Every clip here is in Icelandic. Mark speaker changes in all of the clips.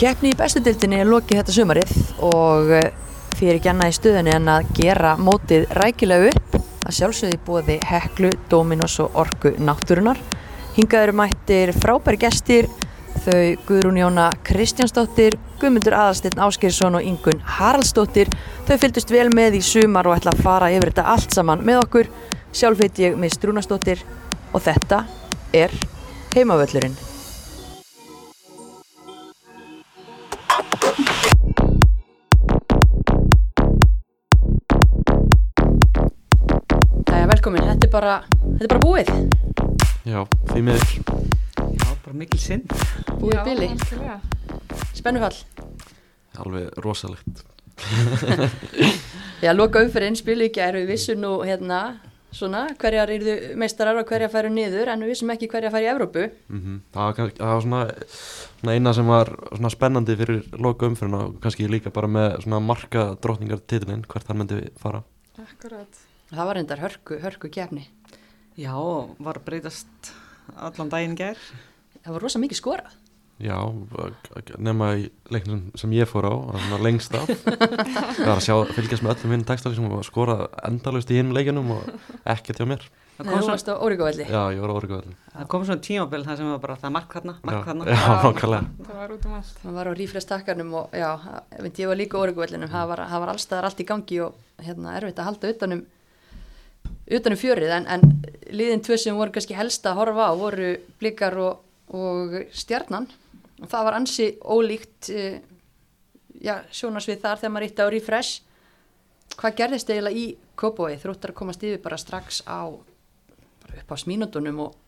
Speaker 1: Keppni í bestu dildinni er lokið þetta sumarið og eh, því er ekki annað í stuðinni en að gera mótið rækilega upp að sjálfsögði bóði Heklu, Dominos og Orku náttúrunar. Hingað eru mættir frábæri gestir þau Guðrún Jóna Kristjánsdóttir, Guðmundur Aðalsteinn Áskeirsson og Ingun Haraldsdóttir. Þau fylgdust vel með í sumar og ætla að fara yfir þetta allt saman með okkur. Sjálf heit ég með Strúnasdóttir og þetta er heimavöllurinn.
Speaker 2: Jæja, velkomin, þetta er bara, þetta er bara búið
Speaker 3: Já, því miður.
Speaker 4: Já, bara mikil sinn
Speaker 2: Búið Já, bili,
Speaker 5: algjörlega.
Speaker 2: spennufall
Speaker 3: Alveg rosalegt.
Speaker 2: Já, loka umferðin, spilu ekki að eru við vissum nú hérna Svona, hverjar eru meistarar og hverjar færu niður En við vissum ekki hverjar færu í Evrópu
Speaker 3: Mm það, var, kann- það var svona, svona eina sem var svona spennandi fyrir loka umfyrirna og kannski líka bara með svona marka drottningartitilinn, hvert hann myndi fara.
Speaker 5: Akkurat.
Speaker 2: Það var reyndar hörku, hörku kefni
Speaker 4: Já, var að breytast allan daginn í gær
Speaker 2: Það var rosa mikið skorað
Speaker 3: Já, nema í leiknum sem ég fór á, það var svona lengst af. það var að sjá, fylgjast með öllum hinn textalísum og skora endalust í hinn leikinum og ekkert hjá mér.
Speaker 2: Nei,
Speaker 4: Það kom,
Speaker 2: þú
Speaker 4: svona,
Speaker 2: varst á Óríkóvelli
Speaker 3: Já, ég var orguðallin.
Speaker 4: það kom svona tímabil það sem var bara það mark þarna,
Speaker 3: Já,
Speaker 4: mark þarna
Speaker 3: já, nákvæmlega.
Speaker 5: Það var út um allt.
Speaker 2: Það var á rífrestakkanum og já, það- veit, ég var líka á Óríkóvellinum Það var, það var allstaðar allt í gangi og hérna erfitt að halda utanum utanum um fjörið en, en liðin tvö sem voru kannski helst að horfa á voru blikar og, og stjarnan og það var ansi ólíkt uh, já, sjónarsvið þar þegar maður ítti á refresh hvað gerðist eiginlega í Kópói þróttar að komast yfir bara strax á bara upp á smínundunum og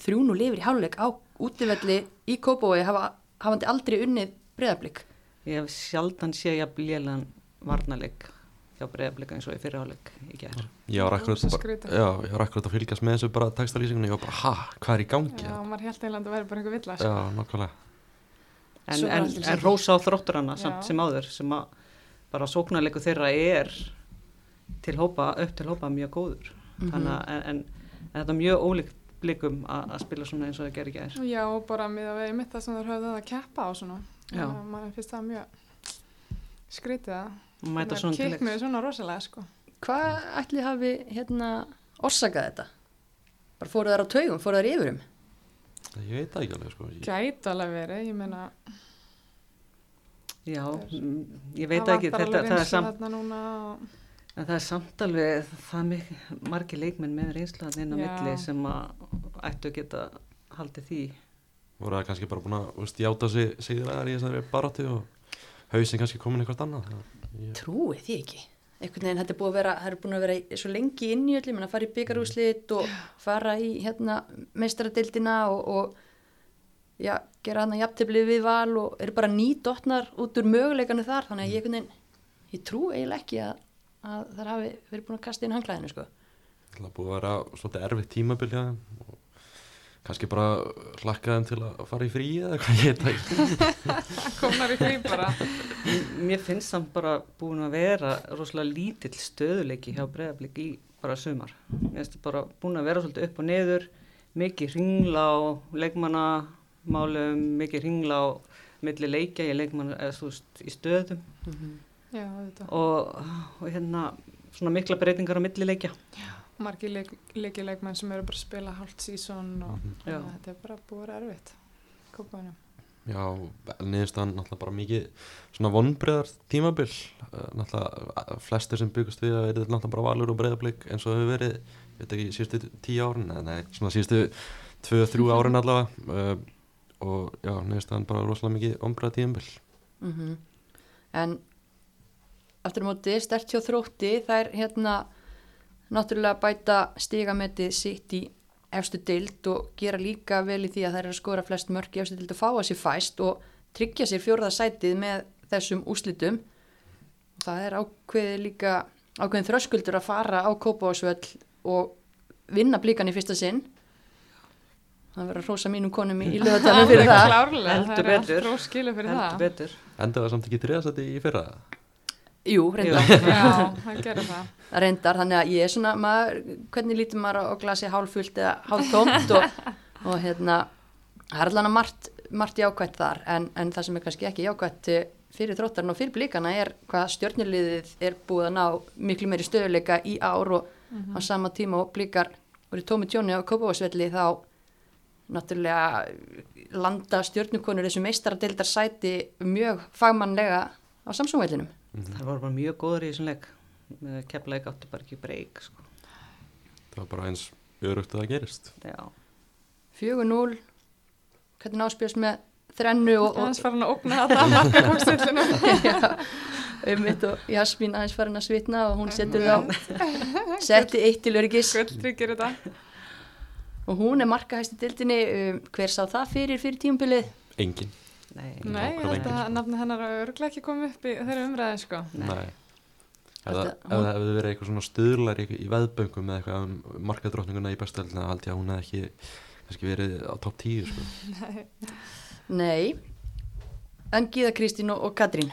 Speaker 2: þrjúnu lifir í háluleik á útivelli í Kópói hafa, hafandi aldrei unnið breyðablík
Speaker 4: Ég hef sjaldan sé ég að blélan varnaleg hjá breyðablika eins og í fyrirháleik í gær
Speaker 3: Ég var akkurat
Speaker 5: Rosa
Speaker 3: bara-
Speaker 5: skrítið.
Speaker 3: já, ég var akkurat að fylgjast með þessu bara textalýsingunni, ég var bara, ha, hvað er í gangi?
Speaker 5: Já,
Speaker 3: Já,
Speaker 5: maður held eiginlega að það væri bara einhver villa. sko.
Speaker 3: já nákvæmlega.
Speaker 4: En,
Speaker 2: Svo var
Speaker 4: en,
Speaker 2: allir
Speaker 4: en
Speaker 2: samt-
Speaker 4: rósa á þrótturana samt
Speaker 5: Já.
Speaker 4: sem áður sem að bara sóknarleiku þeirra er til hópa, upp til hópa mjög góður
Speaker 2: Mhm.
Speaker 4: þannig að en, en, en þetta er mjög ólíkt blikum að að spila svona eins og það gerir gær
Speaker 5: sko. Já, og bara með að við mitt það sem þeir höfðu að keppa á svona.
Speaker 4: Já.
Speaker 5: Man finnst það mjög skrítið að
Speaker 4: og mæta svona til
Speaker 5: Kikk
Speaker 4: leiks.
Speaker 5: mig svona rosalega, sko.
Speaker 2: hvað ætli hafi hérna orsakað þetta? bara fóruð þær á taugum, fóruð þær um? yfirum
Speaker 3: Ég veit það ekki alveg, sko. Ég,
Speaker 5: Gæti alveg verið, ég meina.
Speaker 4: Já,
Speaker 5: Þeir-
Speaker 4: mm, ég veit það ekki, þetta, það er samt
Speaker 5: Þetta núna og...
Speaker 4: En það er samt alveg, það er mik- margir leikmenn með reynslaðan inn á
Speaker 5: Já.
Speaker 4: milli sem að ættu að geta haldið því.
Speaker 3: voru það kannski bara búin að úst, játa sig sigðræðar í þessari barátu og hausin kannski komin eitthvað annað Það- ég,
Speaker 2: Trúið því ekki. Einhvern veginn þetta er búið að vera, það er búin að vera í- svo lengi inn í öllum, en að fara í byggarúslit og fara í hérna meistaradeildina og, og já, gera hann að jafnteflið við val og eru bara nýdotnar út úr möguleikanu þar, þannig að ég einhvern veginn, ég trú eiginlega ekki að, að það hafi verið búin að kasta inn hanglæðinu, sko.
Speaker 3: Það er búið að vera svolítið erfitt tímabil hjá þeim og kannski bara hlakka þeim til að fara í fríi eða hvað ég veit það
Speaker 5: Komnar í því bara.
Speaker 4: M- Mér finnst samt bara búin að vera rosalega lítill stöðuleiki hjá breyðablík í bara sumar. Mér finnst bara búin að vera svolítið upp og neður, mikið ringla á leikmannamálum, mikið ringla á milli leikja í leikmann, eða þú veist, í stöðum
Speaker 5: Já, þetta.
Speaker 4: og, og hérna svona mikla breytingar á milli leikja.
Speaker 5: Margi leik, leikileikmenn sem eru bara að spila hálft sísón og
Speaker 4: Mhm. Já.
Speaker 5: þannig að þetta er bara búið að vera erfitt. Kópaðunum.
Speaker 3: Já, niðurstaðan náttúrulega bara mikið svona vonbreðar tímabil Eh, náttúrulega eh, flestir sem byggust við að verið náttúrulega bara valur og breyðablík eins og það hefur verið, ég veit ekki, síðustu tíu árin eða nei, svona síðustu tvö, þrjú árin allavega Eh, og já, niðurstaðan bara rosalega mikið vonbreðar tímabil
Speaker 2: -hmm. En aftur á móti, stert hjá þrótti, það er hérna náttúrulega bæta stigametið sitt í efstu deild og gera líka vel í því að þær eru að skora flest mörk í efstu deild og fá að sér fæst og tryggja sér fjórða sætið með þessum úslitum. Það er ákveðið líka ákveðin þröskuldur að fara á Kópavásvöll og vinna blíkan í fyrsta sinn. Það verður að rosa mínum konum í, í löðatalum fyrir
Speaker 5: Alveg
Speaker 2: það.
Speaker 5: Klárlega,
Speaker 4: Heldur
Speaker 5: það er allt
Speaker 4: betur.
Speaker 5: róskilu fyrir
Speaker 4: Heldur
Speaker 5: það.
Speaker 4: betur.
Speaker 3: Endaði það samt ekki þriðasæti í fyrra
Speaker 2: Jú, reynda.
Speaker 5: Já, það gerir það.
Speaker 2: reyndar, þannig að ég er svona maður, hvernig lítur maður á glasi hálfullt eða hálftómt og, og hérna það er allan að margt margt jákvætt þar en, en það sem er kannski ekki jákvætt eh, fyrir þróttarinn og fyrir blíkana er hvað stjörnuliðið er búið að ná miklu meiri stöðuleika í ár og á sama tíma og blíkar voru tómi tjóni á Kópavásvelli þá náttúrulega landa stjörnukonur þessu meistaradeildar sæti mjög fagmannlega á samsóngvellinum.
Speaker 4: Það var bara mjög góður í þessum leik. Keflaðið gáttu bara ekki breyk, sko.
Speaker 3: það var bara eins örugt að það gerist
Speaker 4: Já.
Speaker 2: 4-0 hvernig náspjast með þrennu og, og,
Speaker 5: aðeins farin að ógna þetta að marka komstillinu
Speaker 2: já, um mitt og Jasmín aðeins farin að svitna og hún setur þá setti eitt til örgis
Speaker 5: gulltryggir þetta
Speaker 2: og hún er markahæsti dildinni um, hver sá það fyrir fyrir tímbilið
Speaker 3: engin,
Speaker 4: Nei.
Speaker 5: nei, ég held
Speaker 3: engin,
Speaker 5: að
Speaker 3: sko.
Speaker 5: nafni hennar hafi örglega ekki komið upp í þeirra umræði sko
Speaker 4: Nei.
Speaker 3: nei Ef það
Speaker 2: Þetta-
Speaker 3: ef það hefði verið eitthvað svona stöðlar í, í veðböngum eða eitthvað um markadrótninguna í bestöldina held ég að hún hefði ekki kannski verið á topp 10 sko.
Speaker 2: nei en Gíða Kristín og, og Katrín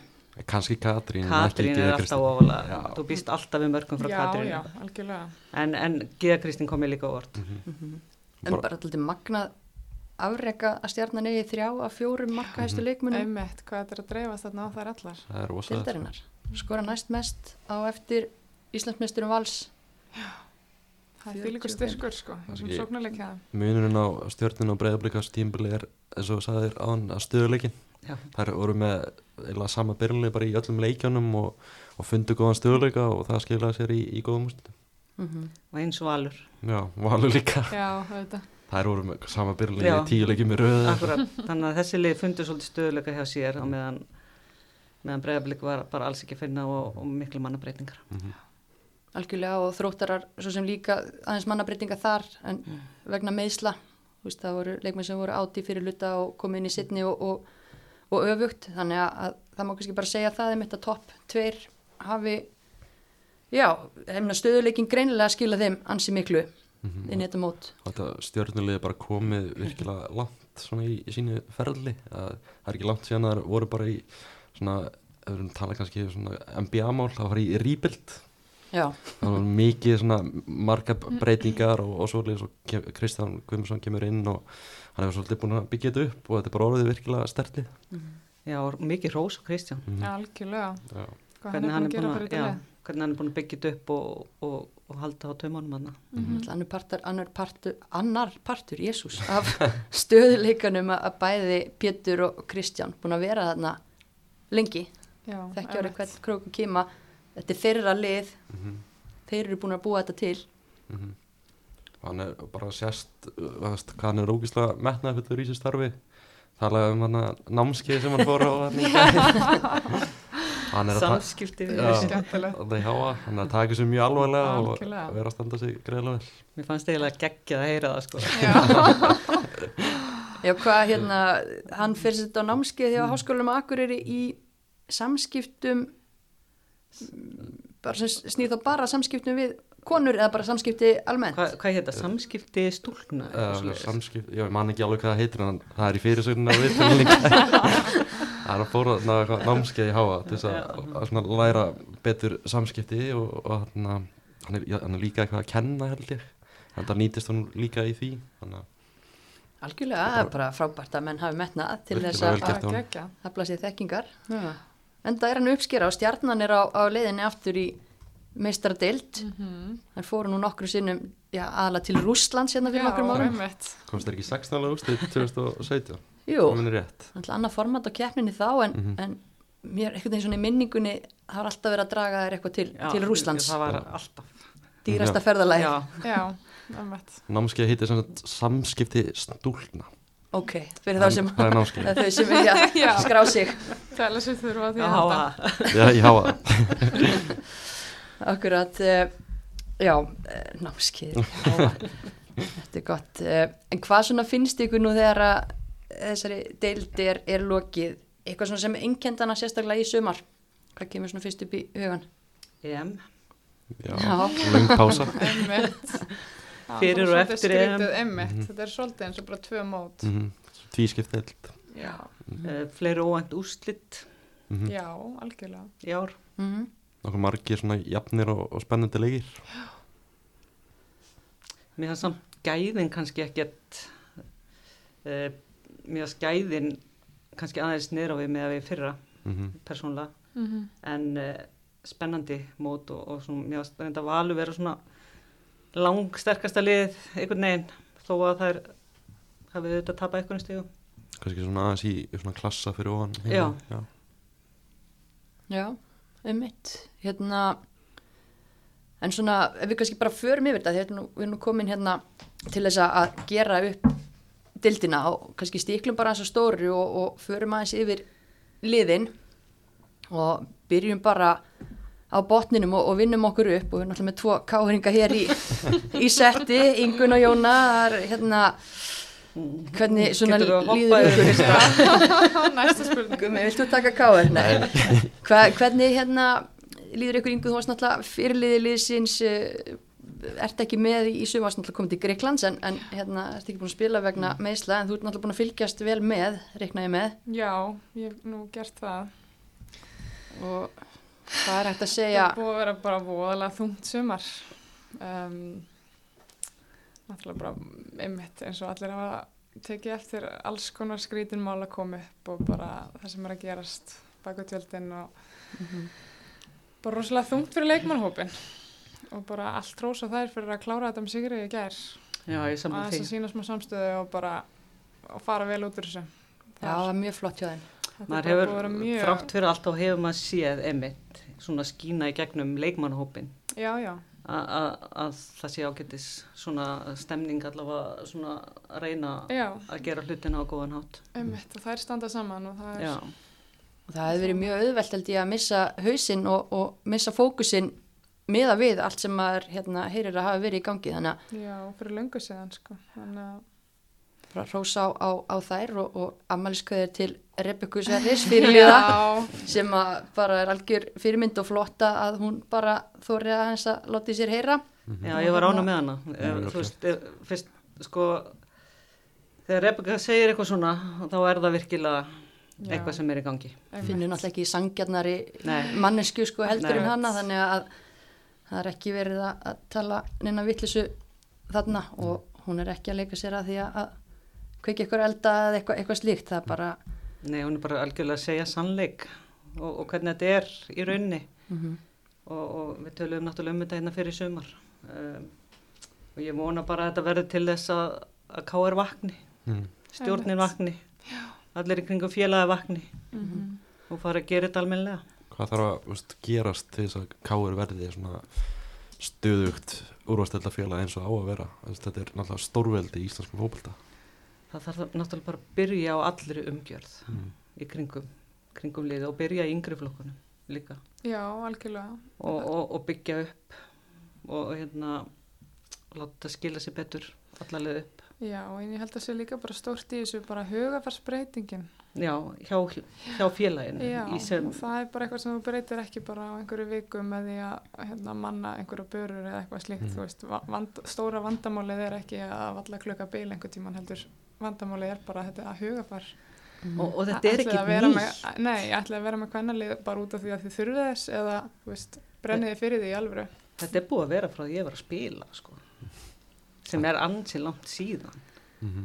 Speaker 3: kannski Katrín en ekki
Speaker 4: Katrín er
Speaker 3: Gyða
Speaker 4: alltaf
Speaker 3: Kristín.
Speaker 4: ofalega.
Speaker 3: Já.
Speaker 4: Þú býst alltaf við mörgum frá
Speaker 5: já,
Speaker 4: Katrín.
Speaker 5: já, algjörlega
Speaker 4: En, en Gíða Kristín kom ég líka á orð.
Speaker 3: Mhm.
Speaker 2: en
Speaker 3: Bara-
Speaker 2: bara alltaf magnað afreka að stjarnan eigi þrjá af fjórum markahæstu leikmunum
Speaker 5: einmitt, hvað þetta er að dreifast þarna á þær allar
Speaker 3: það er rosa
Speaker 2: dildarinnar skora næst mest á eftir Íslandsmeisturum Vals
Speaker 5: það er fylgur
Speaker 2: 45.
Speaker 5: styrkur sko, þessum
Speaker 3: Kannski-
Speaker 5: sóknuleikja
Speaker 3: munurinn á stjórnin og breyðablikas tímbili er eins og sagðir án að stöðuleikin
Speaker 4: Já.
Speaker 3: þær voru með eða sama byrjunni bara í öllum leikjónum og, og fundu góðan stöðuleika og það skilaði sér í, í góðum úrslitum
Speaker 2: mm -hmm.
Speaker 4: Og eins valur.
Speaker 3: já, valur líka
Speaker 5: já, þetta
Speaker 3: þær voru með sama byrjunni
Speaker 4: Já.
Speaker 3: í tíu leikjum í röðu
Speaker 4: Akkurat. Þannig að þessi lið fundur svolítið stöðuleika hjá sér á meðan, meðan breyðablík var bara alls ekki að finna og, og miklu mannabreitingar.
Speaker 2: algjörlega og þróttarar svo sem líka aðeins mannabreytinga þar en vegna meðsla þú veist, það voru leikmenn sem voru áti fyrir luta og komið inn í sittni og, og, og öfugt þannig að, að það má kannski bara segja það um þetta topp tveir hafi já, hefna stöðuleikin greinilega skila þeim ansi miklu
Speaker 4: Ah.
Speaker 3: Mhm.
Speaker 2: inn í þetta mót
Speaker 3: og þetta stjórnulega bara komið virkilega langt svona í, í sínu ferli að það er ekki langt síðan að þær voru bara í svona, ef við tala kannski um svona MBA-mál, það var í rýbild
Speaker 2: já,
Speaker 3: það var mikið svona marga breytingar og, og svolítið svo kem, Kristján Guðmundsson kemur inn og hann hefur svolítið búin að byggja þetta upp og þetta er bara orðið virkilega stertið
Speaker 4: Já, og mikið rós og Kristján.
Speaker 5: algjörlega,
Speaker 3: Já.
Speaker 5: hvað hann er búin að gera fyrir
Speaker 4: já,
Speaker 5: þetta lið.
Speaker 4: hvernig hann er búin að byggja þetta upp og, og, og halda á taumunum hann.
Speaker 2: mm annar, partar, annar, partur, annar partur, jésús, af stöðuleikanum að að bæði Pétur og Kristján búin að vera þarna lengi
Speaker 5: já,
Speaker 2: þekkja árið
Speaker 5: einmitt.
Speaker 2: hvern krók og kima þetta er þeirra lið
Speaker 3: Mhm.
Speaker 2: þeir eru búin að búa þetta til
Speaker 3: hann er bara sérst uh, veist, hvað hann er ógislega metnaðfullur í sér starfi talaði um hann að námskeið sem hann fór á hann í gær. hann er að ta-
Speaker 4: Samskipti við
Speaker 3: Já.
Speaker 4: Kristján.
Speaker 5: skemmtilegt
Speaker 3: þarna í háa, hann er að taka þessu mjög alvarlega og
Speaker 5: Algjörlega.
Speaker 3: vera að standa sig greiðlega vel
Speaker 4: Mér fannst eiginlega geggjað að heyra það sko.
Speaker 2: já hvað hérna, hann fyrir þetta á námskeið hjá háskólum og akkur í samskiptum mm, bara sem snýð þá bara samskiptum við konur eða bara samskipti almennt
Speaker 4: Hva, hvað heit það? Samskipti stúlkna? eitthvað
Speaker 3: uh,
Speaker 4: svoleiðis?
Speaker 3: samskipt, já, ég man ekki alveg hvað það heitir en það er í fyrirsögnuna og viðtölu líka það er að fóra þarna eitthvað námskeið í háa til þess að, að svona læra betur samskipti og, og þarna, hann, er, já, hann er líka eitthvað að kenna held ég þannig að nýtist hann líka í því þannig að
Speaker 2: algjörlega, það er bara frábært að menn hafi metnað til
Speaker 3: Virkilega
Speaker 2: þess að
Speaker 3: vel gert.
Speaker 5: að
Speaker 3: honum.
Speaker 5: gegja
Speaker 2: hafla sér þekkingar en það er hann að uppskera og stjarnan er á, á leiðinni aftur í meistaradeild mm hann fóru nú nokkru sinnum já, aðla til Rússland sérna fyrir nokkrum árum
Speaker 5: einmitt
Speaker 3: komst þér ekki 16 ára úrstið 2017
Speaker 2: Jú,
Speaker 3: það er rétt
Speaker 2: alltaf annað format á keppninni þá en,
Speaker 3: Mhm.
Speaker 2: en mér einhvern veginn svona í minningunni það var alltaf verið að draga þær eitthvað til,
Speaker 4: Já,
Speaker 2: til Rúslands,
Speaker 4: Það var alltaf.
Speaker 2: dýrasta
Speaker 3: Já.
Speaker 2: ferðalagi
Speaker 4: Já,
Speaker 5: já, einmitt
Speaker 3: námskeið heitir sem sagt samskipti stúlna
Speaker 2: Ok, fyrir þá sem
Speaker 3: það er námskeið
Speaker 2: þau sem vilja
Speaker 5: Já.
Speaker 2: skrá sig
Speaker 5: tala sér þurfa á því
Speaker 4: já,
Speaker 5: að halda
Speaker 4: það.
Speaker 3: já, í háa
Speaker 2: Akkurat, uh, já, uh, námskeið já. Þetta er gott uh, En hvað svona finnst ykkur nú þegar að þessari deildi er, er lokið eitthvað svona sem einkendana sérstaklega í sumar Hvað kemur svona fyrst upp í hugan?
Speaker 4: EM.
Speaker 3: já, löng pása
Speaker 5: einmitt Já,
Speaker 4: Fyrir
Speaker 5: bara
Speaker 4: og
Speaker 5: svolítið
Speaker 4: eftir EM.
Speaker 5: skrítið, einmitt, þetta er svolítið eins og bara tvö mót
Speaker 3: Mhm, tvískipt held
Speaker 5: já,
Speaker 4: Uh, fleiri óvænt úrslit
Speaker 3: Mm.
Speaker 5: já, algjörlega
Speaker 4: í ár.
Speaker 2: Mm
Speaker 3: Mhm. nokkuð margir svona jafnir og, og spennandi leikir
Speaker 4: Mér það samt gæðin kannski ekkert uh, mér að skæðin kannski aðeins niður á við með að við í fyrra
Speaker 3: Mhm.
Speaker 4: persónulega
Speaker 5: Mm -hmm.
Speaker 4: en uh, spennandi mót og, og svona, mér varst reynda valu vera svona langsterkasta lið einhvern veginn þó að það er hafið auðvitað að tapa einhvern stíu
Speaker 3: kannski svona aðeins í í svona klassa fyrir ofan hérna.
Speaker 4: Já.
Speaker 3: já.
Speaker 2: Já, einmitt hérna en svona, ef við kannski bara förum yfir þetta þegar við erum nú komin hérna til þess að- að gera upp dildina og kannski stíklum bara þess að stóru og, og förum aðeins yfir liðin og byrjum bara á botninum og, og vinnum okkur upp og við erum náttúrulega með tvo káhringa hér í, í setti, Ingun og Jóna það er hérna hvernig svona
Speaker 4: Getur þú að hoppa
Speaker 2: líður
Speaker 4: yfir
Speaker 2: ykkur
Speaker 4: fyrsta?
Speaker 5: Næsta spurning
Speaker 2: Gumi, viltu taka káður? Nei. Hva, hvernig hérna líður ykkur yngur, þú varst náttúrulega fyrirliði liðsins, eh, ert ekki með í sumar, varst náttúrulega komið til Greiklands en, en hérna, ert ekki búin að spila vegna meðsla en þú ert náttúrulega búin að fylgjast vel með, reikna ég með
Speaker 5: Já, ég hef nú gert það
Speaker 2: og hvað er hægt að
Speaker 5: Það
Speaker 2: segja?
Speaker 5: er búið að vera bara voðalega þungt sumar um, Náttúrulega bara einmitt eins og allir hafa tekið eftir alls konar skrítin mál að koma upp og bara það sem er að gerast baka tjöldin og
Speaker 2: Mhm.
Speaker 5: bara rosalega þungt fyrir leikmannhópin og bara allt rósa þær fyrir að klára þetta með sigrið í gær
Speaker 4: Já, ég
Speaker 5: og
Speaker 4: samla
Speaker 5: aðeins að
Speaker 4: því.
Speaker 5: sína smá samstöðu og bara og fara vel út úr þessu
Speaker 2: Já, það er mjög flott hjá þeim.
Speaker 5: Þetta er
Speaker 4: Maður
Speaker 5: bara
Speaker 4: hefur,
Speaker 5: búið að vera mjög-
Speaker 4: þrátt fyrir allt þá hefur maður séð emitt svona skína í gegnum leikmannhópin
Speaker 5: Já, já,
Speaker 4: a- a- að það sé ágætis svona stemning allavega svona að reyna
Speaker 5: já,
Speaker 4: að gera hlutina á góðan hátt.
Speaker 5: einmitt og þær standa saman og það er
Speaker 4: Já,
Speaker 2: Og það hefði verið mjög auðvelt held ég að missa hausinn og, og missa fókusinn meða við allt sem maður hérna, heyrir að hafa verið í gangi þannig að
Speaker 5: Já, fyrir löngu séðan sko. Þannig að,
Speaker 2: bara rósa á, á, á þær og, og ammæliskveðir til Rebekku Sverris fyrirliða
Speaker 5: Já,
Speaker 2: sem að bara er algjör fyrirmynd og flotta að hún bara þóri að hans að láti sér heyra
Speaker 4: já ég var ána með hana.
Speaker 3: Já,
Speaker 4: Eh,
Speaker 3: ok.
Speaker 4: Þú veist, eh, fyrst sko, þegar Rebecca segir eitthvað svona þá er það virkilega
Speaker 5: Já.
Speaker 4: eitthvað sem er í gangi.
Speaker 5: einmitt.
Speaker 2: finnur náttúrulega ekki sangjarnari
Speaker 4: Nei.
Speaker 2: mannesku sko heldur
Speaker 4: Nei.
Speaker 2: en hana þannig að það er ekki verið að, að tala neina vittlisu þarna og hún er ekki að leika sér að því að, að kveiki eitthvað elda eða eitthvað, eitthvað slíkt það er bara
Speaker 4: Nei, hún er bara algjörlega að segja sannleik og, og hvernig þetta er í raunni og, og við töluðum náttúrulega um þetta hérna fyrir sumar um, og ég vona bara að þetta verður til þess að, að káir vakni,
Speaker 3: Mm.
Speaker 4: stjórnin vakni, allir í kringum félagi vakni
Speaker 5: Mhm.
Speaker 4: og fara að gera þetta almennilega.
Speaker 3: hvað þarf að veist, gerast til þess að káir verði svona stöðugt úrvastöldafélag eins og á að vera Þess, þetta er náttúrulega stórveldi í íslenskum fókbalta
Speaker 4: Það þarf það náttúrulega bara að byrja á allri umgjörð
Speaker 3: mm.
Speaker 4: í kringum, kringum liði og byrja í yngri flokkunum líka.
Speaker 5: Já, algjörlega.
Speaker 4: og, og, og byggja upp og hérna láta skila sér betur allarlega upp
Speaker 5: Já, en ég held að sé líka bara stórt í þessu bara hugafarsbreytingin.
Speaker 4: já, hjá, hjá félaginu
Speaker 5: Já,
Speaker 4: í sem,
Speaker 5: og það er bara eitthvað sem þú breytir ekki bara á einhverju viku með því að hérna, manna einhverja börur eða eitthvað slíkt,
Speaker 3: Mhm.
Speaker 5: þú veist, va- vand, stóra vandamálið er ekki að valla klukka bíl einhver tíman heldur, vandamálið er bara þetta að hugafar.
Speaker 4: og, og þetta er
Speaker 5: Ætlið
Speaker 4: ekki
Speaker 5: að vera
Speaker 4: nýtt
Speaker 5: með- Nei, ég ætlaði að vera með kvennalið bara út af því að þið þurfið þess eða, þú veist, brenniði fyrir því í alvöru.
Speaker 4: þetta er búið að vera frá því að ég var að spila sko. sem er ansi langt síðan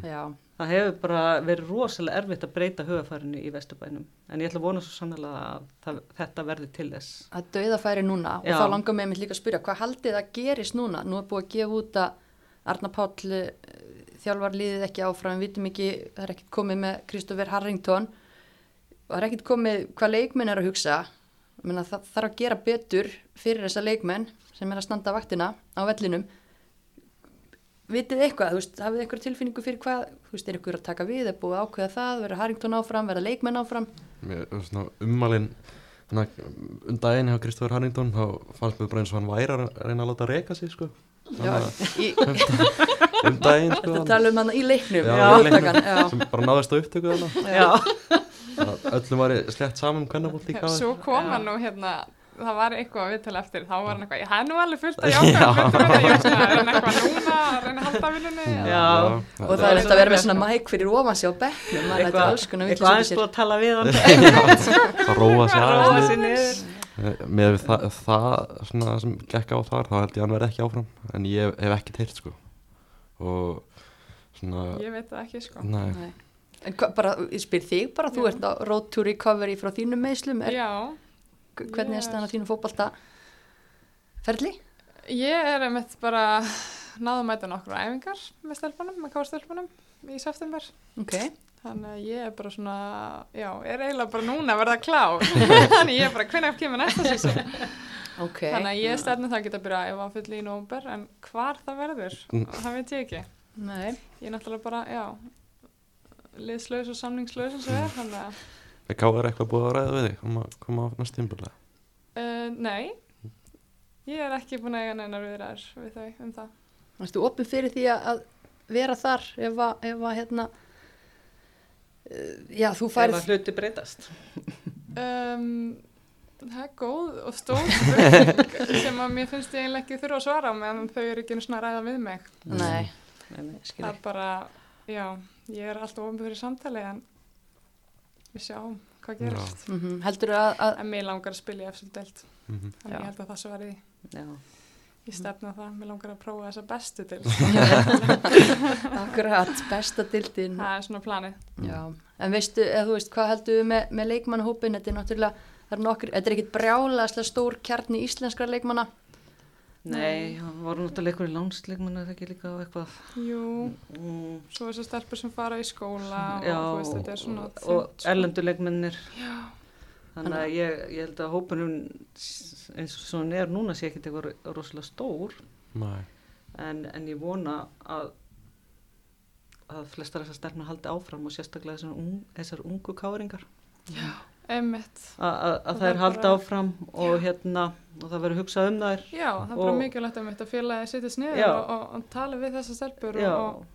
Speaker 2: já,
Speaker 4: það hefur bara verið rosalega erfitt að breyta hugafærinu í Vesturbænum en ég ætla að vona svo sannlega að það, þetta verði til þess
Speaker 2: að dauðafæri núna
Speaker 4: Já.
Speaker 2: og þá langar mig einmitt líka að spyrja hvað haldið að gerist núna? Nú er búið að gefa út að Arna Páll eh, þjálfar liðið ekki áfram, við vitum ekki það er ekkert komið með Kristoffer Harrington og það er ekkert komið hvað leikmenn er að hugsa Ég Meina, það þarf að gera betur fyrir þessa leikmenn sem er að standa vaktina á vellinum vitið þið eitthvað, þú veist, hafið þið eitthvað tilfinningu fyrir hvað, þú veist, er ykkur að taka við er búið að ákveða það, vera Harrington áfram, vera leikmenn áfram
Speaker 3: Mér, svona, ummalin þannig, að um daginn hjá Kristofur Harrington þá fannst mér bara eins og hann væri að reyna að láta reyka sig sko.
Speaker 2: Já,
Speaker 3: Þannig
Speaker 2: í,
Speaker 3: að um daginn sko,
Speaker 2: Þetta
Speaker 3: hann-
Speaker 2: tala um hann í leiknum,
Speaker 3: Já,
Speaker 2: já,
Speaker 3: í leiknum.
Speaker 2: átakan, já.
Speaker 3: sem bara náðist á upptöku þarna.
Speaker 4: já,
Speaker 3: Þannig að öllum var slett saman um kvennabólt líka
Speaker 5: Svo kom
Speaker 4: Já.
Speaker 5: hann nú hérna, það var eitthvað að viðtala eftir, þá var hann eitthvað, það er nú alveg fullt að jáka, það er svona, er hann eitthvað núna, er hann að halda vinnunni?
Speaker 4: Já.
Speaker 2: Og það
Speaker 3: það
Speaker 2: er þetta að vera með svona mæk fyrir ofan sig á bekknum, maður þetta alls konar
Speaker 4: eitthvað
Speaker 2: vitlaust fyrir
Speaker 4: aðeins búið
Speaker 2: sér.
Speaker 4: að tala við hann
Speaker 3: það róa sig
Speaker 4: að
Speaker 3: aðeins
Speaker 4: róa
Speaker 3: niður.
Speaker 4: sér niður
Speaker 3: með við það, það svona, sem gekk á þar þá held ég að hann verði ekki áfram en ég hef, hef ekki teirt sko og svona
Speaker 5: Ég veit það ekki, sko.
Speaker 3: nei,
Speaker 2: Nei. En hva, bara, ég spyr þig bara, þú
Speaker 5: Já.
Speaker 2: ert á road to recovery frá þínum meðslum, er,
Speaker 5: Já,
Speaker 2: hvernig er
Speaker 5: Ég er-
Speaker 2: staðan á þínum fótbalta ferli?
Speaker 5: ég er einmitt bara náðum að mæta nokkru æfingar með stelpunum, með káastelpunum í september.
Speaker 2: Ok,
Speaker 5: Þannig að ég er bara svona, já, er eiginlega bara núna að verða klár. Þannig ég er bara, hvenær kemur næsta sísón?
Speaker 2: ok.
Speaker 5: Þannig að ég stefnir það að geta að byrja ef að fylla í nómber, en hvar það verður,
Speaker 3: Mm.
Speaker 5: það veit ég ekki.
Speaker 2: Nei,
Speaker 5: Ég er náttúrulega bara, já, liðslaus og samningslaus eins og er, þannig að,
Speaker 3: Er Káður eitthvað búið að ræða við þig um að koma á næst tímbulega?
Speaker 5: uh, nei, ég er ekki búin að eiga neinar viðræður við þau um það.
Speaker 2: Erstu opið fyrir því að að vera þar ef að, ef að hérna, eh, já, þú
Speaker 4: Færð.
Speaker 2: færð,
Speaker 4: Ef að hluti breytast.
Speaker 5: Um, það er góð og stór spurning sem að mér finnst ég eiginlega ekki þurfa að svara á meðan þau eru ekki einu svona að ræða við mig.
Speaker 2: nei,
Speaker 4: Nei, nei.
Speaker 5: Það
Speaker 2: skilur,
Speaker 5: er bara, já, ég er alltaf ofin fyrir samtali en við sjáum hvað
Speaker 3: Já.
Speaker 5: gerist.
Speaker 2: mm -hmm. heldur að, að,
Speaker 5: En mér langar að spila í FCL-delt,
Speaker 3: Mm -hmm.
Speaker 5: þannig
Speaker 2: Já.
Speaker 5: ég held að það svo verið í.
Speaker 4: Já. Mhm.
Speaker 5: Ég stefna á það, mér langar að prófa þessa bestu til.
Speaker 2: akkurat, besta dildin,
Speaker 5: það er svona planið.
Speaker 2: Já, en veistu, eða þú veist, hvað heldur við með, með leikmannhópin, þetta er náttúrulega, það er nokkur, þetta er ekkit brjálaslega stór kjarni íslenskra leikmanna,
Speaker 4: Nei, það voru náttúrulega einhverju lánsleikmenn að ekki líka á eitthvað.
Speaker 5: Jú,
Speaker 4: Mm.
Speaker 5: svo þessar stelpur sem fara í skóla og
Speaker 4: Já,
Speaker 5: þú veist, þetta er svona
Speaker 4: og,
Speaker 5: þungt,
Speaker 4: og
Speaker 5: sko.
Speaker 4: erlenduleikmennir.
Speaker 5: Já.
Speaker 4: Þannig að ég, ég held að hópunum s- eins og svona er núna sé ekkert eitthvað rosalega stór
Speaker 3: Næ,
Speaker 4: en, en ég vona að að flestar þessar stelpna haldi áfram og sérstaklega þessar, un, þessar ungu káringar
Speaker 5: Einmitt.
Speaker 4: A- a- að
Speaker 5: Það
Speaker 4: þær
Speaker 5: var
Speaker 4: haldi
Speaker 5: bara-
Speaker 4: áfram og hérna og það verður hugsað um þær
Speaker 5: Já, það er bara
Speaker 4: Og-
Speaker 5: mikilvægt um þetta félagi að sittist niður
Speaker 4: Já.
Speaker 5: og, og, og tala við þessar stelpur
Speaker 4: Já,
Speaker 5: og, og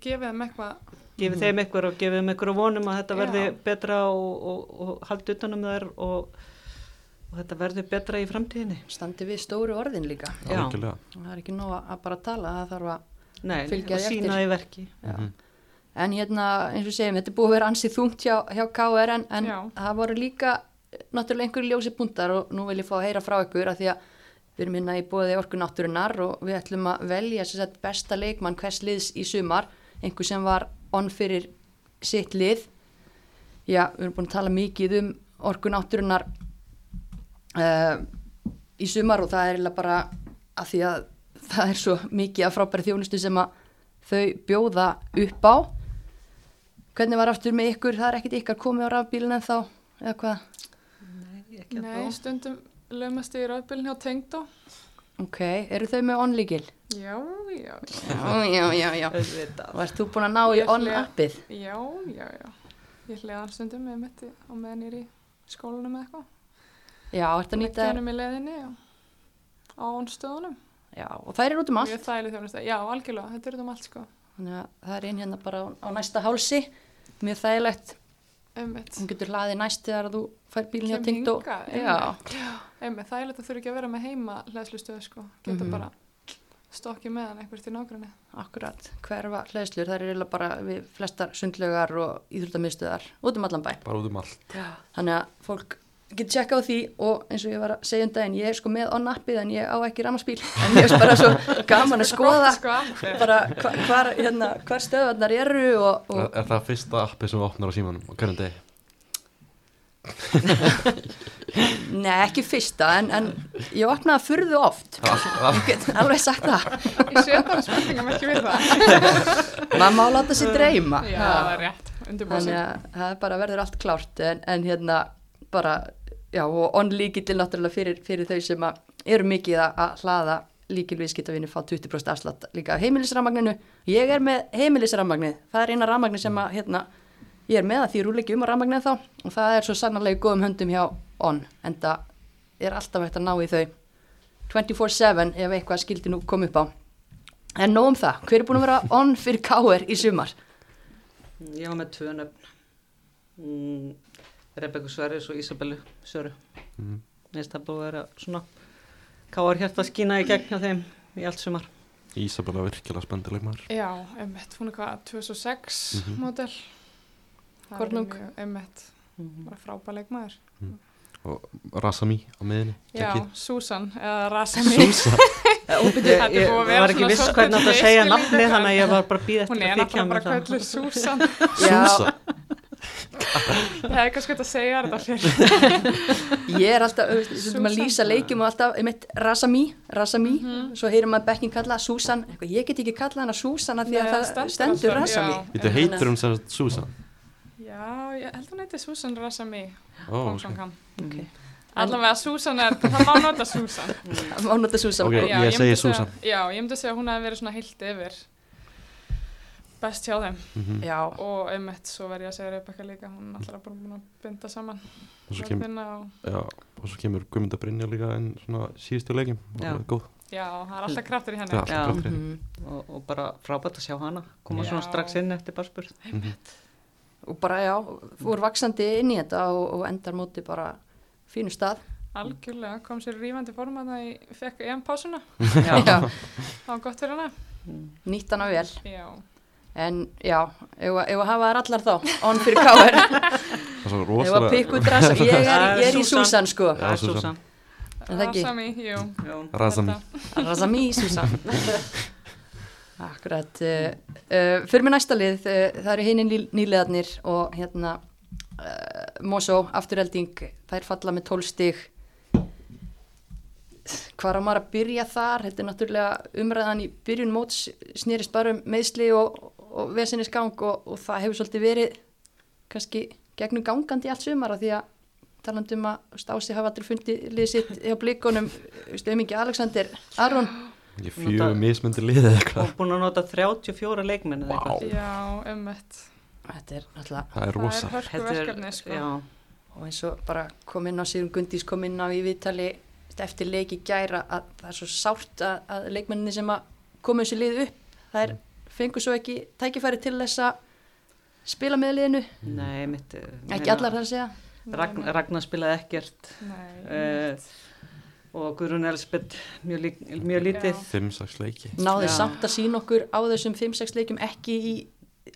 Speaker 5: gefa þeim eitthvað
Speaker 4: gefið þeim eitthvað og gefið þeim eitthvað og vonum að þetta
Speaker 5: Mhm. Já.
Speaker 4: verði betra og, og, og haldi utanum þær og, og þetta verði betra í framtíðinni
Speaker 2: standi við stóru orðin líka,
Speaker 4: Já.
Speaker 3: algjörlega.
Speaker 2: og það er ekki nóg að að bara tala, það þarf að,
Speaker 4: Nei,
Speaker 2: Fylgja
Speaker 4: og
Speaker 2: því
Speaker 4: sína
Speaker 2: eftir.
Speaker 4: í verki
Speaker 3: Mhm.
Speaker 2: en hérna, eins og segjum, þetta er búið að vera ansið þungt hjá, hjá KR, en, en
Speaker 5: Já.
Speaker 2: það voru líka eh, náttúrulega einhverju ljósi punktar og nú vil ég fá að heyra frá ykkur að því að við erum hérna í bóði orku náttúrunar og við ætlum að velja sem sagt, besta leikmann hvers liðs í sumar, einhver sem var onn fyrir sitt lið já, við erum búin að tala mikið um orku náttúrunar uh, í sumar og það er eiginlega bara að því að það er svo mikið af frábæri þjónustu sem að þau bjóða upp á hvernig var aftur með ykkur, það er ekkert ykkar komið á rafbílinn en þá, eða hvað
Speaker 4: Nei, ekki að
Speaker 5: Nei,
Speaker 4: þá.
Speaker 5: stundum lögmast ég í rafbílinn hjá Tengdó
Speaker 2: ok, eru þau með onlíkil?
Speaker 5: Já, já,
Speaker 2: já, já, já, já
Speaker 4: Auðvitað.
Speaker 2: og ert þú búin að ná í
Speaker 5: Ég ætla-
Speaker 2: on-appið?
Speaker 5: já, já, já Ég hliða hann stundum með mitti á meðan ég er í skólanum eða eitthvað
Speaker 2: já, ert að nýta
Speaker 5: Leggjanum í leiðinni og á onstöðunum
Speaker 2: já, og þær eru út um allt
Speaker 5: Ég þæli þjónust Já, algjörlega, þetta er út um allt sko
Speaker 2: þannig að það er einn hérna bara á, á næsta hálsi mjög þægilegt,
Speaker 5: Einmitt
Speaker 2: hún getur hlaðið næst þegar þú fær bílinn hjá
Speaker 5: Kem
Speaker 2: tengd og
Speaker 5: hingað,
Speaker 2: já,
Speaker 5: Einmitt, það er leitt að þurfa ekki að vera með heima hlæðslustöð sko Geta
Speaker 2: Mhm.
Speaker 5: bara stokki meðan eitthvað til nágrinni
Speaker 2: akkurat, hverfa hlæðslur, það er eiginlega bara við flestar sundlegar og íþróttamiðstöðar út um allan bæ,
Speaker 3: Bara út um allt.
Speaker 2: þannig að fólk getur tjekka á því og eins og ég var að segja um daginn, ég er sko með on-appið en ég á ekki ramaspíl, en ég er bara svo gaman að skoða
Speaker 5: Gott, sko.
Speaker 2: bara hva, hvar, hérna, hvar stöðvarnar eru og,
Speaker 3: Er,
Speaker 2: og
Speaker 3: er það fyrsta appi sem þú opnar á símanum á hverjum degi?
Speaker 2: neða ekki fyrsta en, en ég opnaði að furðu oft
Speaker 3: Það er alltaf-
Speaker 2: ég get alveg sagt það
Speaker 5: Ég sé bara spurningum ekki við það.
Speaker 2: maður má láta sér dreyma
Speaker 5: Já, það er rétt. Undirbúið
Speaker 2: þannig
Speaker 5: sig.
Speaker 2: að það er bara verður allt klárt en, en hérna bara já og onn líkil náttúrulega fyrir, fyrir þau sem að eru mikið að- að hlaða líkil viðskiptavinni fá 20% afslátt líka af heimilisramagninu ég er með heimilisramagnið það er eina ramagni sem að hérna ég er með að því rúli ekki um að ramagnið þá og það er svo sannarlega í góðum höndum hjá onn en það er alltaf hægt að ná í þau 24-7 ef eitthvað skildi nú kom upp á en nóg um það, hver er búin að vera onn fyrir káir í sumar?
Speaker 4: Ég var með tvö nöfn mm, Rebekku Sverris og Isabellu Söru
Speaker 3: Mhm.
Speaker 4: Neist það búið að vera svona Káar hérta að skína í gegn hjá þeim í allt sumar
Speaker 3: Ísabella er virkilega spendileg maður.
Speaker 5: Já, emmett, hún er hvað, 2006
Speaker 3: Mhm.
Speaker 5: módel. Það er
Speaker 2: Kornung.
Speaker 5: mjög- Einmitt,
Speaker 4: mm.
Speaker 5: bara frábæð leikmaður.
Speaker 3: Rasami á miðinni.
Speaker 5: Já,
Speaker 3: Kekki.
Speaker 5: Susan, eða Rasami.
Speaker 3: Súsa.
Speaker 5: Þetta er
Speaker 4: ég
Speaker 5: búið að vera
Speaker 4: var ekki
Speaker 5: svona
Speaker 4: viss
Speaker 5: svolítið
Speaker 4: hvernig átt að segja
Speaker 5: misskilningur,
Speaker 4: nafni þannig að
Speaker 5: en-
Speaker 4: ég var bara að býða
Speaker 5: Hún
Speaker 4: eftir að þykja
Speaker 5: er náttúrulega bara
Speaker 4: mér það.
Speaker 5: kvöldu Susan.
Speaker 3: Súsa
Speaker 5: Ég hefði kannski gott að segja þér þetta fyrir.
Speaker 2: Ég er alltaf, þú veist, stundum að
Speaker 5: Susan. Mhm.
Speaker 2: lýsa leikjum og alltaf, einmitt, Rasami, Rasami, svo heyrir maður bekkin kalla Susan, eitthvað, ég get ekki kallað hana Susan af því að
Speaker 5: Nei,
Speaker 2: það
Speaker 5: stendur
Speaker 2: stendur
Speaker 5: alltaf,
Speaker 2: Rasami.
Speaker 5: já.
Speaker 3: Þetta heitir hún sem sagt Súsan
Speaker 5: Já, ég held hún heiti Susan Rasami.
Speaker 3: Ó,
Speaker 5: Oh,
Speaker 3: ok.
Speaker 5: okay.
Speaker 2: Ok.
Speaker 5: Allavega Susan er, það má nota Susan.
Speaker 4: Mm.
Speaker 2: Má nota Susan.
Speaker 3: Ok.
Speaker 2: Okay.
Speaker 3: ég segi Susan.
Speaker 5: Já, ég myndi að segja að hún hefði verið svona heilt yfir best hjá þeim
Speaker 3: mhm.
Speaker 2: Já,
Speaker 5: og einmitt svo verð ég að segja Rebecca líka, hún er alltaf bara búin að binda saman.
Speaker 3: og, svo kem,
Speaker 5: Röddina og,
Speaker 3: já, og svo kemur Guðmunda Brynja líka en svona síðustu leikim
Speaker 4: Já.
Speaker 3: Góð,
Speaker 5: já, það er alltaf kraftur
Speaker 3: það er
Speaker 5: í henni.
Speaker 3: alltaf
Speaker 4: Já.
Speaker 3: gráttri
Speaker 2: Mhm.
Speaker 4: og, og bara frábært að sjá hana koma
Speaker 5: Já.
Speaker 4: svona strax inn eftir barspur
Speaker 2: og bara, já, fór vaksandi inn í þetta og, og endar móti bara fínu stað.
Speaker 5: Algjörlega, kom sér í rífandi form að það fekk EM pásuna,
Speaker 2: Já,
Speaker 5: það var gott fyrir hana.
Speaker 2: nýtt hana vel.
Speaker 5: Já,
Speaker 2: En já, ef að ef að hafa þær allar þá, on fyrir káður,
Speaker 3: Það er svo
Speaker 2: ef að
Speaker 3: rosalega
Speaker 2: pikku drasa, ég er, ég er í
Speaker 4: Susan.
Speaker 2: Susan sko,
Speaker 3: Já, Susan.
Speaker 2: Er það ekki?
Speaker 5: Rasami, jú.
Speaker 3: Rasami
Speaker 5: Þetta-
Speaker 2: Razami Susan. Akkurat, uh, uh, fyrir með næsta lið, uh, það eru hinin nýliðarnir og hérna uh, Mosó, afturhelding, þær falla með 12 stig. Hvar á maður að byrja þar? Þetta er náttúrulega umræðan í byrjun móts snýrist bara um meðsli og, og vesinnisgang og, og það hefur svolítið verið kannski gegnum gangandi allt sumar af því að talandi um að Stási hafa aldrei fundið lið sitt hjá blikunum stömingi Alexander Aron
Speaker 3: Ég fjögur mismyndi liðið eða
Speaker 4: og
Speaker 3: eitthvað
Speaker 4: búin að nota 34 leikmenn eða
Speaker 3: Vá.
Speaker 4: eitthvað.
Speaker 5: Já, einmitt.
Speaker 2: þetta er alltaf
Speaker 3: Það er rosa
Speaker 5: Það er hörku verkefni, sko.
Speaker 4: já,
Speaker 2: og eins og bara kom inn á Sigrun Gundís kom inn á í viðtali eftir leiki gæra að það er svo sárt að, að leikmenninni sem að komu þessi lið upp það
Speaker 4: Mm.
Speaker 2: er fengur svo ekki tækifæri til þess að spila með liðinu
Speaker 4: nei, mitt eh,
Speaker 2: ekki
Speaker 4: meina,
Speaker 2: allar þar að segja
Speaker 4: Ragn, Ragnar spilaði ekkert
Speaker 5: Nei,
Speaker 4: eh, og Guðrún Elspeth mjög, lík, mjög lítið
Speaker 3: Fimm sags leiki
Speaker 2: náði
Speaker 4: Já.
Speaker 2: samt að sína okkur á þessum 5-6 leikum ekki í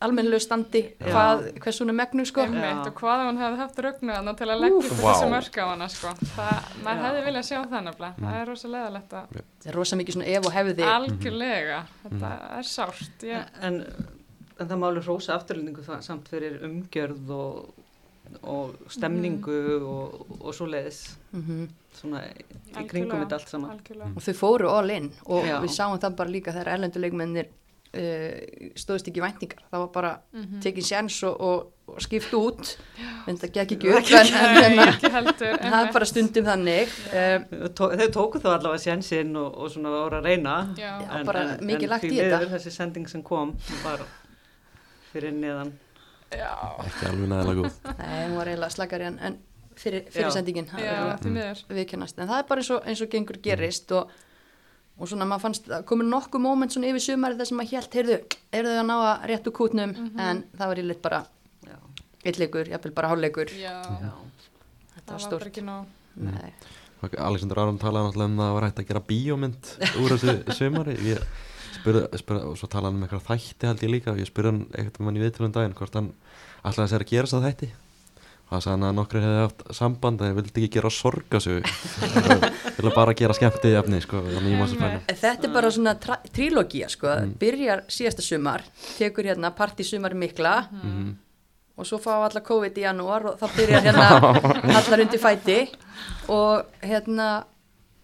Speaker 2: almennilegu standi
Speaker 4: Já.
Speaker 2: hvað, hvers hún er megnu sko
Speaker 4: Já.
Speaker 5: einmitt og hvað hún hefði haft rögnu þarna til að leggja upp
Speaker 3: Vá. Mm.
Speaker 5: þessi mörk á hana sko. það, maður
Speaker 4: Já.
Speaker 5: hefði viljað sjá það nefnilega það er rosa leðalegt að
Speaker 2: það er rosa mikið svona ef og hefði
Speaker 3: Mhm.
Speaker 5: algjörlega þetta
Speaker 3: Mm.
Speaker 5: er sárt ég,
Speaker 4: en, en það máli hrósa afturlendingu það- samt fyrir umgjörð og, og stemningu og, og svo leiðis
Speaker 2: mm
Speaker 4: svona í- í kringum
Speaker 5: Algjörlega.
Speaker 4: þetta allt saman
Speaker 3: Mm.
Speaker 5: algjörlega
Speaker 2: og þau fóru all in og
Speaker 4: Já.
Speaker 2: við sáum það bara líka þegar erlenduleikmennir uh, stóðist ekki í væntingar það var bara mm -hmm. tekin séns og, og, og skipt út en það gekk ekki upp en, en, en,
Speaker 5: Nei, ekki heldur
Speaker 2: en það er
Speaker 5: einmitt.
Speaker 2: bara stundum þannig uh,
Speaker 4: Tó, þeir tóku þá allavega sjensinn og, og svona voru að reyna
Speaker 5: Já.
Speaker 2: Já. bara mikið lagt
Speaker 4: því
Speaker 2: í þetta.
Speaker 4: miður þessi sending sem kom var fyrir neðan
Speaker 5: já,
Speaker 3: Ekki alveg nægilega góð
Speaker 2: nei, hún var eiginlega slagari en, en fyrir, fyrir
Speaker 4: Já.
Speaker 2: sendingin það
Speaker 5: já,
Speaker 2: er eiginlega
Speaker 5: því miður
Speaker 2: viðkennast en það er bara eins og, eins og gengur gerist og, og svona maður fannst það komur nokkuð móment svona yfir sumari þar sem maður hélt heyrðu, eru þau að ná að réttu kútnum en það var yfirleitt bara
Speaker 4: já,
Speaker 2: eitleikur, jafnvel bara hálfleikur
Speaker 5: já,
Speaker 4: já.
Speaker 2: þetta
Speaker 5: það
Speaker 2: var
Speaker 5: var
Speaker 2: stórt
Speaker 5: bara ekki nóg
Speaker 2: Nei.
Speaker 3: Ok, Alexander Aron talaði náttúrulega um það að það var hægt að gera bíómynd úr þessu sömari ég spurði, spurði, og svo talaði hann um eitthvað þætti held ég líka og ég spurði hann eitthvað mann í viðtölum um daginn hvort hann ætlaði að sér að gera þess að þætti og það sagði hann að nokkru hefði haft samband en ég vildi ekki gera sorgasögu vilja bara gera skemmtið efni sko, þannig ég má sér fæna
Speaker 2: Þetta er
Speaker 4: Mm.
Speaker 2: bara svona tra- trílógía sko, byrjar síðasta sumar, tekur hérna partysumar mikla og svo fá alla COVID í janúar og þá byrjar hérna allar undir fæti og hérna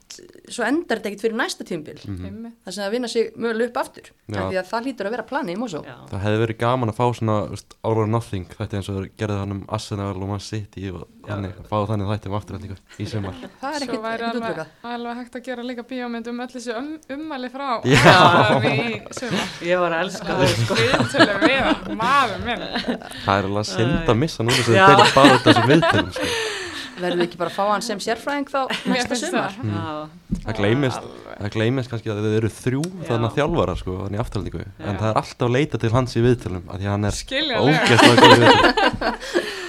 Speaker 2: svo endar þetta ekkert fyrir næsta tímbil
Speaker 4: Mhm.
Speaker 2: mm.
Speaker 5: einmitt
Speaker 2: þar sem það vinna sig möguleg upp aftur
Speaker 3: Já.
Speaker 2: af því að það hlýtur að vera planið í Mosó
Speaker 4: Já.
Speaker 3: það hefði verið gaman að fá svona veist, all or nothing þætti eins og þeir gerði hann um Arsenal og Man City og þannig, fá þannig þætti um afturhaldingu í sömar
Speaker 2: það er
Speaker 5: Svo
Speaker 2: ekkert
Speaker 5: væri
Speaker 2: ekkert
Speaker 5: alveg,
Speaker 2: útlökað
Speaker 5: alveg hægt að gera líka bíómynd um öll þessi um, ummæli frá
Speaker 3: Já.
Speaker 5: Aroni í sumar.
Speaker 4: ég var að elska þau sko
Speaker 5: Viðtölum við hann, maður minn.
Speaker 3: það er alveg að synda að missa núna sem
Speaker 4: Já.
Speaker 3: þeir bara út af þessum viðtölum sko.
Speaker 2: verður við ekki bara að fá hann sem sérfræðing þá
Speaker 5: Mér
Speaker 2: næsta
Speaker 5: finnst
Speaker 2: sumar
Speaker 5: það.
Speaker 4: Já.
Speaker 3: það gleymist
Speaker 5: Alveg.
Speaker 3: það gleymist kannski að þið eru þrjú
Speaker 4: Já.
Speaker 3: þannig að þjálfara sko, þannig aftalningu en
Speaker 4: Já.
Speaker 3: það er alltaf leita til hans í viðtölum að því að hann er
Speaker 5: Skiljanlega.
Speaker 3: ógeðslega góð í viðtölum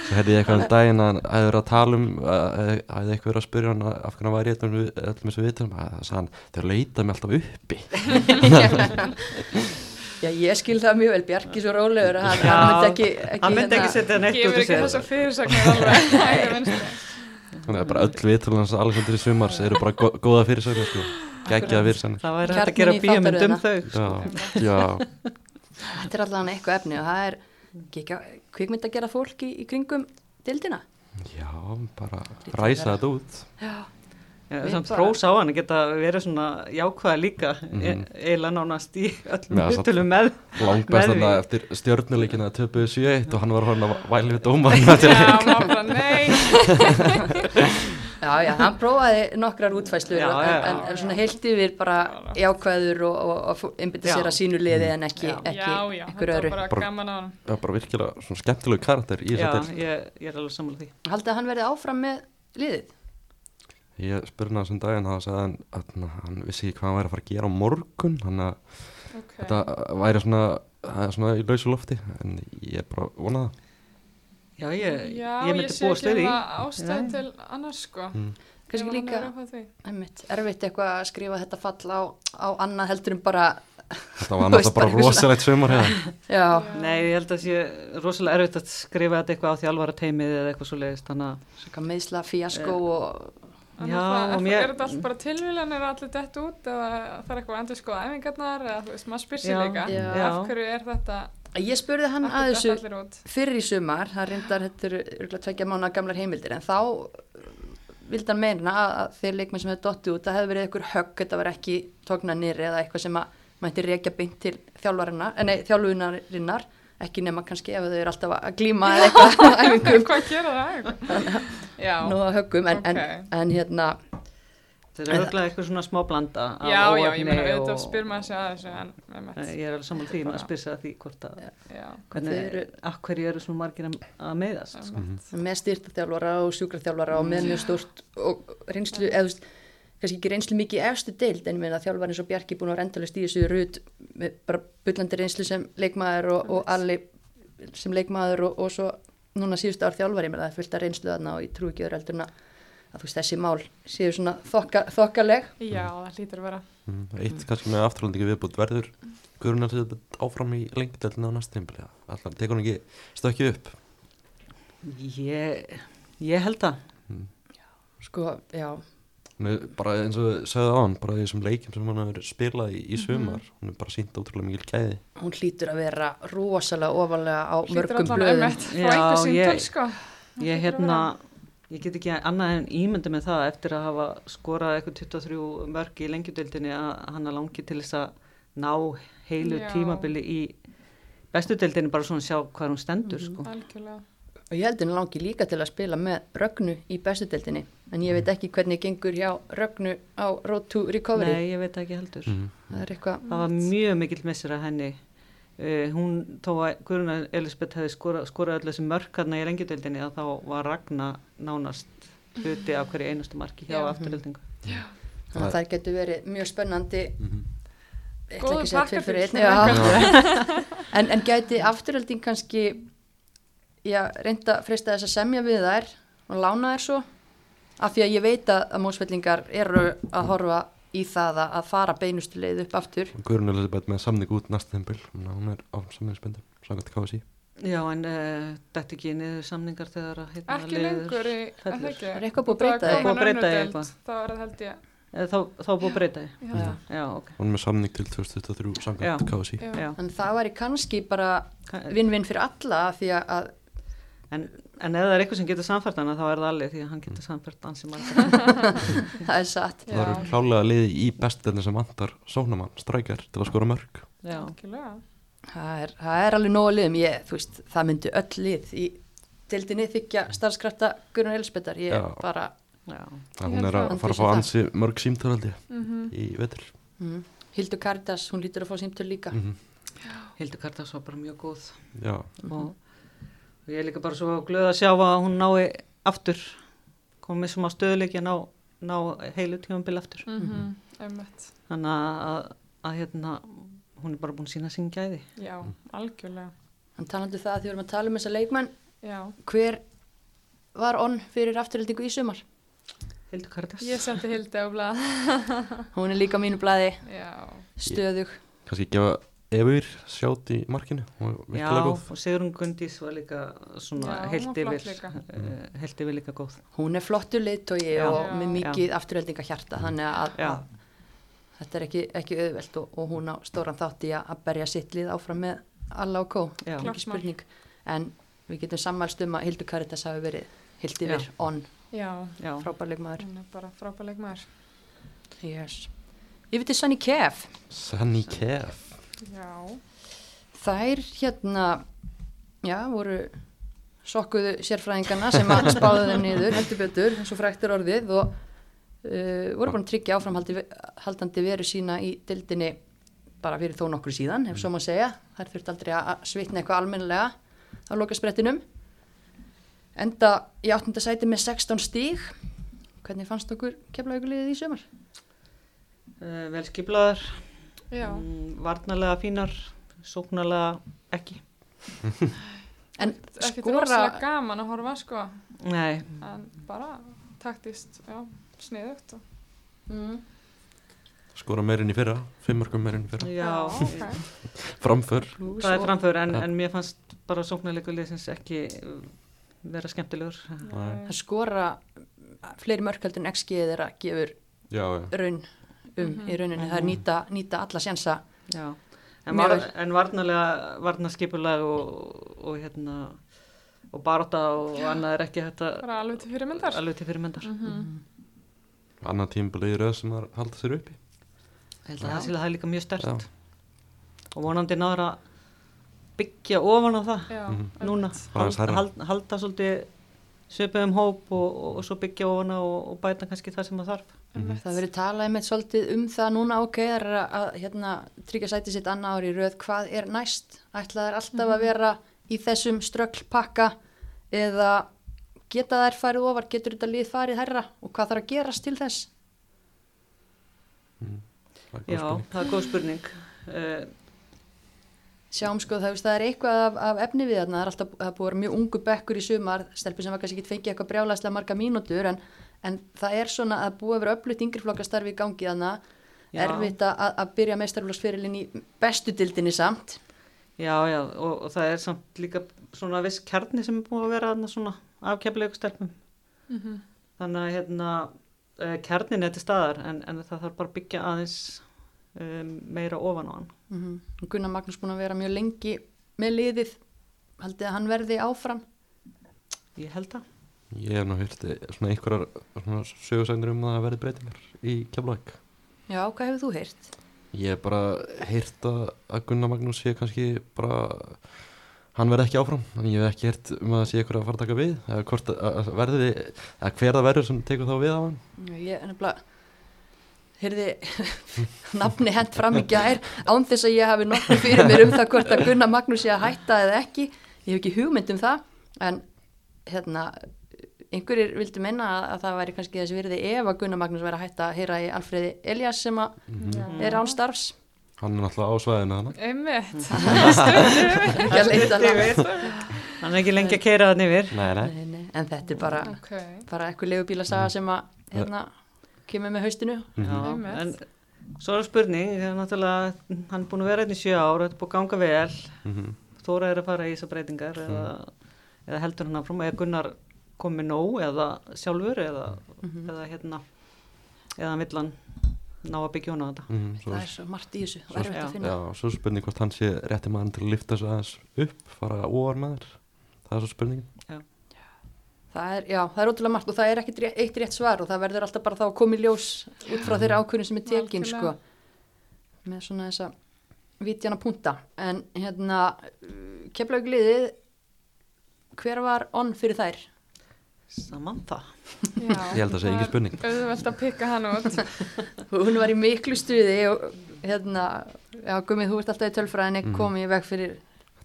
Speaker 3: svo hefði ég eitthvað um daginn að hann hefði verið að tala um að- að- hefði eitthvað verið að spyrja hann af hvernig hann væri í öllum við- öllum þessu viðtölum að það sagði hann, þeir leita mig alltaf uppi
Speaker 2: Já, ég skil það mjög vel, Bjarki svo rólegur að hann,
Speaker 4: Já.
Speaker 2: hann myndi ekki, ekki,
Speaker 4: hann myndi ekki
Speaker 2: hérna-
Speaker 4: setja neitt út
Speaker 5: Gefur
Speaker 4: úr
Speaker 5: ekki
Speaker 4: sér
Speaker 5: þessa fyrirsakna alveg. Nei,
Speaker 3: þannig að bara öll viðtölum hans Alexander í sumars eru bara gó- góða fyrir sko. geggja virðsanir
Speaker 4: það væri
Speaker 2: Kjarninn
Speaker 4: hægt að gera
Speaker 2: í
Speaker 4: bíómynd um
Speaker 2: þáttaröðina.
Speaker 4: þau
Speaker 3: Já,
Speaker 4: sko.
Speaker 3: já,
Speaker 2: Þetta er allavega eitthvað efni og það er gekk, kvikmynd að gera fólk í, í kringum dildina.
Speaker 3: já, bara ræsa þetta út
Speaker 2: Já,
Speaker 4: Já,
Speaker 2: Við
Speaker 4: svona
Speaker 2: bara-
Speaker 4: prós á hann að geta verið svona jákvæða líka mm eiginlega nánast í öllum
Speaker 3: Já, satt.
Speaker 4: hlutilum með
Speaker 3: Langast
Speaker 4: Verði.
Speaker 3: þarna eftir stjörnuleikina töpuðu 7-1 og hann var horfinn að væli við dómarna til
Speaker 5: Já, maður bara, nei,
Speaker 2: já, já hann prófaði nokkrar útfæslur
Speaker 4: Já,
Speaker 2: en,
Speaker 4: já,
Speaker 2: en,
Speaker 4: já.
Speaker 2: en svona heilt yfir bara jákvæður og, og, og einbytta
Speaker 4: Já.
Speaker 2: sér að sínu liði en ekki,
Speaker 4: Já.
Speaker 2: ekki
Speaker 5: já, já,
Speaker 2: einhver
Speaker 5: þetta var
Speaker 2: öðru.
Speaker 5: bara
Speaker 3: Bara-
Speaker 5: gaman á hann.
Speaker 3: Já, bara virkilega svona skemmtilegu karakter í
Speaker 4: Já,
Speaker 3: þessa til
Speaker 4: ég, ég er alveg sammála því
Speaker 2: Haldið að hann verði áfram með liðið?
Speaker 3: Ég spurði hann þessum daginn þá sagði hann að na, hann vissi ekki hvað hann væri að fara að gera á morgun þannig að
Speaker 5: Ok,
Speaker 3: þetta væri svona, það er svona í lausu lofti en ég er bara vonað það
Speaker 4: Já, ég,
Speaker 5: já,
Speaker 4: ég
Speaker 5: ég,
Speaker 4: myndi
Speaker 5: sé
Speaker 4: búast
Speaker 5: ekki
Speaker 4: við því
Speaker 5: alveg ástæð til annars, sko.
Speaker 3: Mm.
Speaker 2: Kannski
Speaker 5: Ef hann
Speaker 2: líka-
Speaker 5: er eitthvað því.
Speaker 2: Einmitt, erfitt eitthvað að skrifa þetta fall á, á annað heldur en bara,
Speaker 3: Þetta var
Speaker 2: Þú veist,
Speaker 3: náttúrulega bara
Speaker 2: bara eitthvað
Speaker 3: rosalegt sumar hérna
Speaker 2: já,
Speaker 4: Nei, ég held að sé rosalega erfitt að skrifa þetta eitthvað á þjálfara teimið eða eitthvað svo leiðist þannig að
Speaker 2: svona meðsla, fíasko
Speaker 5: Eh.
Speaker 2: og
Speaker 5: En
Speaker 4: Já,
Speaker 5: náttúrulega,
Speaker 4: og
Speaker 5: er,
Speaker 4: mér-
Speaker 5: er þetta allt bara tilvílanir allir dett út eða það er eitthvað að endur skoða æfingarnar eða þú veist, maður spyr sér
Speaker 4: Já,
Speaker 5: líka
Speaker 2: já.
Speaker 5: af hverju er þetta
Speaker 2: ég spurði hann
Speaker 5: af
Speaker 2: að
Speaker 5: hverju
Speaker 2: þessu
Speaker 5: detta allir út?
Speaker 2: fyrir í sumar, það reyndar þetta eru örgulega tveggja mánu gamlar heimildir en þá uh, vildi hann meina að- að þeir leikmenn sem hefur dottið út, það hefði verið eitthvað högg, þetta var ekki tóknanir eða eitthvað sem að mætti reykja beint til þjálfarinnar, eh, nei, þjálfunarinnar ekki nema kannski ef þau eru alltaf að glíma eða eitthvað á æfingum
Speaker 5: Hvað gera það eitthvað? Já,
Speaker 2: nú að höggum en,
Speaker 5: Ok.
Speaker 2: en, en hérna,
Speaker 4: þetta er örglega eitthvað svona smá blanda af
Speaker 5: já, já,
Speaker 4: óheppni
Speaker 5: ég meina auðvitað
Speaker 4: og-
Speaker 5: spyr maður sér að þessu en
Speaker 4: Eh,
Speaker 5: með mett,
Speaker 4: Ég er alveg sammála því, maður spyr sig að því hvort að
Speaker 5: já,
Speaker 4: hvernig,
Speaker 2: Þau eru-
Speaker 4: af hverju eru svona margir að- að meðast sko.
Speaker 2: með styrtaþjálfara og sjúkraþjálfara og með mjög stórt og reynslu, eða þú veist, kannski ekki reynslu mikið í efstu deild en ég meina þjálfari eins og Bjarki búin að rendalast í þessu rút með bara byllandi reynslu sem leikmaður og, og allir sem leikmaður og, og svo núna síðustu ár þjálfari, ég meina það er fullt að reynslu þarna og ég trú ekki öðru eldur en að að þú veist þessi mál séu svona þokka, þokkaleg
Speaker 5: já, það hlýtur að vera
Speaker 3: Mm, Eitt kannski með afturlandingi viðbútt verður Guðrunar sér þetta áfram í lengdelna á næsta tímpil Alltaf tekur hann ekki stökkið upp
Speaker 4: ég, ég held að
Speaker 2: sko, já,
Speaker 3: Hún er bara eins og þau sögðu á hann bara í þessum leikjum sem hann hefur spilað í, í sumar hún er bara sínt ótrúlega mikil gæði
Speaker 2: hún hlýtur að vera rosalega ofalega á
Speaker 5: hlýtur
Speaker 2: mörgum
Speaker 5: allan að um
Speaker 2: blöðum
Speaker 5: mett frá
Speaker 4: Já,
Speaker 5: einhver
Speaker 4: ég-
Speaker 5: síntöl, sko Það
Speaker 4: ég
Speaker 5: hlýtur að vera.
Speaker 4: hérna ég get ekki annað en ímyndi með það eftir að hafa skorað eitthvað 23 mörg í lengjudeildinni að hann að langi til þess að ná heilu
Speaker 5: Já.
Speaker 4: tímabili í bestu deildinni bara svona sjá hvað hún stendur
Speaker 5: Mhm.
Speaker 4: sko.
Speaker 5: Algjörlega,
Speaker 2: Og ég held henni langi líka til að spila með Rögnu í bestudeldinni, en ég veit ekki hvernig gengur hjá Rögnu á Road to Recovery.
Speaker 4: Nei, ég veit það ekki heldur
Speaker 3: Mhm.
Speaker 2: Það er eitthvað,
Speaker 4: það var mjög mikill missir að henni uh, hún, þó að Guðruna Elisabeth hefði skorað skora öll þessi mörkarna í lengjudeildinni að þá var Ragna nánast hluti af hverju einustu marki hjá
Speaker 5: Já.
Speaker 4: afturhildingu
Speaker 2: þannig að það getur verið mjög spennandi, ég ætla
Speaker 5: Góður
Speaker 2: ekki að segja tveir fyrir
Speaker 5: pakkadís.
Speaker 2: einn, já. en, en gæti afturölding kannski, já, reynda freysta þess að semja við þær og lána þær svo, af því að ég veit að, að mósvellingar eru að horfa í það að- að fara beinustu leið upp aftur.
Speaker 3: Guðrunar Elisabeth með samning út næsta tímpil hún er á samningsbindu samkvæmt KSI
Speaker 4: já, en uh, þetta ekki niður samningar þegar að hérna
Speaker 5: ekki lengur í, er það
Speaker 4: fellur.
Speaker 5: ekki?
Speaker 2: Er eitthvað búið að breyta
Speaker 4: því?
Speaker 5: Búið
Speaker 4: Búið
Speaker 5: að breyta
Speaker 4: að breyta því
Speaker 5: því
Speaker 4: eitthvað.
Speaker 5: Þá er það held ég,
Speaker 4: Eða Eh, þá, þá er búið að breyta því
Speaker 5: ég held að
Speaker 4: já, ok
Speaker 3: hún er með samning til 2023 samkvæmt
Speaker 4: Já.
Speaker 3: KSI
Speaker 5: Já.
Speaker 4: já.
Speaker 2: Þannig það væri kannski bara
Speaker 4: Ka-
Speaker 2: vinn-vinn fyrir alla af því að að
Speaker 4: En, en ef það er eitthvað sem getur samfært hana þá er það allir því að hann getur samfært ansi margar
Speaker 2: það er satt.
Speaker 3: það eru klálega liði í bestuðinni sem antar sónamann, strækjar til að skora mörg
Speaker 4: Já.
Speaker 5: algjörlega
Speaker 2: Það er, það er alveg nóg að liðum, ég, þú veist, það myndi öll lið í deildinni þykja starfskrafta Gunnar Elisbetar, ég
Speaker 3: Já.
Speaker 2: bara,
Speaker 4: Já.
Speaker 3: það
Speaker 5: Ég
Speaker 3: hún
Speaker 5: held
Speaker 3: er
Speaker 5: það.
Speaker 3: að fara að fá ansi mörg símtöraldi mm í vetur
Speaker 2: mm, Hildur Karitas, hún lítur að fá símtöl líka.
Speaker 3: Mhm.
Speaker 4: Hildur Kartas var bara mjög góð
Speaker 3: já,
Speaker 4: og, og ég er líka bara svo glöð að sjá að hún nái aftur komið sem á stöðuleiki að ná, ná heilu tímanbili aftur
Speaker 5: Mm.
Speaker 2: Mhm.
Speaker 5: Einmitt.
Speaker 4: þannig að, að, að hérna, hún er bara búin að sína sín gæði
Speaker 5: Já, algjörlega
Speaker 2: En talandi það að því við erum að tala um þessa leikmenn,
Speaker 5: Já,
Speaker 2: hver var onn fyrir afturhildingu í sumar?
Speaker 4: Hildur Kardas
Speaker 5: ég sendi Hildi á blað
Speaker 4: Ah.
Speaker 2: Hún er líka á mínu blaði,
Speaker 5: Já,
Speaker 2: stöðug,
Speaker 3: kannski gefa Efur sjátt í markinu hún er
Speaker 4: Já,
Speaker 3: virkilega góð
Speaker 4: og Sigrun Gundís var líka svona
Speaker 5: Já, hún
Speaker 4: heilt
Speaker 5: var
Speaker 4: yfir
Speaker 5: flott líka.
Speaker 4: eh,
Speaker 3: Mm.
Speaker 4: heilt yfir líka góð
Speaker 2: hún er flottur leiðtogi
Speaker 4: Já.
Speaker 2: og með
Speaker 5: Já.
Speaker 3: Mhm.
Speaker 2: mikið afturhildinga hjarta, þannig að,
Speaker 4: Já,
Speaker 2: að þetta er ekki, ekki auðvelt og, og hún á stóran þátt í að að berja sitt lið áfram með alla og kó,
Speaker 4: Já.
Speaker 5: Klárt
Speaker 2: ekki
Speaker 5: mál.
Speaker 2: spurning en við getum sammælst um að Hildur Karitas hafi verið Hildi
Speaker 4: Já.
Speaker 2: yfir, on,
Speaker 5: já,
Speaker 4: Já,
Speaker 2: frábærleik maður
Speaker 5: hún er bara frábæleik maður
Speaker 2: yes. Yfir til Sunny Kef
Speaker 3: Sunny Kev
Speaker 5: já,
Speaker 2: Þær hérna, já, voru sokkuðu sérfræðingana sem að spáðu þeim niður, heldur betur, eins og fræktur orðið og uh, voru búin að tryggja áframhaldi haldandi veru sína í dildinni bara fyrir þó nokkur síðan, ef svo maður segja. Þær þurft aldrei að svitna eitthvað almennilega á lokasprettinum. Enda í áttunda sæti með 16 stíg. Hvernig fannst okkur keflaugulíðið í sömur?
Speaker 4: uh, velskiplaðar,
Speaker 5: já
Speaker 4: mm, varnarlega fínar, sóknarlega ekki.
Speaker 2: En
Speaker 5: ekki
Speaker 2: skora,
Speaker 5: rosalega gaman að horfa sko
Speaker 4: Nei,
Speaker 5: en bara taktist, já, sniðugt og,
Speaker 2: mm,
Speaker 3: skora meirinn í fyrra, fimm mörgum meirinn í fyrra
Speaker 4: já,
Speaker 5: ok,
Speaker 3: framför,
Speaker 4: það er framför en,
Speaker 3: Já.
Speaker 4: en mér fannst bara sóknarleikur liðsins ekki uh, vera skemmtilegur.
Speaker 5: Nei.
Speaker 2: að skora fleiri mörkaldur en XG þeirra gefur
Speaker 3: já, já
Speaker 2: raun um í rauninni, það er nýta, nýta alla sjensa
Speaker 4: Já, en,
Speaker 2: Mjög
Speaker 4: var,
Speaker 2: vel.
Speaker 4: en varnarlega, varnarskipulega og, og hérna og baróta og annað er ekki þetta
Speaker 5: bara alveg til fyrirmyndar
Speaker 4: alveg til fyrirmyndar.
Speaker 3: annar tímbilið í röð sem það halda sér uppi
Speaker 4: Ég held að það sé það er líka mjög stert
Speaker 3: Já.
Speaker 4: og vonandi náður að byggja ofan á það
Speaker 5: já,
Speaker 3: Mhm.
Speaker 5: einmitt.
Speaker 4: núna,
Speaker 3: Aðeins
Speaker 4: hald,
Speaker 3: hærra.
Speaker 4: hald, halda svolítið söpum hóp og, og, og svo byggja ofan á og, og bæta kannski það sem það þarf.
Speaker 5: Einmitt.
Speaker 2: það verið talað einmitt svolítið um það núna ok, það er að- að hérna, tryggja sætið sitt annað ári í röð, hvað er næst ætla þær alltaf að vera í þessum strögglpakka eða geta þær farið ofar, getur þetta lið farið herra og hvað þarf að gerast til þess
Speaker 3: Það er góð
Speaker 4: Já,
Speaker 3: spurning.
Speaker 4: það er góð spurning. Uh,
Speaker 2: Sjáum sko það, veist, það er eitthvað af, af efni við þarna, það er alltaf það er búið að vera mjög ungu bekkur í sumar, stelpur sem var kannski ekki fengið eitthvað brjálæslega marga mínútur en, en það er svona að búið að vera öflutt yngriflokkastarfi í gangi þarna,
Speaker 4: Já.
Speaker 2: erfitt að, að byrja meistarflokksferilinn í bestu dildinni samt.
Speaker 4: Já, já, og, og það er samt líka svona viss kjarni sem er búin að vera þarna svona afkjæmlegu stelpum. Mhm. Þannig að hérna, uh, kjarnin er til staðar en, en það þarf bara að byggja aðeins um, meira ofan á hann.
Speaker 2: Mm Gunnar Magnús búin að vera mjög lengi með liðið, haldið að hann verði áfram.
Speaker 4: Ég held það.
Speaker 3: Ég hef nú hýrti svona einhverjar svona sögursagnir um að það verði breytingar í Keflavík.
Speaker 2: Já, hvað hefur þú heyrt?
Speaker 3: Ég hef bara heyrt að að Gunnar Magnús sé kannski bara, hann verði ekki áfram, en ég hef ekki heyrt um að það sé einhverjar að fara að taka við, eða hvort að, að verði, eða hver það verður sem tekur þá við af hann.
Speaker 2: Ég er nefnilega, heyrði nafni hent fram í gær án þess að ég hafi nokkuð fyrir mér um það hvort að Gunnar Magnús sé að hætta eða ekki ég hef ekki hugmynd um það en hérna einhverjir vildu minna að, að það væri kannski þessi virði ef að Gunnar Magnús væri að hætta að heyra í Alfreði Elias sem að
Speaker 5: Já.
Speaker 2: er án starfs
Speaker 3: Hann er náttúrulega á svæðinu þannig.
Speaker 5: einmitt,
Speaker 2: ekki að leita hana
Speaker 4: Hann er ekki lengi að keira það yfir.
Speaker 3: Nei, nei.
Speaker 2: Nei, nei, en þetta er bara,
Speaker 5: ok
Speaker 2: bara eitthvað legubílasaga sem að hérna, kemur með haustinu
Speaker 4: Já,
Speaker 5: Einmitt.
Speaker 4: en svo er spurning, það er náttúrulega, hann er búin að vera einn í sjö ár og þetta er búin að ganga vel.
Speaker 3: Mm -hmm.
Speaker 4: Þóra er að fara í þessar breytingar eða, eða heldur hann áfram eða Gunnar komi nóg eða sjálfur eða, eða hérna eða hann vill hann ná að byggja hún á þetta
Speaker 3: mhm, svo,
Speaker 2: það er svo margt í þessu og
Speaker 4: Svo-
Speaker 2: erfitt
Speaker 4: já.
Speaker 2: að finna
Speaker 3: já, svo er spurning hvort hann sé rétti maður til að lifta sig aðeins upp, fara óvar með þér. Það er svo spurningin.
Speaker 2: Það er, já, það er ótrúlega margt og það er ekkit ré- eitt rétt svar og það verður alltaf bara þá að koma í ljós út frá
Speaker 5: Mm.
Speaker 2: þeirra ákvörðin sem er tekin, sko.
Speaker 5: Algjörlega.
Speaker 2: Með svona þessa vitjana punta. En hérna, keflaugliðið, hver var onn fyrir þær?
Speaker 4: saman það
Speaker 5: já,
Speaker 3: Ég held að það sé engin
Speaker 5: er
Speaker 3: spurning.
Speaker 5: auðvelt að pikka hann út
Speaker 2: Hún var í miklu stuði og hérna, já, gummið, þú ert alltaf í tölfræðinni,
Speaker 3: Mhm.
Speaker 2: mm. komið í veg fyrir,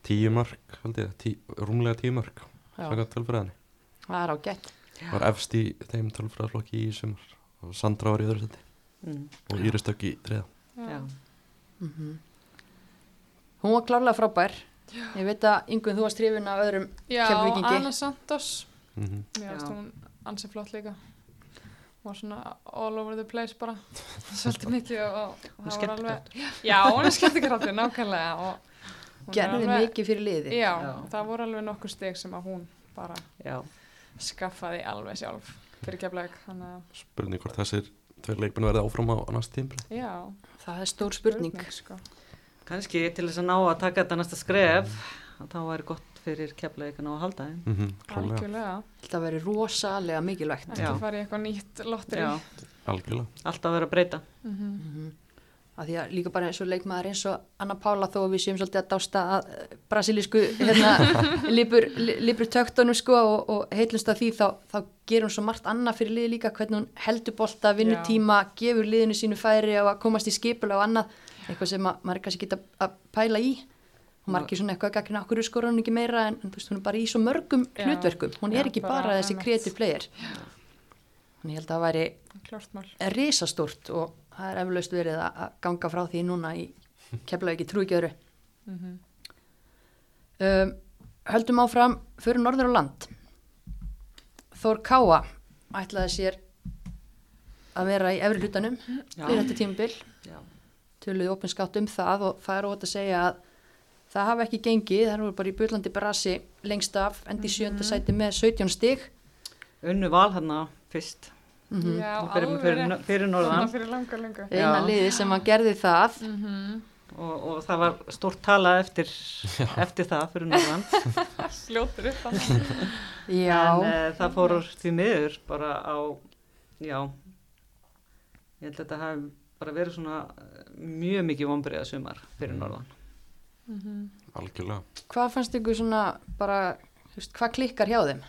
Speaker 3: Tíu mörg, held ég, tí, rúmlega tíu mörg,
Speaker 2: já,
Speaker 3: svona tölfræðinni.
Speaker 2: það er á gætt.
Speaker 3: var efst í þeim tölfræðarflokki í sumar og Sandra var í öðru seti
Speaker 4: mm,
Speaker 3: og Íris Dögg í treða
Speaker 4: já.
Speaker 2: Mhm. Hún var klárlega frábær. Ég veit að Ingun, þú varst hrifin af öðrum,
Speaker 5: já,
Speaker 2: Keflvíkingi.
Speaker 5: Anna Santos
Speaker 3: mm -hmm.
Speaker 5: Mér finnst
Speaker 4: Já.
Speaker 5: hún ansið flott líka. Hún var svona all over the place bara, svolítið mikið og,
Speaker 4: Hún
Speaker 5: og
Speaker 4: er
Speaker 5: það var alveg... Já, hún er skemmtikraftur, nákvæmlega. og hún er
Speaker 2: gerði
Speaker 5: alveg-
Speaker 2: mikið fyrir liðið.
Speaker 5: Já,
Speaker 4: Já.
Speaker 5: það voru alveg nokkur steg sem að hún bara
Speaker 4: já,
Speaker 5: skaffaði alveg sjálf fyrir keflaug. Þannig að,
Speaker 3: spurning hvort þessir tveir leikmenn verði áfram á næsta tímpil
Speaker 5: Já,
Speaker 2: það er stór spurning
Speaker 5: sko.
Speaker 4: Kanski til þess að ná að taka þetta næsta skref, að þá væri gott fyrir keflaðið að halda þeim.
Speaker 3: mm -hmm, Klálega,
Speaker 5: Algjörlega,
Speaker 2: það verið rosalega mikilvægt
Speaker 5: ekki
Speaker 4: Já.
Speaker 5: fara í eitthvað nýtt lotteri.
Speaker 4: Já,
Speaker 5: Mhm,
Speaker 3: algjörlega
Speaker 4: alltaf verið að breyta.
Speaker 2: Mhm. af því að líka bara eins og leikmaður eins og Anna Pála þó að við séum svolítið að dásta að eh, brasilísku hérna, lipur, li- lipur töktunum sko og, og heitlumst að því þá, þá gerir hún svo margt annað fyrir liði líka hvernig hún heldur bolta, vinnur
Speaker 5: Já.
Speaker 2: tíma gefur liðinu sínu færi á að komast í skipula og annað, eitthvað sem að, maður er kannski geta að pæla í hún margir svona eitthvað að gagna okkur skora hún ekki meira en, en þú veist, hún er bara í svo mörgum
Speaker 5: Já.
Speaker 2: hlutverkum hún er
Speaker 5: Já,
Speaker 2: ekki bara,
Speaker 5: bara
Speaker 2: þessi
Speaker 5: einmitt.
Speaker 2: kreatív player hún ég held að það væri
Speaker 5: Klárt mál.
Speaker 2: er risastórt og það er eflaust verið að að ganga frá því núna í keflaug í trúgjöru.
Speaker 4: Mhm.
Speaker 2: Um, höldum áfram fyrir norður og land. Þór Káa ætlaði sér að vera í efri hlutanum
Speaker 4: Já.
Speaker 2: fyrir þetta tímabil,
Speaker 4: Já.
Speaker 2: töluði opinskátt um það og það er ótt að segja að það hafi ekki gengið, það voru bara í bullandi brasi lengst af, endi í
Speaker 4: Mhm.
Speaker 2: sjönda sæti með 17 stig.
Speaker 4: Unnu val hérna fyrst.
Speaker 2: Mhm.
Speaker 5: Já,
Speaker 4: Hún byrjar með
Speaker 5: alveg
Speaker 4: fyrir,
Speaker 5: rétt.
Speaker 4: fyrir norðan
Speaker 5: Þarna fyrir langa, langa.
Speaker 4: Mhm. Já.
Speaker 2: Eina liði sem að gerði það
Speaker 4: og, og það var stórt tala eftir, eftir það fyrir norðan
Speaker 5: Sljótur upp þannig.
Speaker 2: Já,
Speaker 4: en uh, það fór því miður bara á já ég held að þetta hafi bara verið svona eh, mjög mikið vonbreiða sumar fyrir norðan
Speaker 3: algjörlega
Speaker 2: Hvað fannst ykkur svona bara, þú veist, hvað klikkar hjá þeim?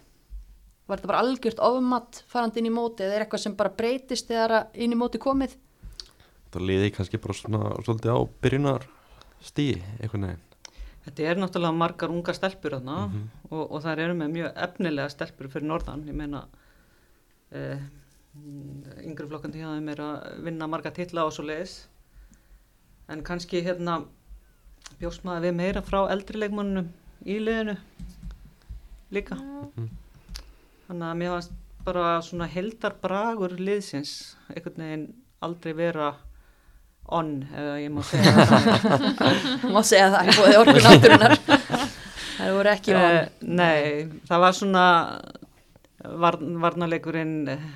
Speaker 2: Var þetta bara algjört ofmatt farandi inn í móti eða er eitthvað sem bara breytist þegar að inn í móti komið?
Speaker 3: það liði kannski bara svona svolítið á byrjunar stíi einhvern veginn
Speaker 4: þetta er náttúrulega margar unga stelpur þarna og, og það eru með mjög efnilega stelpur fyrir norðan ég meina uh, yngri flokkandi hjá þeim er að vinna marga titla og svo leiðis en kannski hérna bjóst maður við meira frá eldri leikmannunum í liðinu líka þannig að mér fannst bara svona heldarbragur liðsins einhvern veginn aldrei vera on eða ég má segja það
Speaker 2: Má segja það, ég bóði orðin átturinnar. Það voru ekki
Speaker 4: Eh,
Speaker 2: von.
Speaker 4: Nei, það var svona varn, varnarleikurinn uh,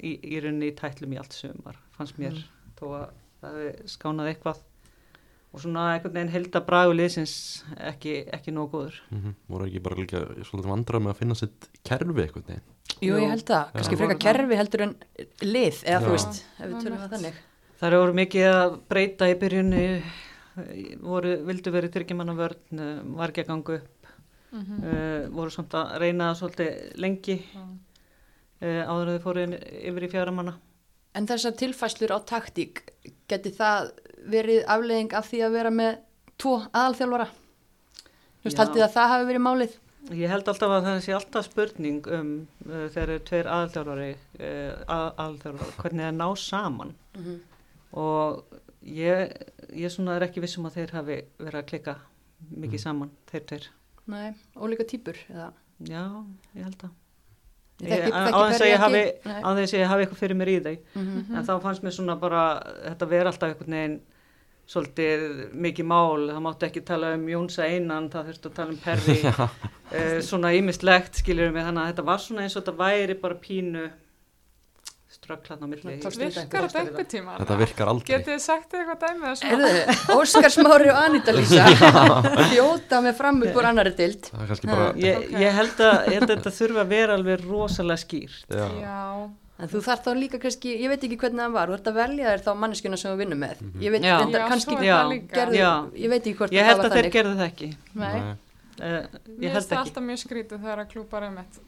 Speaker 4: í, í rauninni í tætlum í allt sumar, fannst mér þó að það hefði skánað eitthvað og svona einhvern veginn helda bragu liðsins ekki, ekki nóg góður
Speaker 3: mm voru ekki bara líka svolítið vandræð með að finna sitt kerfi einhvern veginn
Speaker 2: Jú, ég held það. Kannski frekar kerfi heldur en lið, eða þú
Speaker 3: Já.
Speaker 2: veist, ef við tölum það þannig.
Speaker 4: Það voru mikið að breyta í byrjunni, eh, voru, vildu verið tyrkjumanna vörn, eh, var ekki að ganga upp, mm voru samt að reyna það svolítið lengi uh, áður að þau fóru inn- yfir í fjaramanna.
Speaker 2: En þessar tilfæslur á taktík, geti það verið afleðing af því að vera með tvo aðalþjálfara? Þú veist,
Speaker 4: Já.
Speaker 2: haldið að það hafi verið málið?
Speaker 4: Ég held alltaf að það sé alltaf spurning um uh, þegar eru tveir aðalþjálfari, uh, að, aðalþjálfari, hvernig það ná saman
Speaker 2: Mhm.
Speaker 4: og ég, ég svona er ekki vissum að þeir hafi verið að klika mikið saman, þeir tveir.
Speaker 2: Nei, ólíka típur, eða?
Speaker 4: Já, ég held að.
Speaker 2: Ég
Speaker 4: Ég-
Speaker 2: þekki-
Speaker 4: á-
Speaker 2: þekki
Speaker 4: á þess að
Speaker 2: hverja
Speaker 4: ég hafi, Mhm.
Speaker 2: ekki. Nei. Mhm.
Speaker 4: á þess að ég hafi eitthvað fyrir mér í þeim, en þá fannst mér svona bara þetta vera alltaf einhvern veginn svolítið mikið mál, það mátti ekki tala um Jónsa einan, það þurfti að tala um Perri, eh, svona ímislegt skilurum við þannig að þetta var svona eins og þetta væri bara pínu strögglan á milli
Speaker 2: Svona tókst-
Speaker 5: Virkar þetta einhver tíma?
Speaker 3: þetta virkar aldrei
Speaker 5: Getið þið sagt þið eitthvað dæmið að svona?
Speaker 2: Erðu, Óskar Smári og Anita Lísa fjóta með fram upp úr annari dild
Speaker 3: það er kannski bara
Speaker 4: ég, ég, held að, ég held að þetta þurfa að vera alveg rosalega skýrt
Speaker 3: já,
Speaker 5: Já,
Speaker 2: en þú þarf þá líka kannski, ég veit ekki hvernig það var þú ert að velja þér þá manneskjuna sem þú vinnum með ég veit
Speaker 4: Já.
Speaker 2: reyndar
Speaker 5: Já,
Speaker 2: kannski
Speaker 5: svo er
Speaker 4: Já.
Speaker 5: það líka.
Speaker 2: gerðu,
Speaker 4: Mhm. Já.
Speaker 2: ég veit ekki hvort
Speaker 4: ég
Speaker 2: það
Speaker 4: held
Speaker 2: var
Speaker 4: að þeir
Speaker 2: þannig
Speaker 4: gerðu það ekki
Speaker 2: Nei.
Speaker 3: Nei.
Speaker 4: uh,
Speaker 5: Mér
Speaker 4: ég held
Speaker 5: finnst það
Speaker 4: ekki
Speaker 5: alltaf mjög skrítið þegar að klúpar er mitt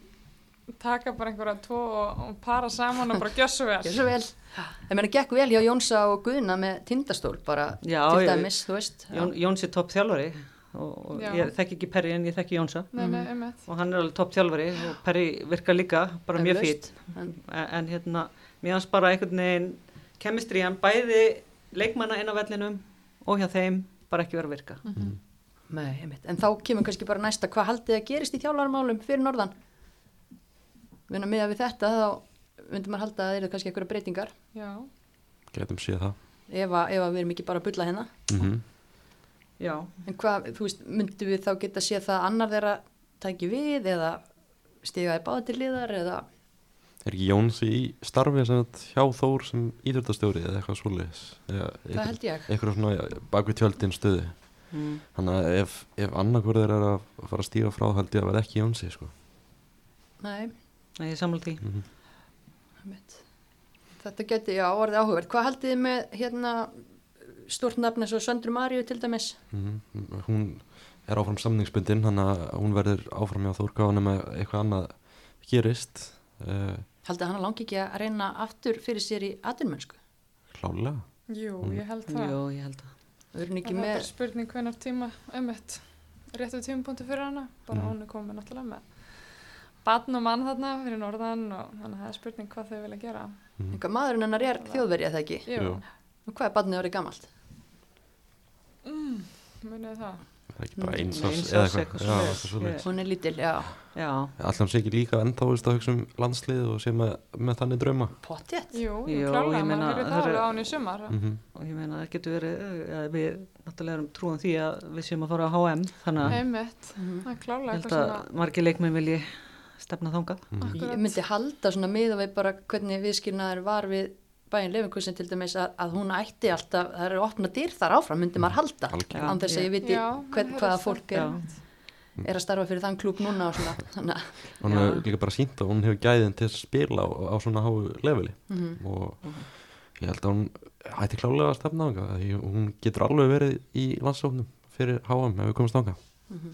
Speaker 5: taka bara einhverja tvo og, og para saman og bara gjössu vel.
Speaker 2: Gjörðu svo vel það meina gekk vel hjá Jónsa og Guðna með tindastól bara
Speaker 4: Já,
Speaker 2: til
Speaker 4: ég-
Speaker 2: dæmis, þú veist
Speaker 4: Jón, Jóns er topp þjálfari og, og
Speaker 5: Já.
Speaker 4: ég þekki ekki Perri en ég þekki Jónsa
Speaker 5: Nei,
Speaker 3: Mm.
Speaker 5: nei, um mitt.
Speaker 4: og hann er alveg topp þjálfari og Perri virkar líka bara mjög fýtt
Speaker 2: Eflaust. En-
Speaker 4: en, en hérna, mér hans bara einhvern veginn kemistriðan bæði leikmanna inn á vellinum og hjá þeim bara ekki vera að virka
Speaker 2: Nei, einmitt. en þá kemur kannski bara næsta hvað haldið að gerist í þjálfarmálum fyrir norðan vinna miða við þetta þá myndum maður halda að það eru kannski eitthvað breytingar
Speaker 5: Já,
Speaker 3: getum séð það
Speaker 2: ef að, ef að við erum ekki bara að bulla hérna
Speaker 3: mm
Speaker 4: Já,
Speaker 2: En hvað, þú veist, myndum við þá geta séð það að annar þeirra tæki við eða stiga í báða til liðar eða
Speaker 3: Er ekki Jónsi í starfi sem sagt hjá Þór sem íþjóttastjóri eða eitthvað svoleiðis? Eða
Speaker 2: það
Speaker 3: einhver-
Speaker 2: held ég
Speaker 3: Eitthvað svona bakvið tjöldin stöðu.
Speaker 4: Mm.
Speaker 3: Þannig að ef, ef annarkvörður er að fara að stíga frá þá held ég að verða ekki Jónsi sko.
Speaker 2: Nei,
Speaker 4: Nei, ég samla því.
Speaker 3: Mhm.
Speaker 2: einmitt. þetta geti, já, orðið áhugverð hvað haldið þið með hérna stort nafn eins og Söndru Maríu til dæmis
Speaker 3: Mm Hún er áfram samningsbundin þannig að hún verður áfram hjá Þór gáðan með eitthvað annað gerist. Uh,
Speaker 2: haldið hann langi ekki að reyna aftur fyrir sér í atvinnmennsku
Speaker 3: klálega.
Speaker 5: Jú,
Speaker 3: Mm.
Speaker 5: ég held það.
Speaker 4: Jó, ég held að.
Speaker 2: við erum
Speaker 5: En
Speaker 2: ekki
Speaker 5: það er
Speaker 2: með
Speaker 5: bara spurning hvenar tíma ömmett réttu tímapunktu fyrir hana bara
Speaker 3: Mhm.
Speaker 5: hún er komin náttúrulega með batn og mann þarna fyrir norðan og þannig að það er spurning hvað þau vilja gera
Speaker 2: Einhvað, maðurinn hennar er þjóðverja það ekki
Speaker 5: Jú,
Speaker 3: Jú.
Speaker 2: og hvað er barnið orðið gamalt?
Speaker 5: munið það
Speaker 3: Það er ekki bara
Speaker 4: Mm,
Speaker 3: eins
Speaker 4: eins
Speaker 3: árs
Speaker 4: árs
Speaker 3: eða
Speaker 4: eitthvað
Speaker 3: eitthvað. Já,
Speaker 4: svoleiðis.
Speaker 3: eitthvað svoleiðis.
Speaker 2: hún er lítil, já,
Speaker 4: Já,
Speaker 3: Alltaf sé ekki líka ennþá veist, að hugsa um landslið og sé með, með þannig drauma.
Speaker 2: pottjett
Speaker 5: Jú, jú,
Speaker 4: Jú,
Speaker 5: klálega,
Speaker 4: ég
Speaker 5: maður
Speaker 4: meina,
Speaker 5: fyrir
Speaker 4: það eru-
Speaker 5: það alveg á henni í sumar
Speaker 3: Mm
Speaker 4: og ég meina það getur verið, ja, við náttúrulega erum trúan því að við séum að fara á HM, þannig að ég
Speaker 5: ömmett, það er klálega
Speaker 4: held
Speaker 5: eitthvað
Speaker 4: að
Speaker 5: svona
Speaker 4: margir leikmenn vilji stefna þangað.
Speaker 3: Mm.
Speaker 2: ég
Speaker 5: Akkurat.
Speaker 2: myndi halda svona miða við bara hvernig viðskilnaður var við bæinn Lefinkusin til dæmis að, að hún ætti alltaf, það eru opna dyr þar áfram myndi maður halda,
Speaker 3: Algjörlega.
Speaker 2: án þess að ég viti
Speaker 5: Já,
Speaker 2: hvern,
Speaker 5: það
Speaker 2: hvaða
Speaker 5: heyrist
Speaker 2: fólk
Speaker 4: Já,
Speaker 2: er, er að starfa fyrir þann klúb núna og svona, þannig að
Speaker 3: Hún
Speaker 4: Já.
Speaker 3: hefur líka bara sínt að hún hefur gæðin til að spila á, á svona háu leveli
Speaker 5: Mhm.
Speaker 2: Mhm.
Speaker 4: Mhm.
Speaker 3: og ég held að hún hætti klálega að stefna þangað því hún getur alveg verið í landsóknum fyrir HM ef við komumst þangað
Speaker 2: Mhm.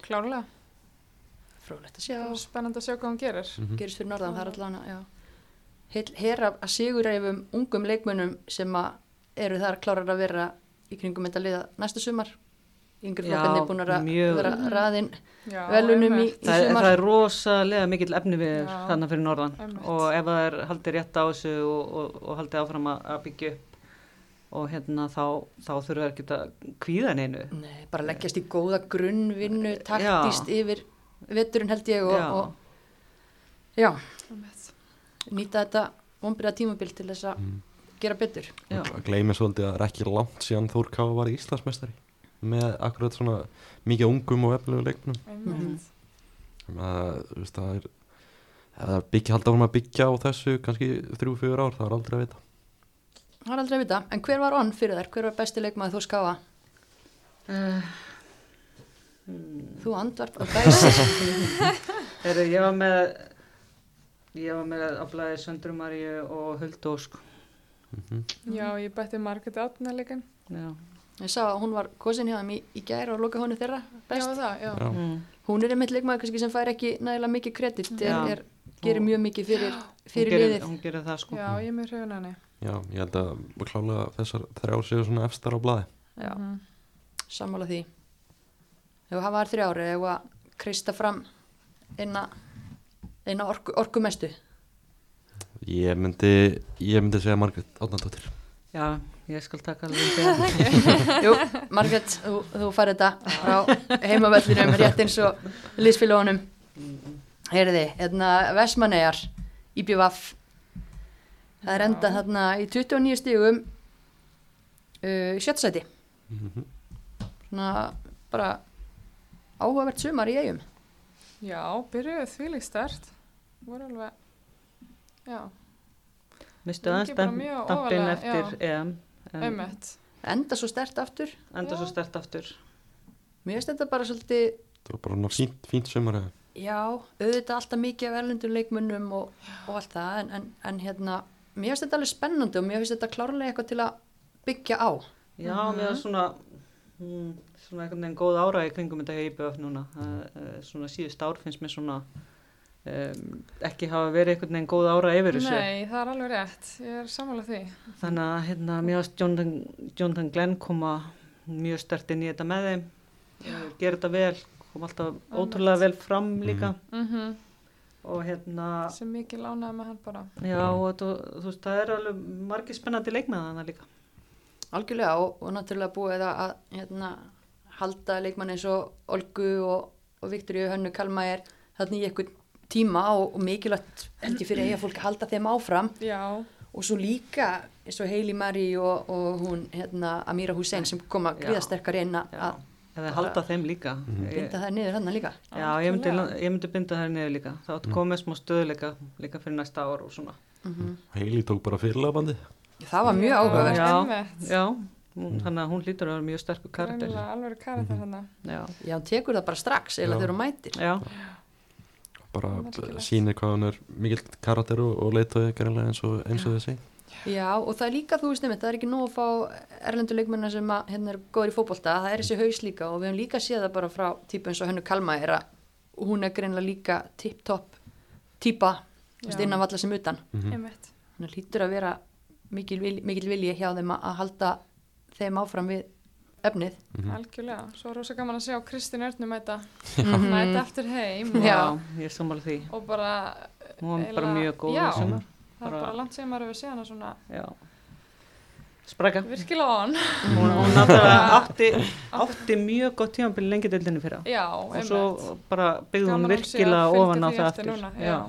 Speaker 5: klálega,
Speaker 2: frólægt að sjá,
Speaker 5: Það er spennandi að sjá hvað hún gerir
Speaker 2: gerist fyrir norðan, það er allan að, já Heil- heyra að sigurreifum ungum leikmönnum sem að eru þar klárar að vera í kringum þetta liða næsta sumar yngri
Speaker 4: Já,
Speaker 2: flokkarnir búin að ra-
Speaker 4: mjög. Mhm.
Speaker 2: vera raðinn
Speaker 5: Já,
Speaker 2: velunum í,
Speaker 5: einmitt.
Speaker 2: í
Speaker 4: það er,
Speaker 2: sumar
Speaker 4: það er rosalega mikill efni við
Speaker 5: Já.
Speaker 4: þarna fyrir norðan
Speaker 5: Einmitt.
Speaker 4: og ef það er haldið rétt á þessu og, og, og haldið áfram að, að byggja upp og hérna þá, þá þurfum við ekki að kvíða neinu
Speaker 2: Nei, bara leggjast í góða grunnvinnu taktist yfir vetturinn held ég og
Speaker 4: Já.
Speaker 2: já. Og, já,
Speaker 5: Einmitt.
Speaker 2: nýta þetta vonbyrða tímabil til þess að
Speaker 3: Mm.
Speaker 2: gera betur
Speaker 4: Já.
Speaker 3: og gleymi svolítið að það er ekki langt síðan Þór Káa var í Íslandsmeistari með akkurat svona mikið ungum og efnilegu leiknum
Speaker 5: Einmitt.
Speaker 3: Þannig að, þú veist, það er ef það er byggja, halda áfram að byggja á þessu kannski þrjú-fjögur ár, það er aldrei að vita
Speaker 2: Það er aldrei að vita, en hver var onn fyrir þær? Hver var besti leikmaður þú skáfa?
Speaker 4: uh,
Speaker 5: Mm.
Speaker 2: Þú andvarp og dæsir
Speaker 4: er, ég var með ég var með aflaði Söndrumaríu og Huldósk
Speaker 5: Já, ég bætti Margrét Átna líka
Speaker 4: já.
Speaker 2: Ég sá að hún var kosin hjá þeim í, í gær og loka honu þeirra
Speaker 5: Já,
Speaker 2: best
Speaker 5: það, já,
Speaker 3: Já.
Speaker 4: Mm.
Speaker 2: Hún er einmitt leikmaður kannski sem fær ekki nægilega mikið kredit
Speaker 4: Já.
Speaker 2: er, er, gerir mjög mikið fyrir,
Speaker 4: Hún,
Speaker 2: fyrir
Speaker 4: gerir,
Speaker 2: liðið
Speaker 4: hún gerir það sko
Speaker 5: já, ég er með hrifun henni
Speaker 3: Já, ég held að klálega þessar þrjár séu svona efstar á blaði
Speaker 2: Já,
Speaker 5: Mhm.
Speaker 2: sammála því Ef það var þrjári, ef að kreista fram einna, einna orku, orkumestu
Speaker 3: Ég myndi, ég myndi segja Margrét Átnandóttir
Speaker 4: já, ég skal taka alveg þegar
Speaker 2: Jú, Margrét, þú, þú farið þetta frá heimavellinum rétt eins og liðsfélónum Heyriði, hérna Vestmannegar, IBVF Það er enda þarna í 29 stígum uh, í sjötta sæti
Speaker 3: Mhm.
Speaker 2: Svona bara áhugavert sumar í eigum
Speaker 5: Já, byrjuðu þvílík stert voru alveg Já,
Speaker 4: mistu
Speaker 5: Lengi
Speaker 4: aðeins
Speaker 5: bara
Speaker 4: damp-
Speaker 5: mjög
Speaker 4: dampinn
Speaker 5: ofarlega,
Speaker 4: eftir EM en
Speaker 5: ömmett
Speaker 2: Enda svo stert aftur
Speaker 4: enda svo
Speaker 5: Já.
Speaker 4: stert aftur
Speaker 2: Mér finnst þetta bara svolítið
Speaker 3: Það var bara svona fínt, fínt sumar eða?
Speaker 2: Já, auðvitað alltaf mikið af erlendum leikmönnum og, og allt það en, en, en hérna, mér finnst þetta alveg spennandi og mér finnst þetta klárlega eitthvað til að byggja á
Speaker 4: Já, mér er svona mm, svona einhvern veginn góð ára í kringum þetta hjá IBF núna uh, svona síðust ár finnst mér svona um, ekki hafa verið einhvern veginn góð ára yfir þessu
Speaker 5: Nei, það er alveg rétt, ég er sammála því
Speaker 4: þannig að hérna, mér varst Jonathan, Jonathan Glenn koma mjög stert inn í þetta með þeim uh, gera þetta vel kom alltaf ótrúlega vel fram líka
Speaker 5: mm
Speaker 4: og hérna
Speaker 5: sem mikið lánaði með hann bara
Speaker 4: já, og þú, þú veist, það er alveg margir spennandi leikmenn þannig líka
Speaker 2: algjörlega og, og náttúrulega búið að að, hérna, halda leikmann eins og Olgu og, og Viktoríu Hönnu Kalmæjar þarna í eitthvað tíma og, og mikilvægt held ég fyrir eiga fólk að halda þeim áfram
Speaker 5: Já,
Speaker 2: og svo líka eins og Heili Marí og, og hún hérna, Amira Hussein sem koma
Speaker 4: Já.
Speaker 2: gríðasterkar inn að-
Speaker 4: Já.
Speaker 2: að
Speaker 4: eða halda þeim líka
Speaker 3: Mhm.
Speaker 4: ég,
Speaker 2: binda það niður hann líka
Speaker 4: já, ég myndi,
Speaker 5: Algjörlega.
Speaker 4: ég myndi binda þær niður líka þá áttu komið smá stöðuleika líka fyrir næsta ár og svona
Speaker 3: Heili tók bara fyrirlabandi
Speaker 2: það var mjög áhugavert
Speaker 4: Já.
Speaker 5: einmitt.
Speaker 4: já, hún, þannig að hún hlýtur að vera mjög sterkur karakter
Speaker 5: Greinilega alveg
Speaker 2: Mhm.
Speaker 5: karakter hérna
Speaker 4: já,
Speaker 2: já, hún tekur það bara strax eða
Speaker 3: Já.
Speaker 2: þegar hún mætir
Speaker 4: já,
Speaker 3: bara
Speaker 5: Merkilegt.
Speaker 3: sýnir hvað hann er mikill karakter og, og leitói gerðanlega eins og, eins og þessi
Speaker 2: já, og það er líka, þú veist nefnir, það er ekki nóg að fá erlendu leikmennar sem að, hérna er góður í fótbolta það er þessi haus líka og við höfum líka séð það bara frá típu eins og hennu Kalma er að hún er greinlega líka tip-top típa, þú veist,
Speaker 5: Já.
Speaker 2: innan valla sem utan
Speaker 5: einmitt
Speaker 2: hún hlýtur að vera mikil, vil- mikil vilji hjá þeim að- að halda þeim áfram við efnið
Speaker 5: algjörlega, svo er rosa gaman að sjá Kristín Örnum mæta,
Speaker 2: Mhm.
Speaker 5: mæta aftur heim og,
Speaker 4: já, ég er sammála því
Speaker 5: og bara
Speaker 4: hún var bara
Speaker 5: eiginlega-
Speaker 4: mjög góð
Speaker 5: já,
Speaker 4: í sumar
Speaker 5: það er
Speaker 4: Bara-
Speaker 5: bara langt sem maður hefur séð hana svona
Speaker 4: já Spraka.
Speaker 5: virkilega on
Speaker 4: Hún, hún náttúrulega átti, átti mjög gott tímabili lengi deildinni fyrra.
Speaker 5: já,
Speaker 4: og
Speaker 5: einmitt
Speaker 4: svo bara byggði
Speaker 5: Gaman
Speaker 4: hún
Speaker 5: að hún sé að
Speaker 4: virkilega
Speaker 5: fylgja
Speaker 4: ofan á
Speaker 5: því
Speaker 4: það
Speaker 5: eftir
Speaker 4: aftur
Speaker 5: núna,
Speaker 4: já.
Speaker 5: já.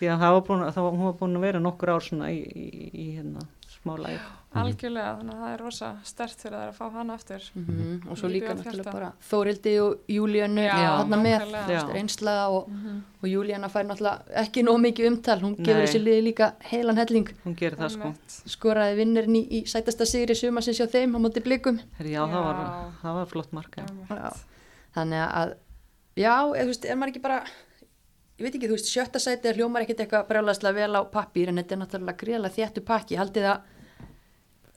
Speaker 4: því að það var búin, það var, hún var búin að vera nokkur ár svona í, í, í hérna smá læg
Speaker 5: algjörlega, þannig að það er rosa stert fyrir þær að fá hana aftur
Speaker 2: -hmm. og svo
Speaker 5: Líka
Speaker 2: líka
Speaker 5: að
Speaker 2: náttúrulega
Speaker 5: hjarta.
Speaker 2: bara Þórildi og Júlíönu
Speaker 5: Já,
Speaker 2: þarna með
Speaker 5: nákvæmlega. Mhm.
Speaker 2: þú veist,
Speaker 4: Já.
Speaker 2: reynsla og, og Júlíana fær náttúrulega ekki nóg mikið umtal, hún
Speaker 4: Nei.
Speaker 2: gefur þessi liði líka heilan helling,
Speaker 4: hún gerir það sko
Speaker 5: Einmitt.
Speaker 2: skoraði vinnirinn í, í sætasta sigri suma sem sjá þeim á móti blikum
Speaker 4: Heri, já, Það, var,
Speaker 5: Já.
Speaker 4: það var flott marka já,
Speaker 5: Einmitt.
Speaker 2: já. þannig að já, eða, þú veist, er maður ekki bara ég veit ekki, þú veist, sjötta sæti hljómar ekkit eitthvað brjálæslega vel á pappir en þetta er náttúrulega greiðlega þéttu pakki haldið að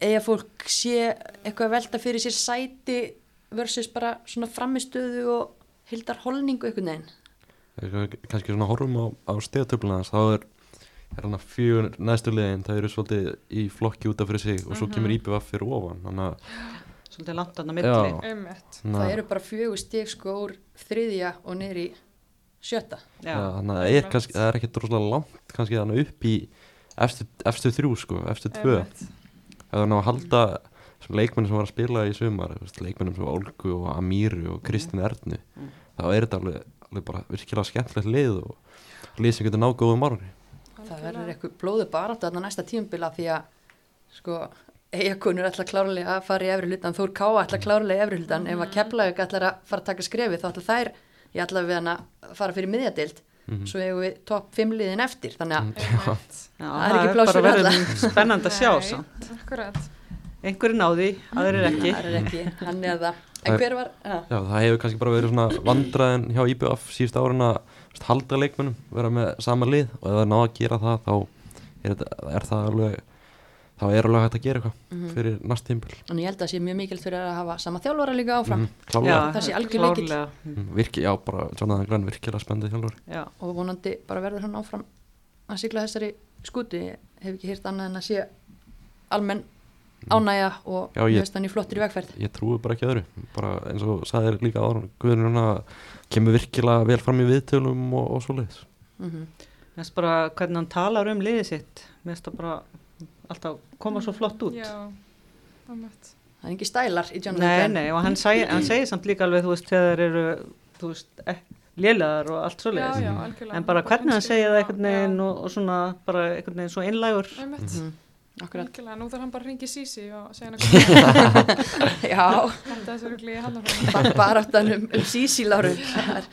Speaker 2: eða fólk sé eitthvað að velta fyrir sér sæti versus bara svona framistöðu og hildar holningu einhvern veginn
Speaker 3: kannski svona horfum á, á stegatöfluna þess þá er, er hann að fjögur næstu liðin það eru svolítið í flokki út af fyrir sig og svo kemur IPVF fyrir ofan þannig að
Speaker 4: svolítið langt
Speaker 3: Já.
Speaker 4: þarna milli
Speaker 5: einmitt
Speaker 2: það
Speaker 3: þannig
Speaker 2: eru bara fjögur stík sko úr þriðja og niður í sjötta
Speaker 4: já.
Speaker 3: að- þannig að það er, kannski, það er ekki droslega langt kannski þannig upp í efstu, efstu þrjú sko, efstu tvö
Speaker 5: Einmitt.
Speaker 3: ef það ná að halda sem leikmennum sem var að spila í sumar þú veist, leikmennum sem Olgu og Amíru og Kristin Ernu þá er þetta alveg, alveg bara virkilega skemmtilegt lið og lið sem getur náð góðum árni
Speaker 2: það verður eitthvað blóðu barátt þarna næsta tíumbila því að sko eigakunur ætla klárlega að fara í efri hlutan Þór Káa ætla klárlega í efri hlutan ef að Keflavík ætlar að fara að taka skrefið þá ætla þær ég ætla við hann að fara fyrir miðjadeild
Speaker 3: Mhm.
Speaker 2: svo eigum við topp 5 liðin eftir þannig
Speaker 3: Mm.
Speaker 2: að
Speaker 5: Einmitt.
Speaker 4: Já,
Speaker 2: Það er ekki pláss
Speaker 4: bara
Speaker 2: fyrir
Speaker 4: verið
Speaker 2: alla.
Speaker 4: spennand að sjá
Speaker 5: Nei,
Speaker 4: samt.
Speaker 5: akkurat.
Speaker 4: einhverju náði, aðrir ekki
Speaker 2: það er ekki hann eða en hver var að,
Speaker 3: Já, það hefur kannski bara verið svona vandræðin hjá IBF síðust árin að þú veist, halda leikmennum, vera með sama lið og ef það ná að gera það þá er, þetta, er það alveg þá er alveg hægt að gera eitthvað fyrir næst tímpil
Speaker 2: en ég held að það sé mjög mikillt fyrir að hafa sama þjálfara líka áfram
Speaker 3: Mhm, klálega,
Speaker 2: Þessi algjör lykill.
Speaker 4: klárlega.
Speaker 3: mm, virki, já bara Jonathan Glenn virkilega spendið þjálfur
Speaker 4: Já,
Speaker 2: og vonandi bara verður hann áfram að sigla þessari skutu ég hef ekki hýrt annað en að sé almenn ánægja og
Speaker 3: Mm. Já,
Speaker 2: ég
Speaker 3: ég-
Speaker 2: veist hann í flottir í vegferð
Speaker 3: ég trúi bara ekki öðru bara eins og sagðir líka áður Guðurinn kemur virkilega vel fram í viðtölum og, og svoleiðis
Speaker 2: Mhm.
Speaker 4: mér finnst bara hvernig hann talar um liðið sitt mér finnst það bara alltaf koma svo flott út
Speaker 5: já, einmitt.
Speaker 2: það er ekki stælar í John
Speaker 4: Nei, nei, og hann, seg, hann segir samt líka alveg, þú veist, þegar þeir eru, þú veist, eh, lélegar og allt
Speaker 5: já,
Speaker 4: svoleiðis.
Speaker 5: já, algjörlega
Speaker 4: en bara hvernig hann segir það einhvern veginn og, og svona, bara einhvern veginn svo einlægur.
Speaker 5: einmitt,
Speaker 2: Mm, Akkurat,
Speaker 5: algjörlega, nú þarf hann bara að ringi Sisi og segja hann að koma
Speaker 2: já,
Speaker 5: þetta þessu rugli í hallarfólk
Speaker 2: bara baráttan um, um Sísi Láru það er-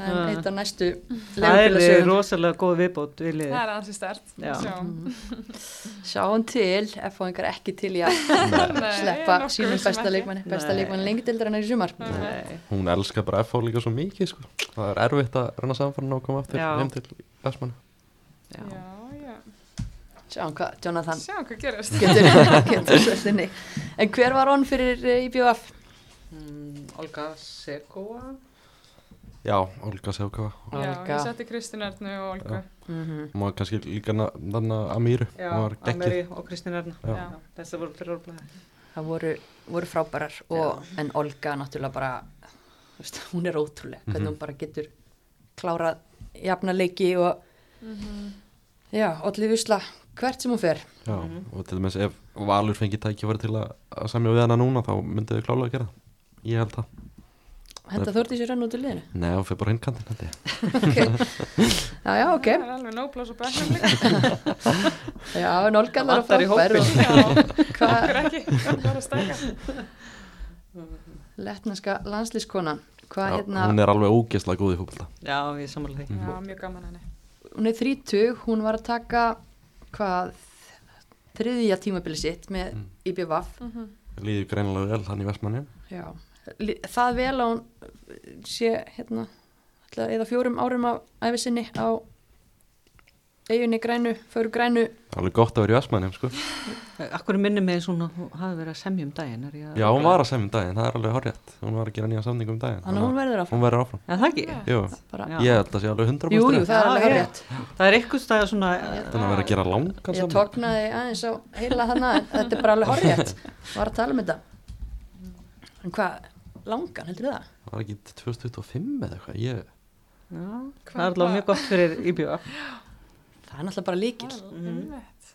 Speaker 2: það er eitt af næstu
Speaker 4: Það er því
Speaker 2: leifbílasögum
Speaker 4: rosalega góð viðbót við liðið.
Speaker 5: það er ansi stert
Speaker 4: Já.
Speaker 2: sjáum til ef fá einhver ekki til í að sleppa sínum besta leikmanni besta
Speaker 4: Nei.
Speaker 2: leikmanni lengdildarinnar í sumar
Speaker 5: Nei.
Speaker 3: hún elskar bara FH líka svo mikið sko. það er erfitt að reyna samfarn og koma aftur
Speaker 4: Já.
Speaker 3: heim til Vestmanna
Speaker 5: Já, já,
Speaker 2: sjáum hvað Jonathan
Speaker 5: sjáum hvað gerist
Speaker 2: getur, getur svolítinni en hver var hann fyrir eh, IBF?
Speaker 4: Mm, Olga Sekova?
Speaker 3: já, Olga Sefkava
Speaker 5: Já,
Speaker 2: Olga.
Speaker 5: ég setti Kristín Ernu og Olgu
Speaker 3: Já.
Speaker 4: Mhm.
Speaker 3: maður kannski líka þannig að Amíru
Speaker 4: Já,
Speaker 3: hún var geggið
Speaker 4: Ameri og Kristín Erna.
Speaker 3: Já.
Speaker 5: Já.
Speaker 4: Þessi voru fyrir orðblæði.
Speaker 2: það voru, voru frábærar og, en Olga náttúrulega bara þú veist, hún er ótrúleg, hvernig hún bara getur klárað jafna leiki og já, allir usla hvert sem hún fer
Speaker 3: Já, og til dæmis ef Valur fengi tækifæri til að, að samja við hana núna þá myndi þau klálega að gera það. ég held það
Speaker 2: henda Þórdís í renn út í liðinu
Speaker 3: Nei, hún fyrir bara hinn kantinn held ég
Speaker 2: já, já, ok,
Speaker 5: það er alveg nóplás og bæknum líka
Speaker 2: já, en Olga
Speaker 4: Það
Speaker 2: er
Speaker 4: vantar í
Speaker 2: frábær og
Speaker 5: já,
Speaker 2: hvað
Speaker 5: okkur ekki, bara að stæka
Speaker 2: letneska landslískonan hvað
Speaker 3: Já,
Speaker 2: hérna,
Speaker 3: hún er alveg ógeðslega góð í fókbalta
Speaker 4: Já, ég er sammála
Speaker 3: Mhm.
Speaker 4: því.
Speaker 5: Já, mjög gaman henni.
Speaker 2: hún er 30, hún var að taka hvað þriðja tímabili sitt með
Speaker 3: Mm.
Speaker 2: IBVF
Speaker 3: líður greinilega vel hann í Vestmanni
Speaker 2: Já, Li- það vel að hún sé hérna ætla eða fjórum árum af æfisinni á eiginni grænu, föru grænu
Speaker 3: alveg gott að vera í Vestmanni sko.
Speaker 4: Akkur minnum mig svona, hún hafi verið að semja um daginn, er ég að...
Speaker 3: já hún var að semja um daginn, það er alveg horrið hún var að gera nýja samning um daginn
Speaker 2: þannig að hún verður áfram
Speaker 3: hún verður áfram
Speaker 4: Já, það ekki?
Speaker 5: Já.
Speaker 3: Jú,
Speaker 2: bara,
Speaker 4: Já.
Speaker 3: ég held að sé alveg 100%
Speaker 2: Jú, jú, það er
Speaker 3: rétt.
Speaker 4: Já,
Speaker 2: alveg hár
Speaker 4: ég-
Speaker 2: rétt
Speaker 4: Það er eitthvað stæða svona... eh,
Speaker 3: þannig að vera að gera langan
Speaker 2: Ég
Speaker 3: samning
Speaker 2: tóknaði aðeins á heila þarna en þetta er bara alveg hár rétt Var að tala um þetta En hvað, langan, heldur það?
Speaker 3: var ekki 2025 eða eitthvað ég,
Speaker 4: Já, það er alveg mjög gott fyrir íbjöða.
Speaker 2: Það er náttúrulega bara líkil
Speaker 5: Einmitt.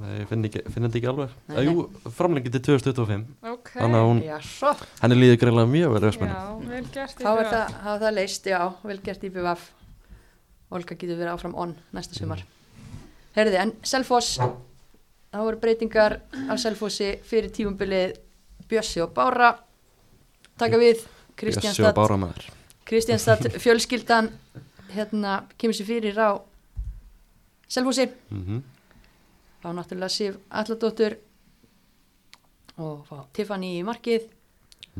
Speaker 3: nei, ég finn, ekki, finn þetta ekki alveg
Speaker 2: Nei,
Speaker 3: nei, jú, framlengi til 2025
Speaker 5: Ok.
Speaker 3: þannig að hún,
Speaker 2: Já, svo
Speaker 3: henni líður greinilega mjög vel í Vestmanni
Speaker 5: Já, vel gert í
Speaker 2: Þá er það, þá er það leist, já, vel gert í BVF Olga getur verið áfram on næsta
Speaker 3: Mhm.
Speaker 2: sumar Herði, en Selfoss þá voru breytingar á Selfossi fyrir tímumbilið Bjössi og Bára taka við
Speaker 3: Bjössi og
Speaker 2: Kristjánstad
Speaker 3: Bára maður
Speaker 2: Kristjánstad fjölskyldan hérna kemur sér fyrir á Selfossi
Speaker 3: mm
Speaker 2: þá náttúrulega Sif Alladóttur og fá Tiffany í markið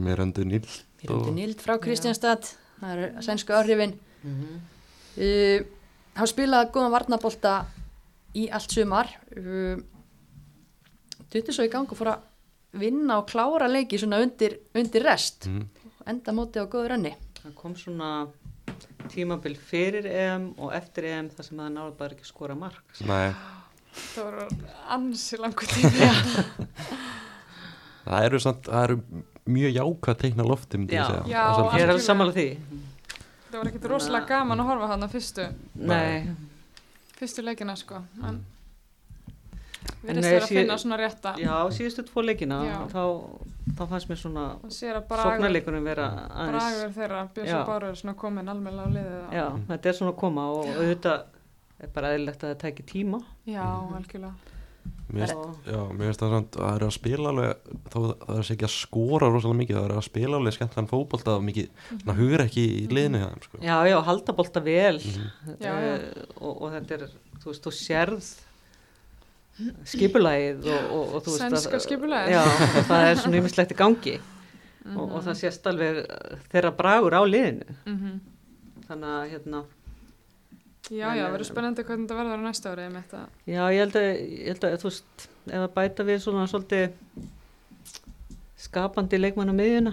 Speaker 3: mér endur nýll
Speaker 2: Við erum til nýld frá Kristjánstad það eru sænsku áhrifin
Speaker 4: Mhm.
Speaker 2: uh, hann spilaði góðan varnabolta í allt sumar uh, duttur svo í gang og fór að vinna og klára leiki svona undir, undir rest
Speaker 3: mm.
Speaker 2: enda móti á góður önni
Speaker 4: Það kom svona tímabil fyrir EM og eftir EM þar sem það náði bara ekki að skora mark.
Speaker 3: nei,
Speaker 5: Það voru ansi langur tími.
Speaker 3: það eru, samt, það eru mjög jákvæð teikna lofti myndi ég
Speaker 4: Já.
Speaker 3: segja
Speaker 5: Já,
Speaker 3: á Selfossi.
Speaker 4: Ég er
Speaker 5: Algjörlega.
Speaker 4: alveg sammála því.
Speaker 5: Það var ekkert rosalega gaman að horfa hann á fyrstu,
Speaker 4: Nei,
Speaker 5: fyrstu leikina sko.
Speaker 2: Mm.
Speaker 5: En
Speaker 4: En
Speaker 5: við reistum
Speaker 4: nei,
Speaker 5: að
Speaker 4: sé-
Speaker 5: finna svona rétta.
Speaker 4: já, síðustu tvo leikina,
Speaker 5: Já.
Speaker 4: þá, þá fannst mér svona
Speaker 5: Og sér að bragur,
Speaker 4: sóknarleikunum vera aðeins.
Speaker 5: bragur þeirra, Björns
Speaker 4: Já.
Speaker 5: og Báru er svona komin almenna á liðið. og-
Speaker 4: Já, þetta er svona að koma og auðvitað er bara eðlilegt að það tæki tíma.
Speaker 5: Já,
Speaker 2: Mhm.
Speaker 5: algjörlega.
Speaker 3: Mér finnst-
Speaker 4: Og,
Speaker 3: Já, mér finnst það samt að það eru að spila alveg þó það það eru ekki að skora rosalega mikið það eru að spila alveg skemmtlan fótbolta og mikið
Speaker 4: Mhm.
Speaker 3: svona hugur ekki í liðinu hjá þeim sko.
Speaker 4: já, já, haldabolta vel
Speaker 5: Já,
Speaker 4: eh, og, og þetta er, þú veist, þú sérð skipulagið og, og, og þú veist að-
Speaker 5: Sænska skipulagið.
Speaker 4: Já, og það er svona ymislegt í gangi og, og það sést alveg eh, þeirra bragur á liðinu
Speaker 5: Mhm.
Speaker 4: þannig að, hérna,
Speaker 5: Já,
Speaker 4: En,
Speaker 5: já,
Speaker 4: eh,
Speaker 5: það verður spennandi hvernig þetta verður á næsta ári með þetta.
Speaker 4: já, ég held að, ég held að þú veist, ef að bæta við svona svolítið skapandi leikmann á miðjuna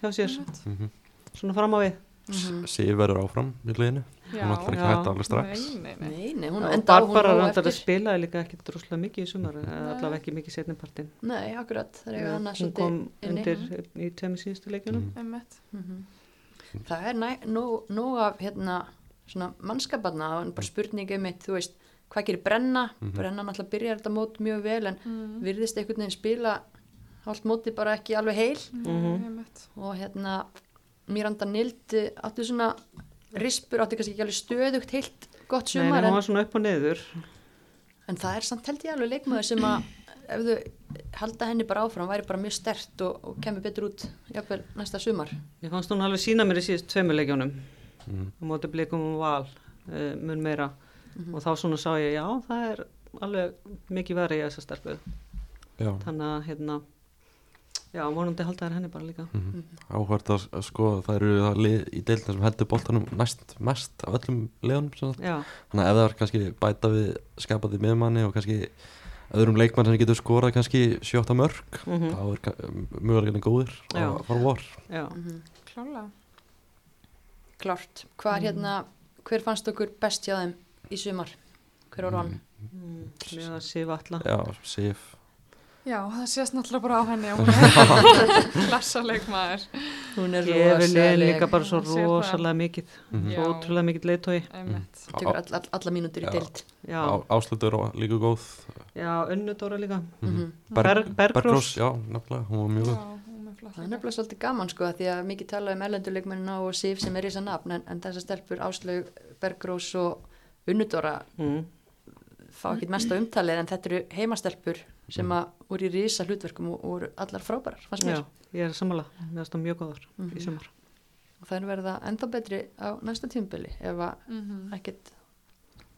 Speaker 4: hjá sér,
Speaker 5: Mhm.
Speaker 3: mm -hmm.
Speaker 4: svona fram á við
Speaker 2: Mhm.
Speaker 3: Sif verður áfram í liðinu
Speaker 5: Já,
Speaker 3: hún ætlar ekki
Speaker 4: Já.
Speaker 3: að hætta alveg strax
Speaker 5: Nei, nei, nei.
Speaker 2: Nei, nei, hún
Speaker 4: og
Speaker 2: enda á hún
Speaker 4: Barbara
Speaker 2: á
Speaker 4: reyndar að
Speaker 2: eftir
Speaker 4: spilaði líka ekki droslega mikið í sumar, eða allavega ekki mikið setnipartin
Speaker 2: Nei, akkurat, það er hann að
Speaker 4: hún kom
Speaker 2: inni.
Speaker 4: undir í tveimur síðustu
Speaker 5: Mm.
Speaker 4: leikjunum
Speaker 3: Mhm.
Speaker 5: Einmitt.
Speaker 2: Mhm. Það er næ- nóg nóg af hérna svona mannskaparna og
Speaker 4: Mm.
Speaker 2: bara spurningi mitt, þú veist, hvað gerir Brenna
Speaker 4: Mhm.
Speaker 2: Brenna náttúrulega byrjar þetta mót mjög vel en virðist einhvern veginn spila allt móti bara ekki alveg heil
Speaker 5: Mm. Nei, einmitt.
Speaker 2: og hérna Miranda Nild eh, átti svona rispur, átti kannski ekki alveg stöðugt heilt gott
Speaker 4: Nei,
Speaker 2: sumar
Speaker 4: nei, hún
Speaker 2: en,
Speaker 4: var svona upp og niður
Speaker 2: en það er samt held ég alveg leikmaður sem að ef þau halda henni bara áfram væri bara mjög stert og, og kemur betur út jafnvel næsta sumar
Speaker 4: Ég fannst hún alveg sína mér í síðust tveimur leikjunum
Speaker 3: Mhm.
Speaker 4: á móti blikum og val uh, mun meira
Speaker 2: Mhm.
Speaker 4: og þá svona sá ég já, það er alveg mikið verið í þessa stelpu
Speaker 3: Já,
Speaker 4: þannig að hérna já, vonandi halda þær henni bara líka
Speaker 3: áhvert að, að skoða það eru það lið í deildinu sem heldur boltanum næst mest af öllum liðunum sem sagt.
Speaker 4: Já,
Speaker 3: þannig að ef það er kannski bæta við skapaði miðmanni og kannski öðrum leikmann sem getur skorað kannski 7-8 mörg
Speaker 4: Mhm.
Speaker 3: þá er ka- möguleginni góðir
Speaker 4: Já.
Speaker 3: og fara vor
Speaker 4: já
Speaker 2: Mhm.
Speaker 5: Klála.
Speaker 2: Klart, hvað hérna hver fannst okkur best hjá þeim í sumar? Hver var hann?
Speaker 4: mm, Mér að sif alla
Speaker 3: Já, Sif
Speaker 5: Já, það sést náttúrulega bara á henni og hún er klassa leikmaður.
Speaker 2: Hún
Speaker 4: Gefur liðin líka bara svo
Speaker 5: Hún sér það.
Speaker 4: rosalega mikið
Speaker 5: Já.
Speaker 3: Mhm.
Speaker 4: svo ótrúlega mikið leitói
Speaker 5: Einmitt.
Speaker 2: Tökur all, all, alla mínútur í
Speaker 3: Já.
Speaker 2: deild
Speaker 4: Já,
Speaker 3: Á- Áslaugur var líka góð
Speaker 4: já unnudóra líka
Speaker 2: Mhm.
Speaker 4: Berg- Bergrós.
Speaker 3: já, nefnilega, hún var Mm. mjög
Speaker 5: Já,
Speaker 3: góð
Speaker 5: hún er flott.
Speaker 2: Það er nefnilega svolítið gaman sko því að mikið talaði um ellenduleikmennina og Sif sem er í þess að nafn en, en þessar stelpur Áslaug, Bergrós og Unnudóra
Speaker 4: mm.
Speaker 2: fá ekkit mesta umtalið en þetta eru heimastelpur sem að voru í risa hlutverkum og og voru allar frábærar fannst mér. Mhm.
Speaker 4: Já, ég er sammála, mér finnst það mjög góðar í sumar.
Speaker 2: og þær verða enda betri á næsta tímbili ef að
Speaker 5: mm -hmm.
Speaker 2: ekkert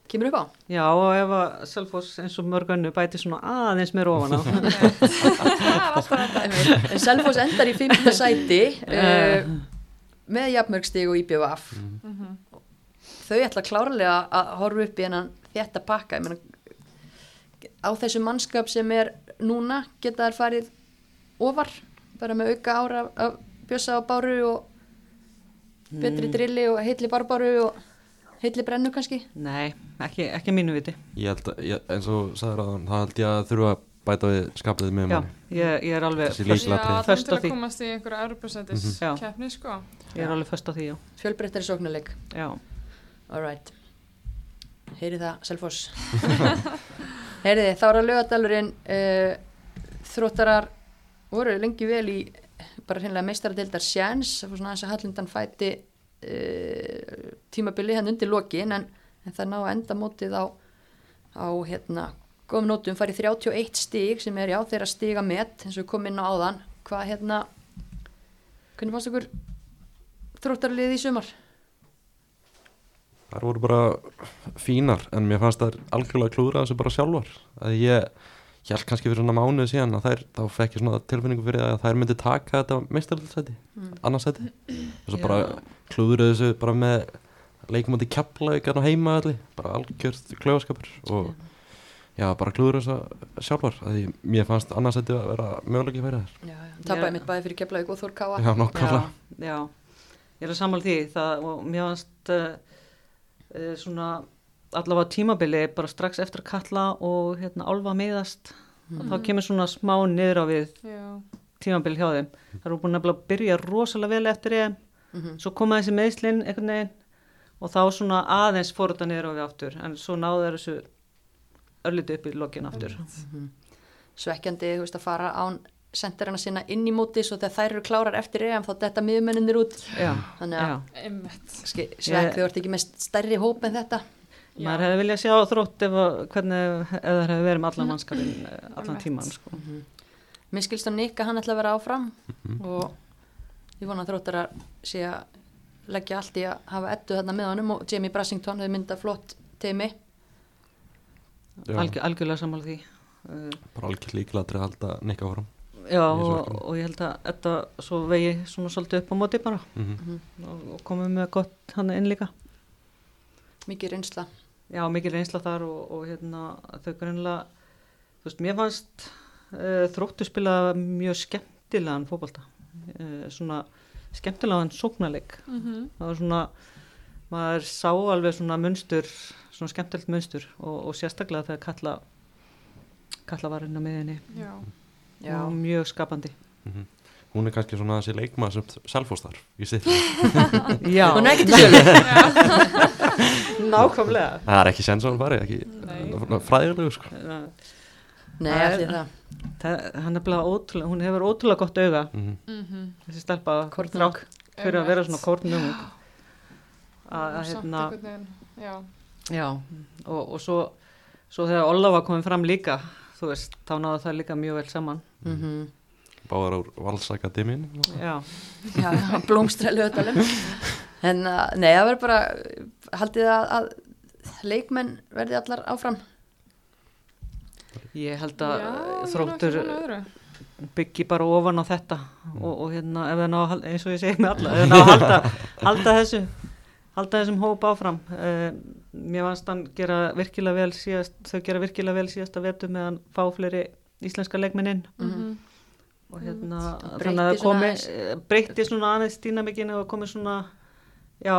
Speaker 2: kemur upp á
Speaker 4: Já, og ef að Selfoss eins og mörg önnu bæti svona aðeins meir ofan á.
Speaker 5: það er alltaf þetta
Speaker 2: En Selfoss endar í 5. sæti uh, með jafnmörgstig og IBVF
Speaker 5: Mhm.
Speaker 2: þau ætla klárlega að horfa upp í hennan þetta pakka Ég meina, á þessu mannskap sem er núna geta þær farið ofar bara með auka ára af, af bjösa á báru og betri drilli og heitli barbáru og heitli brennu kannski
Speaker 4: Nei, ekki, ekki mínu viti.
Speaker 3: Ég held að, ég, eins og sagður á þann, þá held ég að þurfa að bæta við skapið með
Speaker 4: Já,
Speaker 3: manni.
Speaker 4: ég, ég er alveg
Speaker 3: Þessi
Speaker 4: föst,
Speaker 5: Já,
Speaker 3: Lykilatriði.
Speaker 5: allan
Speaker 4: Föst á
Speaker 5: til að
Speaker 4: því.
Speaker 5: komast í einhverja Europasætis
Speaker 4: Mhm. Já.
Speaker 5: keppni sko
Speaker 4: ég er alveg föst á því, já.
Speaker 2: fjölbreyttari sóknarleik
Speaker 4: já.
Speaker 2: Alright Heyri það, Selfoss Heyri þið, þá er að lögadalurinn uh, Þróttarar voru lengi vel í bara hreinlega meistaradeildar sjans og svona þess að Hallindan fæti uh, tímabili hann undir lokin en, en það ná að enda mótið á á hérna góðum nótum farið 31 stig sem er já þeirra stiga met eins og við komum inn á áðan hvað hérna hvernig fannst okkur þróttaralið í sumar?
Speaker 3: Þær voru bara fínar en mér fannst þær algjörlega klúðra þessu bara sjálfar að ég held kannski fyrir svona mánuð síðan að þær þá fekk ég svona tilfinningu fyrir að þær myndi taka þetta meistaröldsæti, annars sæti og svo bara klúðra þessu bara með leikumandi keflaugjarn og heima allir, hérna bara algjörð klöfaskapur og já, bara klúðra þessu sjálfar að ég, mér fannst annars sæti að vera möguleiki fyrir þær
Speaker 2: Já, já, tapaði
Speaker 4: Já.
Speaker 2: mitt bæði fyrir Keflavík og Þór Káa
Speaker 3: Já, nokkala
Speaker 4: Já, já, ég er að sammála því það, og mér varst uh, uh, svona allavega tímabili bara strax eftir að kalla og hérna álfa meðast mm. þá kemur svona smá niður á við
Speaker 5: já,
Speaker 4: tímabili hjá þeim það eru búin að nefnilega byrja rosalega vel eftir þeim svo koma þessi meðslinn einhvern veginn og þá svona aðeins fór þetta niður á við aftur en svo náðu þær þessu örlítið upp í lokin aftur
Speaker 2: svekkjandi, þú veist, að fara án senderina sína inn í móti svo þegar þær eru klárar eftir EM þá detta miðmenninir út
Speaker 4: Já,
Speaker 2: þannig að
Speaker 4: já.
Speaker 5: einmitt
Speaker 2: kannski svekk
Speaker 4: Ég-
Speaker 2: þau vart ekki með stærri hóp en þetta
Speaker 5: Já.
Speaker 4: maður hefði viljað sjá þrótt ef að, hvernig ef það hefði verið með allan mannskapin eh, allan
Speaker 5: Einmitt.
Speaker 4: tíman sko.
Speaker 2: Mér skilst að Nikka hann ætla að vera áfram
Speaker 4: Mhm.
Speaker 2: og ég vona að þróttar að sé að leggja allt í að hafa ettu þarna með honum og Jamie Brassington hefur myndað flott teimi
Speaker 3: Já.
Speaker 4: Algjör, algjörlega sammála því uh,
Speaker 3: bara algjörð líkilega til að halda nikka áfram
Speaker 4: já
Speaker 3: Í þessu
Speaker 4: og,
Speaker 3: verkefni.
Speaker 4: og ég held að þetta svo vegi svona svolítið upp á móti bara
Speaker 3: mm
Speaker 4: og, og komum með gott hann inn líka
Speaker 2: mikið reynsla
Speaker 4: já mikil reynsla þar og, og hérna þau greinlega þú veist mér fannst uh, þróttu spila mjög skemmtilegan fótbolta uh, svona skemmtilegan sóknarleik
Speaker 5: mm
Speaker 4: það var svona maður sá alveg svona munstur svona skemmtilegt munstur og, og sérstaklega þegar kalla kalla var inn á miðinni
Speaker 5: já,
Speaker 2: Já,
Speaker 4: og mjög skapandi
Speaker 3: hún er kannski svona þessi leikma sem selfóstar í sitt
Speaker 4: já,
Speaker 2: hún er ekki til sjölu
Speaker 4: nákvæmlega
Speaker 3: Það er ekki sens að hann fari,
Speaker 5: Nei.
Speaker 3: ekki fræðilegu sko.
Speaker 2: Nei,
Speaker 4: Það er-
Speaker 2: allir það
Speaker 4: Eh, það, hann er bara ótrúlega hún hefur ótrúlega gott auga
Speaker 3: Mhm.
Speaker 4: þessi stelpa
Speaker 2: Kornung.
Speaker 4: þrátt fyrir að vera svona kórnum að að
Speaker 5: samt
Speaker 4: hérna
Speaker 5: einhvern veginn já,
Speaker 4: já, og, og svo svo þegar Olafa komið fram líka þú veist, þá náðu það líka mjög vel saman
Speaker 2: mm
Speaker 3: Báðar úr sko. Valsakademín
Speaker 4: já,
Speaker 2: Já, blómstra lögadalum en uh, nei, það verður bara haldið að, að leikmenn verði allar áfram
Speaker 4: ég held
Speaker 5: já,
Speaker 4: að
Speaker 5: ég er nú ekki
Speaker 4: þróttur
Speaker 5: búin að öðru.
Speaker 4: byggi bara ofan á þetta og, og hérna ef það ná að hal- eins og ég segi með alla ef það ná að halda, halda þessu halda þessum hóp áfram uh, mér fannst hann gera virkilega vel síðast, þau gera virkilega vel síðast að vetu meðan fá fleiri íslenska leikmenninn
Speaker 5: Mhm.
Speaker 4: og hérna
Speaker 5: Mm.
Speaker 2: Það
Speaker 4: þannig
Speaker 2: breytti
Speaker 4: að það
Speaker 2: svona
Speaker 4: komi
Speaker 2: aðeins.
Speaker 4: eh, breytti svona aðeins dýnamikinu og komi svona já,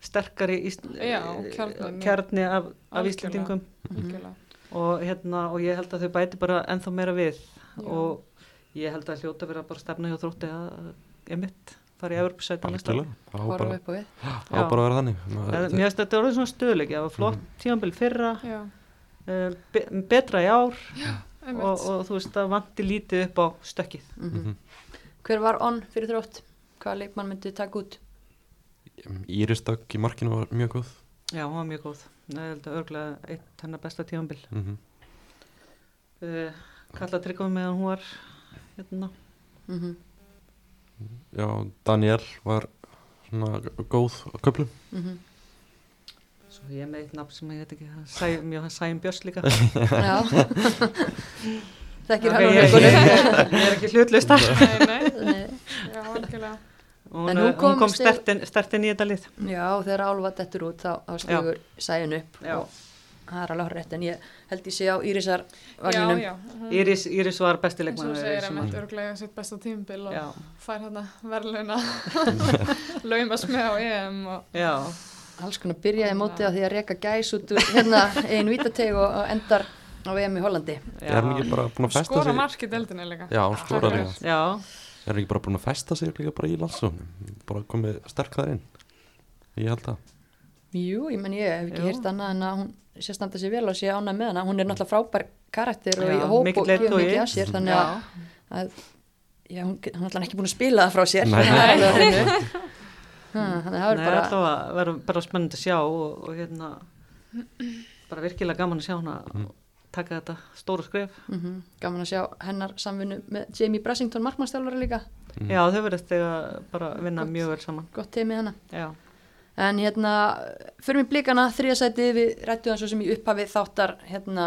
Speaker 4: sterkari ísl, eh,
Speaker 5: Já, kjarninn.
Speaker 4: kjarni af, af
Speaker 5: Algjörlega.
Speaker 4: Íslandingum
Speaker 5: Algjörlega.
Speaker 4: og hérna og ég held að þau bæti bara ennþá meira við
Speaker 5: Já.
Speaker 4: og ég held að hljóta vera bara stefna hjá þrótti að emitt fara í Evropasæti næsta ári.
Speaker 3: Algjörlega, það á
Speaker 2: horfa
Speaker 3: bara,
Speaker 2: upp á við
Speaker 3: það á bara að vera þannig Maður-
Speaker 4: Það- Mér finnst þetta orðið svona stöðleiki, það var flott tímanbili fyrra,
Speaker 5: já,
Speaker 4: uh, be betra í ár
Speaker 5: einmitt
Speaker 4: og, og þú veist það vanti lítið upp á stökkið.
Speaker 2: Mhm.
Speaker 3: Mhm.
Speaker 2: Hver var onn fyrir þrótt? Hvaða leikmann myndið taka út?
Speaker 3: Íris Dögg í markinu var mjög góð
Speaker 4: Já, hún var mjög góð. Ég held að örglega eitt hennar besta tímanbili.
Speaker 3: mm
Speaker 4: Eh, Uh, Kalla tryggum meðan hún var hérna,
Speaker 2: Mm
Speaker 3: já, Daniel var svona góð á köflum
Speaker 2: mm -hmm.
Speaker 4: Svo ég er með eitt nafn sem ég veit ekki, það er Sæm, Jóhann Sæm Björns líka.
Speaker 2: Já Þekkir
Speaker 4: Ok,
Speaker 2: hann á
Speaker 4: ég, ég,
Speaker 2: rökkunum
Speaker 4: ég, ég er ekki hlutlust þar.
Speaker 5: Nei, nei,
Speaker 2: Nei.
Speaker 5: já, algjörlega.
Speaker 4: Hún, eh,
Speaker 2: En
Speaker 4: hún
Speaker 2: hún
Speaker 4: kom,
Speaker 2: komst til-
Speaker 4: stertinn stertin í þetta lið.
Speaker 2: Já, þegar álfa dettur út þá, þá stígur sæjun upp
Speaker 4: Já.
Speaker 2: og það er alveg horrið en ég held ég sé á Írisar
Speaker 5: Já,
Speaker 2: vagninum
Speaker 5: já, hún,
Speaker 4: Íris, Íris var besti
Speaker 5: eins og
Speaker 4: leikmann.
Speaker 5: þú segir að mitt örglega sitt besta tímbil og
Speaker 4: Já,
Speaker 5: fær hérna verðluna, laumast með á EM og
Speaker 4: já,
Speaker 2: alls konar byrjaði mótið á því að reka gæs út úr hérna einu vítateg og, og endar á VM í Hollandi
Speaker 3: er hann
Speaker 4: já,
Speaker 3: ekki bara búin að festa
Speaker 5: skora
Speaker 3: sig
Speaker 5: mark í deldinni líka.
Speaker 3: já, hann skoraði
Speaker 5: Takk
Speaker 3: líka.
Speaker 5: fyrir.
Speaker 4: já,
Speaker 3: er hann ekki bara búin að festa sig líka bara í landsóknum bara komið sterk þar inn ég held að
Speaker 2: Jú, ég menn ég hef ekki
Speaker 4: Jú.
Speaker 2: hýrt annað en að hún sé standa sér vel og sé ánæg með hana hún er náttúrulega frábær karakter og
Speaker 4: Já,
Speaker 2: í hóp
Speaker 4: mikill
Speaker 2: og gefur
Speaker 4: leiðtogi.
Speaker 2: mikið af sér þannig
Speaker 4: já.
Speaker 2: að, að já, hún, hún er náttúrulega ekki búin að spila það frá sér
Speaker 3: Nei.
Speaker 2: Það er alveg á hreinu. Ha, þannig að það
Speaker 4: Nei,
Speaker 2: er bara
Speaker 4: alltaf að vera bara spennandi að sjá og, og hérna bara virkilega gaman að sjá hana
Speaker 3: Mm.
Speaker 4: taka þetta stóra skref.
Speaker 2: Mm Gaman að sjá hennar samvinnu með Jamie Brassington markmannstjálfari líka,
Speaker 3: Mm.
Speaker 4: Já, þau verðist þegar bara vinna mjög vel saman.
Speaker 2: gott teimi hana.
Speaker 4: Já,
Speaker 2: En hérna, fyrir mig blikana þriðasætið við rættum það svo sem í upphafi þáttar hérna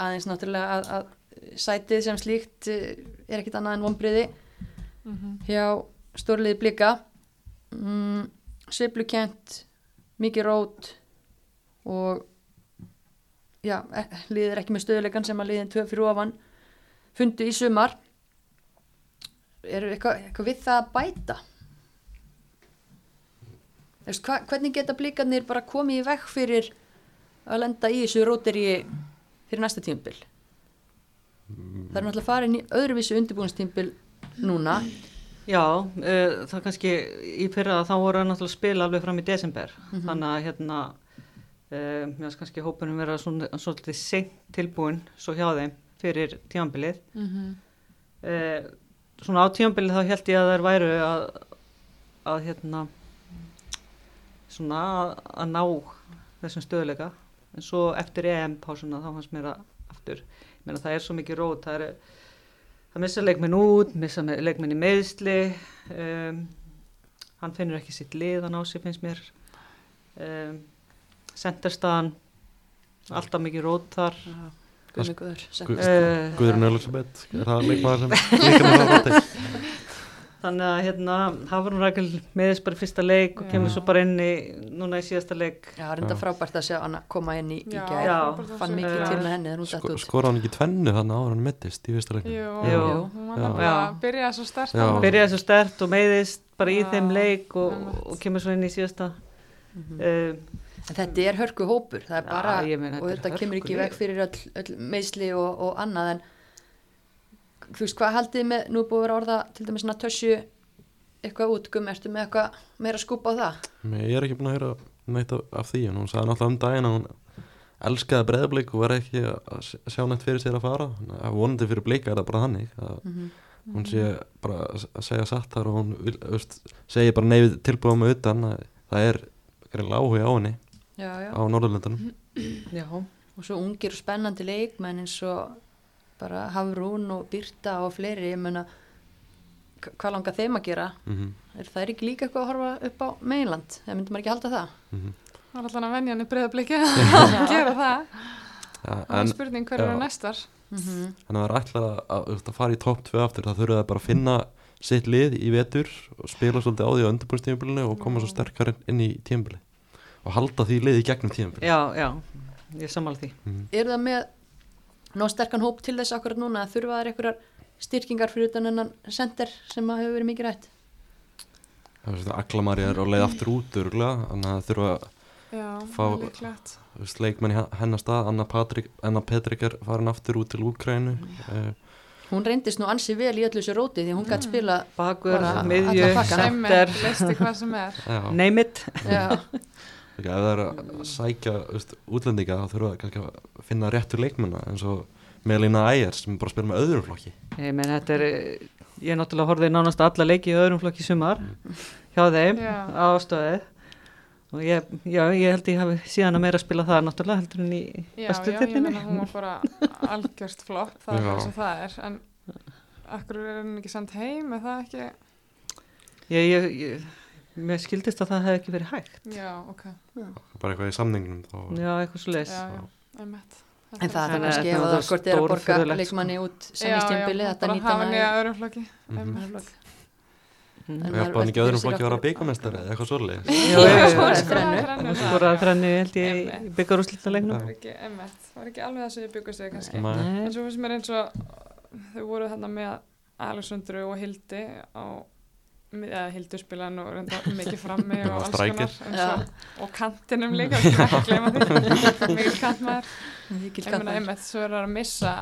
Speaker 2: aðeins náttúrulega að, að sætið sem slíkt eh, er ekkit annað en vonbriði
Speaker 5: Mhm.
Speaker 2: hjá stórliði blika. Mm, Sveiflukent, mikið rót og já, eh, liðið er ekki með stöðuleikan sem að liðin tvö fyrir ofan fundu í sumar. Eru eitthvað, eitthvað við það að bæta? Veist, hva, hvernig geta blíkarnir bara komið í vekk fyrir að lenda í þessu róteri fyrir næsta tímbil? Það er náttúrulega farin í öðruvísu undirbúinstímbil núna.
Speaker 4: já uh, það kannski í fyrra þá voru þau náttúrulega að spila alveg fram í desember.
Speaker 2: Mhm.
Speaker 4: Þannig að hérna, uh, mér finnst kannski hópunum vera svona, svolítið seint tilbúin svo hjá þeim fyrir tímanbilið.
Speaker 5: Mhm.
Speaker 4: Eh, svona á tímanbilið þá held ég að þær væru að, að hérna svona að, að ná þessum stöðuleika en svo eftir EM-pásuna þá fannst mér að aftur, ég meina það er svo mikið rót það er það missa leikminn út, missa me- leikminn í meðsli um, hann finnur ekki sitt lið hann á sig finnst mér um, senderstaðan alltaf mikið rót þar
Speaker 2: Guðmi Guður.
Speaker 3: Gu-
Speaker 4: uh,
Speaker 3: Guðrún Elizabeth, er það leikmaður sem leikmaður á rátti
Speaker 4: Þannig að hérna, Hafrún Rækul meðist bara í fyrsta leik og kemur
Speaker 5: Já.
Speaker 4: svo bara inn í, núna í síðasta leik.
Speaker 2: Já, reynda frábært að sjá hann að koma inn í, í
Speaker 5: Já,
Speaker 2: gæð.
Speaker 4: Já,
Speaker 5: frábært að
Speaker 2: Fann
Speaker 5: sjá.
Speaker 2: mikið
Speaker 4: Já.
Speaker 2: til með henni þegar hún dætt
Speaker 3: Sko,
Speaker 2: út.
Speaker 3: skora hann ekki tvennu þannig áður en hann mittist í fyrsta leiknum
Speaker 5: Jú,
Speaker 4: Jú.
Speaker 5: hún var
Speaker 3: Já.
Speaker 5: nefnilega
Speaker 4: Já.
Speaker 5: að byrja svo stert.
Speaker 3: Já.
Speaker 5: annars.
Speaker 4: Byrjaði svo stert og meðist bara í
Speaker 5: Já,
Speaker 4: þeim leik og,
Speaker 5: einmitt. Mhm.
Speaker 4: og kemur svo inn í síðasta. uh,
Speaker 2: En þetta er hörku hópur. Það er
Speaker 4: Já,
Speaker 2: bara,
Speaker 4: ég meina,
Speaker 2: og
Speaker 4: þetta er
Speaker 2: þetta kemur ekki í
Speaker 4: hörkulið.
Speaker 2: vekk fyrir öll, öll meðsli og, og annað. En þú veist, hvað haldið þið með, nú er búið að vera orða til dæmis svona tössu eitthvað útgum, ertu með eitthvað meira skúpa á það?
Speaker 3: Nei, Ég er ekki búin að heyra neitt af, af því en hún sagði náttúrulega um daginn að hún elskaði breðablík og var ekki að s- sjá neitt fyrir sér að fara Þannig að vonandi fyrir blíka er það bara þannig að hún sé bara að að segja satt þar og hún vil, veist, segi bara neyfið tilbúðum utan að það er greinlega áhuga á henni
Speaker 2: Já, já.
Speaker 3: á Norðurlöndunum
Speaker 4: já,
Speaker 2: og svo ungir og spennandi leikmenn eins og bara Hafrún og Birta og fleiri, ég meina hva- hvað langar þeim að gera?
Speaker 3: mm -hmm.
Speaker 2: Er það ekki líka eitthvað að horfa upp á meginland? Það myndi maður ekki halda það?
Speaker 3: mhm.
Speaker 5: Það var alltaf að venja hann í breyðabliki að gera það. Það er
Speaker 3: en,
Speaker 5: spurning hverju
Speaker 3: já.
Speaker 5: eru næstar.
Speaker 3: en það er ætlað að, að, þú veist, að fara í topp 2 aftur það þurfa það bara að finna sitt lið í vetur og spila svolítið á því á undirbúrstíðumbilinu og koma svo sterkar inn í tíðumbili og halda því lið í gegnum tíðumbili
Speaker 4: já, já, ég sammála því.
Speaker 2: Er það með ná sterkan hóp til þess akkurat núna að þurfa þær einhverjar styrkingar fyrir utan hennan sender sem að hefur verið mikið rætt?
Speaker 3: það er svona aglamarja er á leið aftur út örgulega, þannig að það þurfa
Speaker 5: Já,
Speaker 3: Fá-
Speaker 5: það er líklegt.
Speaker 3: þú veist, leikmenn í he- hennar stað Anna, Patrik, Anna Petrik er farin aftur út til Úkrænu uh,
Speaker 2: Hún reyndist nú ansi vel í öllu þessu róti því hún gætt spila
Speaker 4: Bakur,
Speaker 2: Bara
Speaker 4: miðju,
Speaker 2: alla pakka.
Speaker 5: Sæmmer,
Speaker 4: sender,
Speaker 5: listi hvað sem er.
Speaker 3: já,
Speaker 4: neymit.
Speaker 2: já,
Speaker 3: Ekki, ef það er að sækja þú veist, útlendinga þá þurfa kannski að finna réttu leikmenn eins og Melina Ægers sem bara spyrir með öðrum flokki
Speaker 4: Ég menn, þetta er, eh, ég náttúrulega horfið nánast á alla leiki í öðrum flokki í sumar hjá þeim
Speaker 5: Já.
Speaker 4: á stöði og ég, já, ég held ég hafi síðan að meira að spila það náttúrulega heldur en í
Speaker 5: Já,
Speaker 4: bestu
Speaker 5: já, ég meina hún
Speaker 4: dellinni.
Speaker 5: var bara algjört flopp, það er
Speaker 3: Já.
Speaker 5: bara sem það er, en akkur er henni ekki sendt heim, er það ekki?
Speaker 4: Ég, ég, ég, mér skildist að það hefði ekki verið hægt.
Speaker 5: já, ok,
Speaker 3: bara eitthvað í samningnum þá
Speaker 4: Já, eitthvað svo leiðis.
Speaker 5: já, já, einmitt
Speaker 2: En það er
Speaker 4: Þannig
Speaker 2: kannski
Speaker 4: að
Speaker 2: ef
Speaker 4: það
Speaker 2: það
Speaker 4: er
Speaker 2: hvort er að borga
Speaker 4: stórfurðulegt,
Speaker 2: leikmanni út
Speaker 5: Já,
Speaker 2: samningstjömbili,
Speaker 5: já,
Speaker 2: þetta
Speaker 5: bara
Speaker 2: nýta
Speaker 5: hafa
Speaker 2: hana
Speaker 5: nýja
Speaker 2: í-
Speaker 5: öðrum flokki
Speaker 3: Mhm.
Speaker 5: einmitt.
Speaker 2: örlög.
Speaker 4: Mm.
Speaker 2: En
Speaker 3: og
Speaker 2: maður
Speaker 3: hjálpa hann ekki
Speaker 2: veltir
Speaker 3: öðrum
Speaker 2: sér
Speaker 3: flokki að vera
Speaker 2: okkur-
Speaker 3: byggamestari eða eitthvað svoleið
Speaker 4: Já, já, já.
Speaker 5: Skoraði
Speaker 2: Skoraði þrennu.
Speaker 5: þrennu,
Speaker 4: Hún
Speaker 5: já,
Speaker 4: skoraði
Speaker 5: já.
Speaker 4: þrenni, held ég, í
Speaker 5: Einmitt.
Speaker 4: byggarúslítalegnum.
Speaker 5: var ekki, einmitt, var ekki alveg það sem ég byggust við kannski
Speaker 3: Nei.
Speaker 5: en svo finnst mér eins og þau voru þarna með Alexandru og Hildi á eða Hildur spilaðan og reynda mikið frammi
Speaker 3: Já,
Speaker 5: og alls
Speaker 3: striker.
Speaker 5: konar eins og, og kantinum líka,
Speaker 2: Mm.
Speaker 5: við skulum ekki gleyma því mikið kantmaður,
Speaker 2: Mikil
Speaker 5: ég meina
Speaker 2: kantmaður.
Speaker 5: einmitt svo er það að missa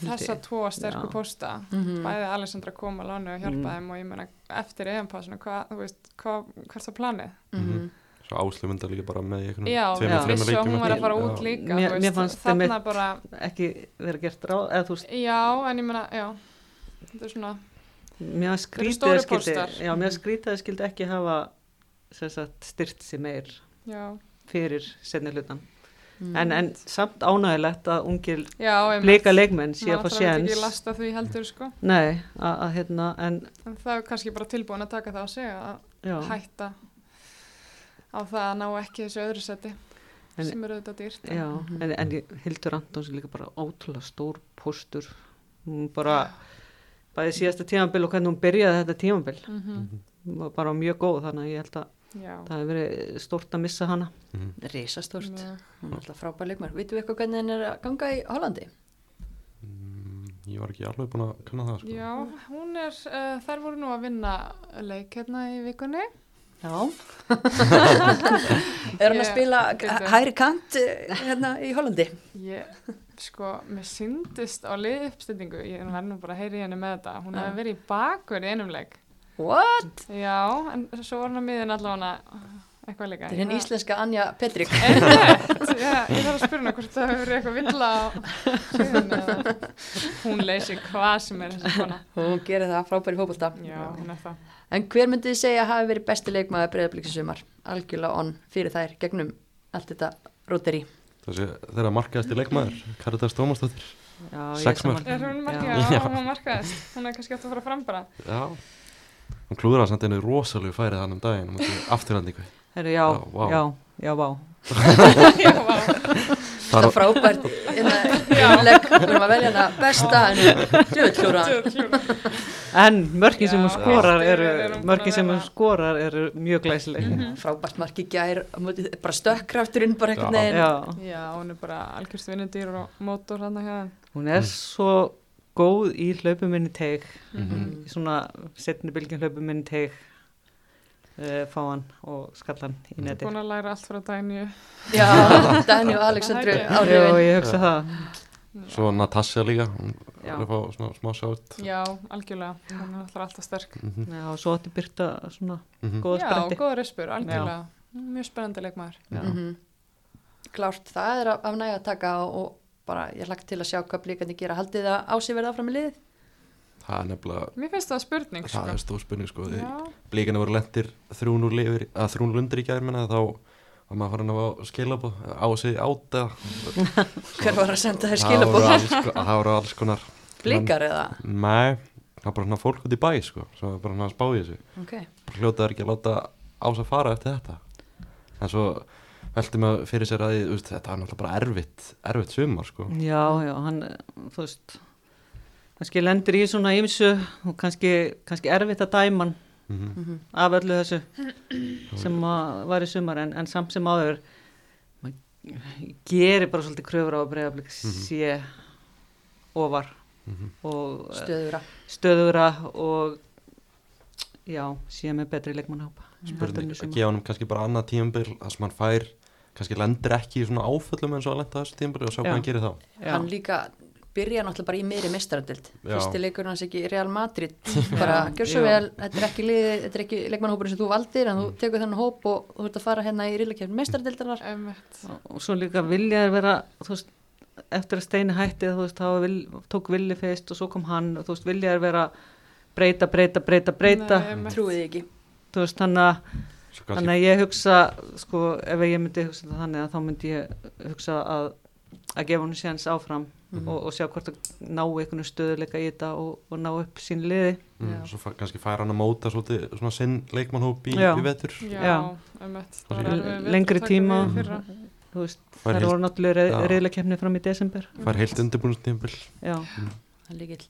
Speaker 5: þessa tvo sterku
Speaker 4: Já.
Speaker 5: posta
Speaker 2: Mhm.
Speaker 5: bæði Alexandra kom að lánu og hjálpa
Speaker 4: Mm.
Speaker 5: þeim og ég meina eftir EM-pásinu, hvað, þú veist, hvað, hvert var planið?
Speaker 2: Mhm.
Speaker 3: svo áslumundar líka bara með í einhvernum
Speaker 5: Já,
Speaker 3: Mm. tveimur,
Speaker 4: já.
Speaker 3: þremur
Speaker 5: vissu að
Speaker 3: leikjum
Speaker 5: hún var að
Speaker 3: eftir.
Speaker 5: fara
Speaker 3: Já.
Speaker 5: út líka,
Speaker 4: Mér-
Speaker 5: þú
Speaker 4: mér fannst
Speaker 5: þarna
Speaker 4: einmitt-
Speaker 5: bara,
Speaker 4: Ekki verið gert ráð, eða þú veist,
Speaker 5: já, en ég meina, já, þetta er svona,
Speaker 4: mér var
Speaker 5: eru
Speaker 4: skrítið
Speaker 5: stórir
Speaker 4: að
Speaker 5: Mm.
Speaker 4: skildi,
Speaker 5: póstar.
Speaker 4: já, mér var skrítið að skildi ekki hafa sem sagt, styrt sér meir
Speaker 5: já,
Speaker 4: fyrir setni hlutan.
Speaker 2: Mhm.
Speaker 4: En, en samt ánægilegt að ungir
Speaker 5: já, einmitt.
Speaker 4: bleika leikmenn sé að fá
Speaker 5: Maður þarf ekki að
Speaker 4: séns.
Speaker 5: lasta því heldur sko
Speaker 4: Nei, að, að hérna, en
Speaker 5: en það er kannski bara tilbúin að taka það á sig að
Speaker 4: já,
Speaker 5: hætta á það að ná ekki þessu öðru seti
Speaker 4: En-
Speaker 5: sem eru auðvitað dýrt en-
Speaker 4: já en, en ég- Hildur Antons er líka bara ótrúlega stór póstur. Hún bara, bæði síðasta tímabil og hvernig hún byrjaði þetta tímabil,
Speaker 5: Mhm.
Speaker 4: hún var bara mjög góð þannig að ég held að
Speaker 5: já,
Speaker 4: Mm. það hefur verið stórt að missa hana.
Speaker 3: Mhm.
Speaker 2: Risastórt.
Speaker 5: mjög.
Speaker 2: Hún er alltaf frábær leikmar. Vitum við eitthvað hvernig henn er að ganga í Hollandi?
Speaker 3: Mm, ég var ekki alveg búin að kanna það sko.
Speaker 5: já, hún er uh, þær voru nú að vinna leik hérna í vikunni
Speaker 2: Já. er hann að
Speaker 5: Ég-
Speaker 2: spila
Speaker 5: Bíddu.
Speaker 2: hæri kant eh, hérna í Hollandi?
Speaker 5: ég, sko, mér syndist á liðuppstillingu, ég var nú bara að heyri henni með þetta, hún
Speaker 2: Já.
Speaker 5: hefði verið í bakverð í einum leik,
Speaker 2: What?
Speaker 5: já en svo var hún að miðin allavega eitthvað líka
Speaker 2: Þetta er hinn
Speaker 5: Ég-
Speaker 2: íslenska Anja Petrik.
Speaker 5: Einmitt, já, ég þarf að spyrja hana hvort það hefur verið eitthvað villa á síðan eða hún leysir hvað sem er þessi kona.
Speaker 2: Hún gerir það frábær í fókbalta.
Speaker 5: Já, hún er það.
Speaker 2: En hver myndið þið segja að hafi verið besti leikmaður breyðabliksisumar? Algjörlega onn fyrir þær gegnum allt þetta róteri.
Speaker 3: þessi þeirra markaðasti leikmaður Karitas Tómasdóttir
Speaker 4: Já, ég
Speaker 3: Sex mörk.
Speaker 4: sammála.
Speaker 5: Er hún
Speaker 4: Já.
Speaker 5: markað? Já, hún markaðist. Hún er kannski átt að fara fram bara.
Speaker 3: já hún klúðraði samt einu rosalegu færið hann um daginn um afturhendingu
Speaker 4: Herru, já,
Speaker 3: Já, vá.
Speaker 4: já, já, vá.
Speaker 5: Já, vá.
Speaker 2: Þetta frábært hérna, innlegg, við erum að velja hana besta, en djöðljóra.
Speaker 4: En mörkin sem hún
Speaker 5: Já.
Speaker 4: skorar
Speaker 5: Já.
Speaker 4: eru,
Speaker 5: Við erum búin
Speaker 4: mörkin
Speaker 5: að
Speaker 4: sem hún
Speaker 5: vera-
Speaker 4: skorar eru mjög glæsileg.
Speaker 2: Frábært marki gær, á móti- bara stökkrafturinn bara einhvern
Speaker 3: Já.
Speaker 2: veginn.
Speaker 4: Já,
Speaker 5: Já, hún er bara algjörst vinnudýr og mótor hann að hérna.
Speaker 4: hún
Speaker 3: Mm.
Speaker 4: er svo góð í hlaupuminni teig,
Speaker 3: Mhm.
Speaker 4: í svona setni bylgjum hlaupuminni teig, uh, fáan og skallan í neti.
Speaker 5: Búin að læra allt frá dænju.
Speaker 2: Já, Dani og Aleksandru
Speaker 5: Það er
Speaker 4: Já,
Speaker 2: áhrifin.
Speaker 4: ég hugsa það.
Speaker 3: svo Natasja líka hún
Speaker 4: Já.
Speaker 3: er að fá svona smá sjátt
Speaker 5: Já, algjörlega. Hún er alltaf alltaf sterk.
Speaker 4: Já, og svo átti Byrta svona
Speaker 3: Mhm.
Speaker 4: góða
Speaker 5: Já,
Speaker 4: spretti.
Speaker 5: góður rispur, algjörlega. Mjög spennandi leikmaður.
Speaker 2: Mhm. Klárt, það er af næg að taka og bara ég lagt til að sjá hvað blíkandi gera. Haldið að ásið verða áfram í liðið?
Speaker 3: það er nefnilega
Speaker 5: Mér finnst það spurning,
Speaker 3: það
Speaker 5: sko.
Speaker 3: er stór spenning sko því
Speaker 5: Já,
Speaker 3: blíkana voru lendir 300 lifir að 300 lundir í gær menna þá var maður farin að fá skilabóð á sig átta
Speaker 2: Hver var að senda þér
Speaker 3: það voru
Speaker 2: skilabóð?
Speaker 3: alls, það voru alls konar
Speaker 2: Blíkar eða?
Speaker 3: nei það var bara svona fólk út í bæ sko sem var bara svona að spá í þessu
Speaker 2: Ok.
Speaker 3: bara hljótaður ekki að láta ás að fara eftir þetta en svo velti maður fyrir sér að því, þú veist, þetta var náttúrulega bara erfitt erfitt sumar sko
Speaker 4: Já, já, hann, þú veist, kannski lendir í svona ýmsu og kannski, kannski erfitt að dæma hann
Speaker 3: Mhm.
Speaker 4: af öllu þessu sem að var í sumar en, en samt sem áður maður gerir bara svolítið kröfur á að breyðablík sé ofar og eh,
Speaker 2: Stöðura.
Speaker 4: stöðugra og já, sé með betri leikmannhópa
Speaker 3: spurning að gefa honum kannski bara annað tímabil þar sem hann fær kannski lendir ekki í svona áföllum eins og að lenda þessu tímabil og sjá
Speaker 4: Já.
Speaker 3: hvað hann gerir þá
Speaker 2: hann líga byrja náttúrulega bara í meiri meistaradild
Speaker 3: Já.
Speaker 2: fyrsti leikur hans ekki í Real Madrid bara
Speaker 4: Já,
Speaker 2: gjör svo
Speaker 4: já. Mm.
Speaker 2: vel, þetta er ekki, liði, þetta er ekki leikmannhópurinn sem þú valdir en þú tekur þennan hóp og þú ert að fara hérna í rillakefn meistaradild
Speaker 5: einmitt.
Speaker 4: og svo líka vilja er vera þú veist, eftir að steini hætti þú veist, þá vil, tók villi fyrst og svo kom hann og þú veist, vilja er vera breyta, breyta, breyta, breyta
Speaker 5: Nei, einmitt.
Speaker 2: trúið þið ekki
Speaker 4: þú veist, þannig að
Speaker 3: svo kannski
Speaker 4: Þannig að ég hugsa, sko, ef ég myndi hugsa þetta þannig að þá myndi ég hugsa að að gefa hún séns áfram
Speaker 3: Mhm.
Speaker 4: og, og sjá hvort að ná einhvern stöðuleika í þetta og, og ná upp sín liði
Speaker 3: mm,
Speaker 2: Já.
Speaker 3: svo fa- kannski fær hann að móta svolítið svona sinn leikmannhóp í,
Speaker 4: Já.
Speaker 3: í vetur
Speaker 5: Já,
Speaker 4: Já.
Speaker 5: einmitt,
Speaker 3: Og
Speaker 5: það var
Speaker 3: l-
Speaker 5: erfiður vetur
Speaker 4: lengri
Speaker 5: taka
Speaker 4: tíma.
Speaker 5: við í fyrra.
Speaker 4: þú veist,
Speaker 3: Fær
Speaker 4: þær
Speaker 3: heilt-
Speaker 4: voru náttúrulega
Speaker 3: Já.
Speaker 4: reyðlakefni fram í desember
Speaker 3: fær heilt undirbúinnstímpil
Speaker 4: já,
Speaker 2: hann líkil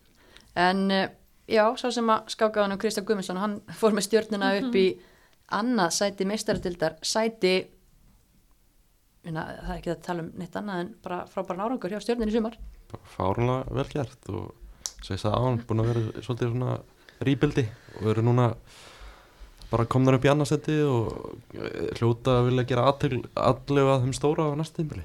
Speaker 2: en eh, já, sá sem að skákaðan um Kristján Guðmundsson, hann fór með stjórnina upp í annað sæti meistaratildar sæti minna, það er ekki að tala um neitt annað en bara frábæran árangur hjá stjórnin í sumar
Speaker 3: fárunlega vel gert og svo ég sagði á hann búin að vera svolítið svona rýbildi og eru núna bara komnar upp í annarsetti og eh, hljóta að vilja gera allu að þeim stóra á næsta tímbili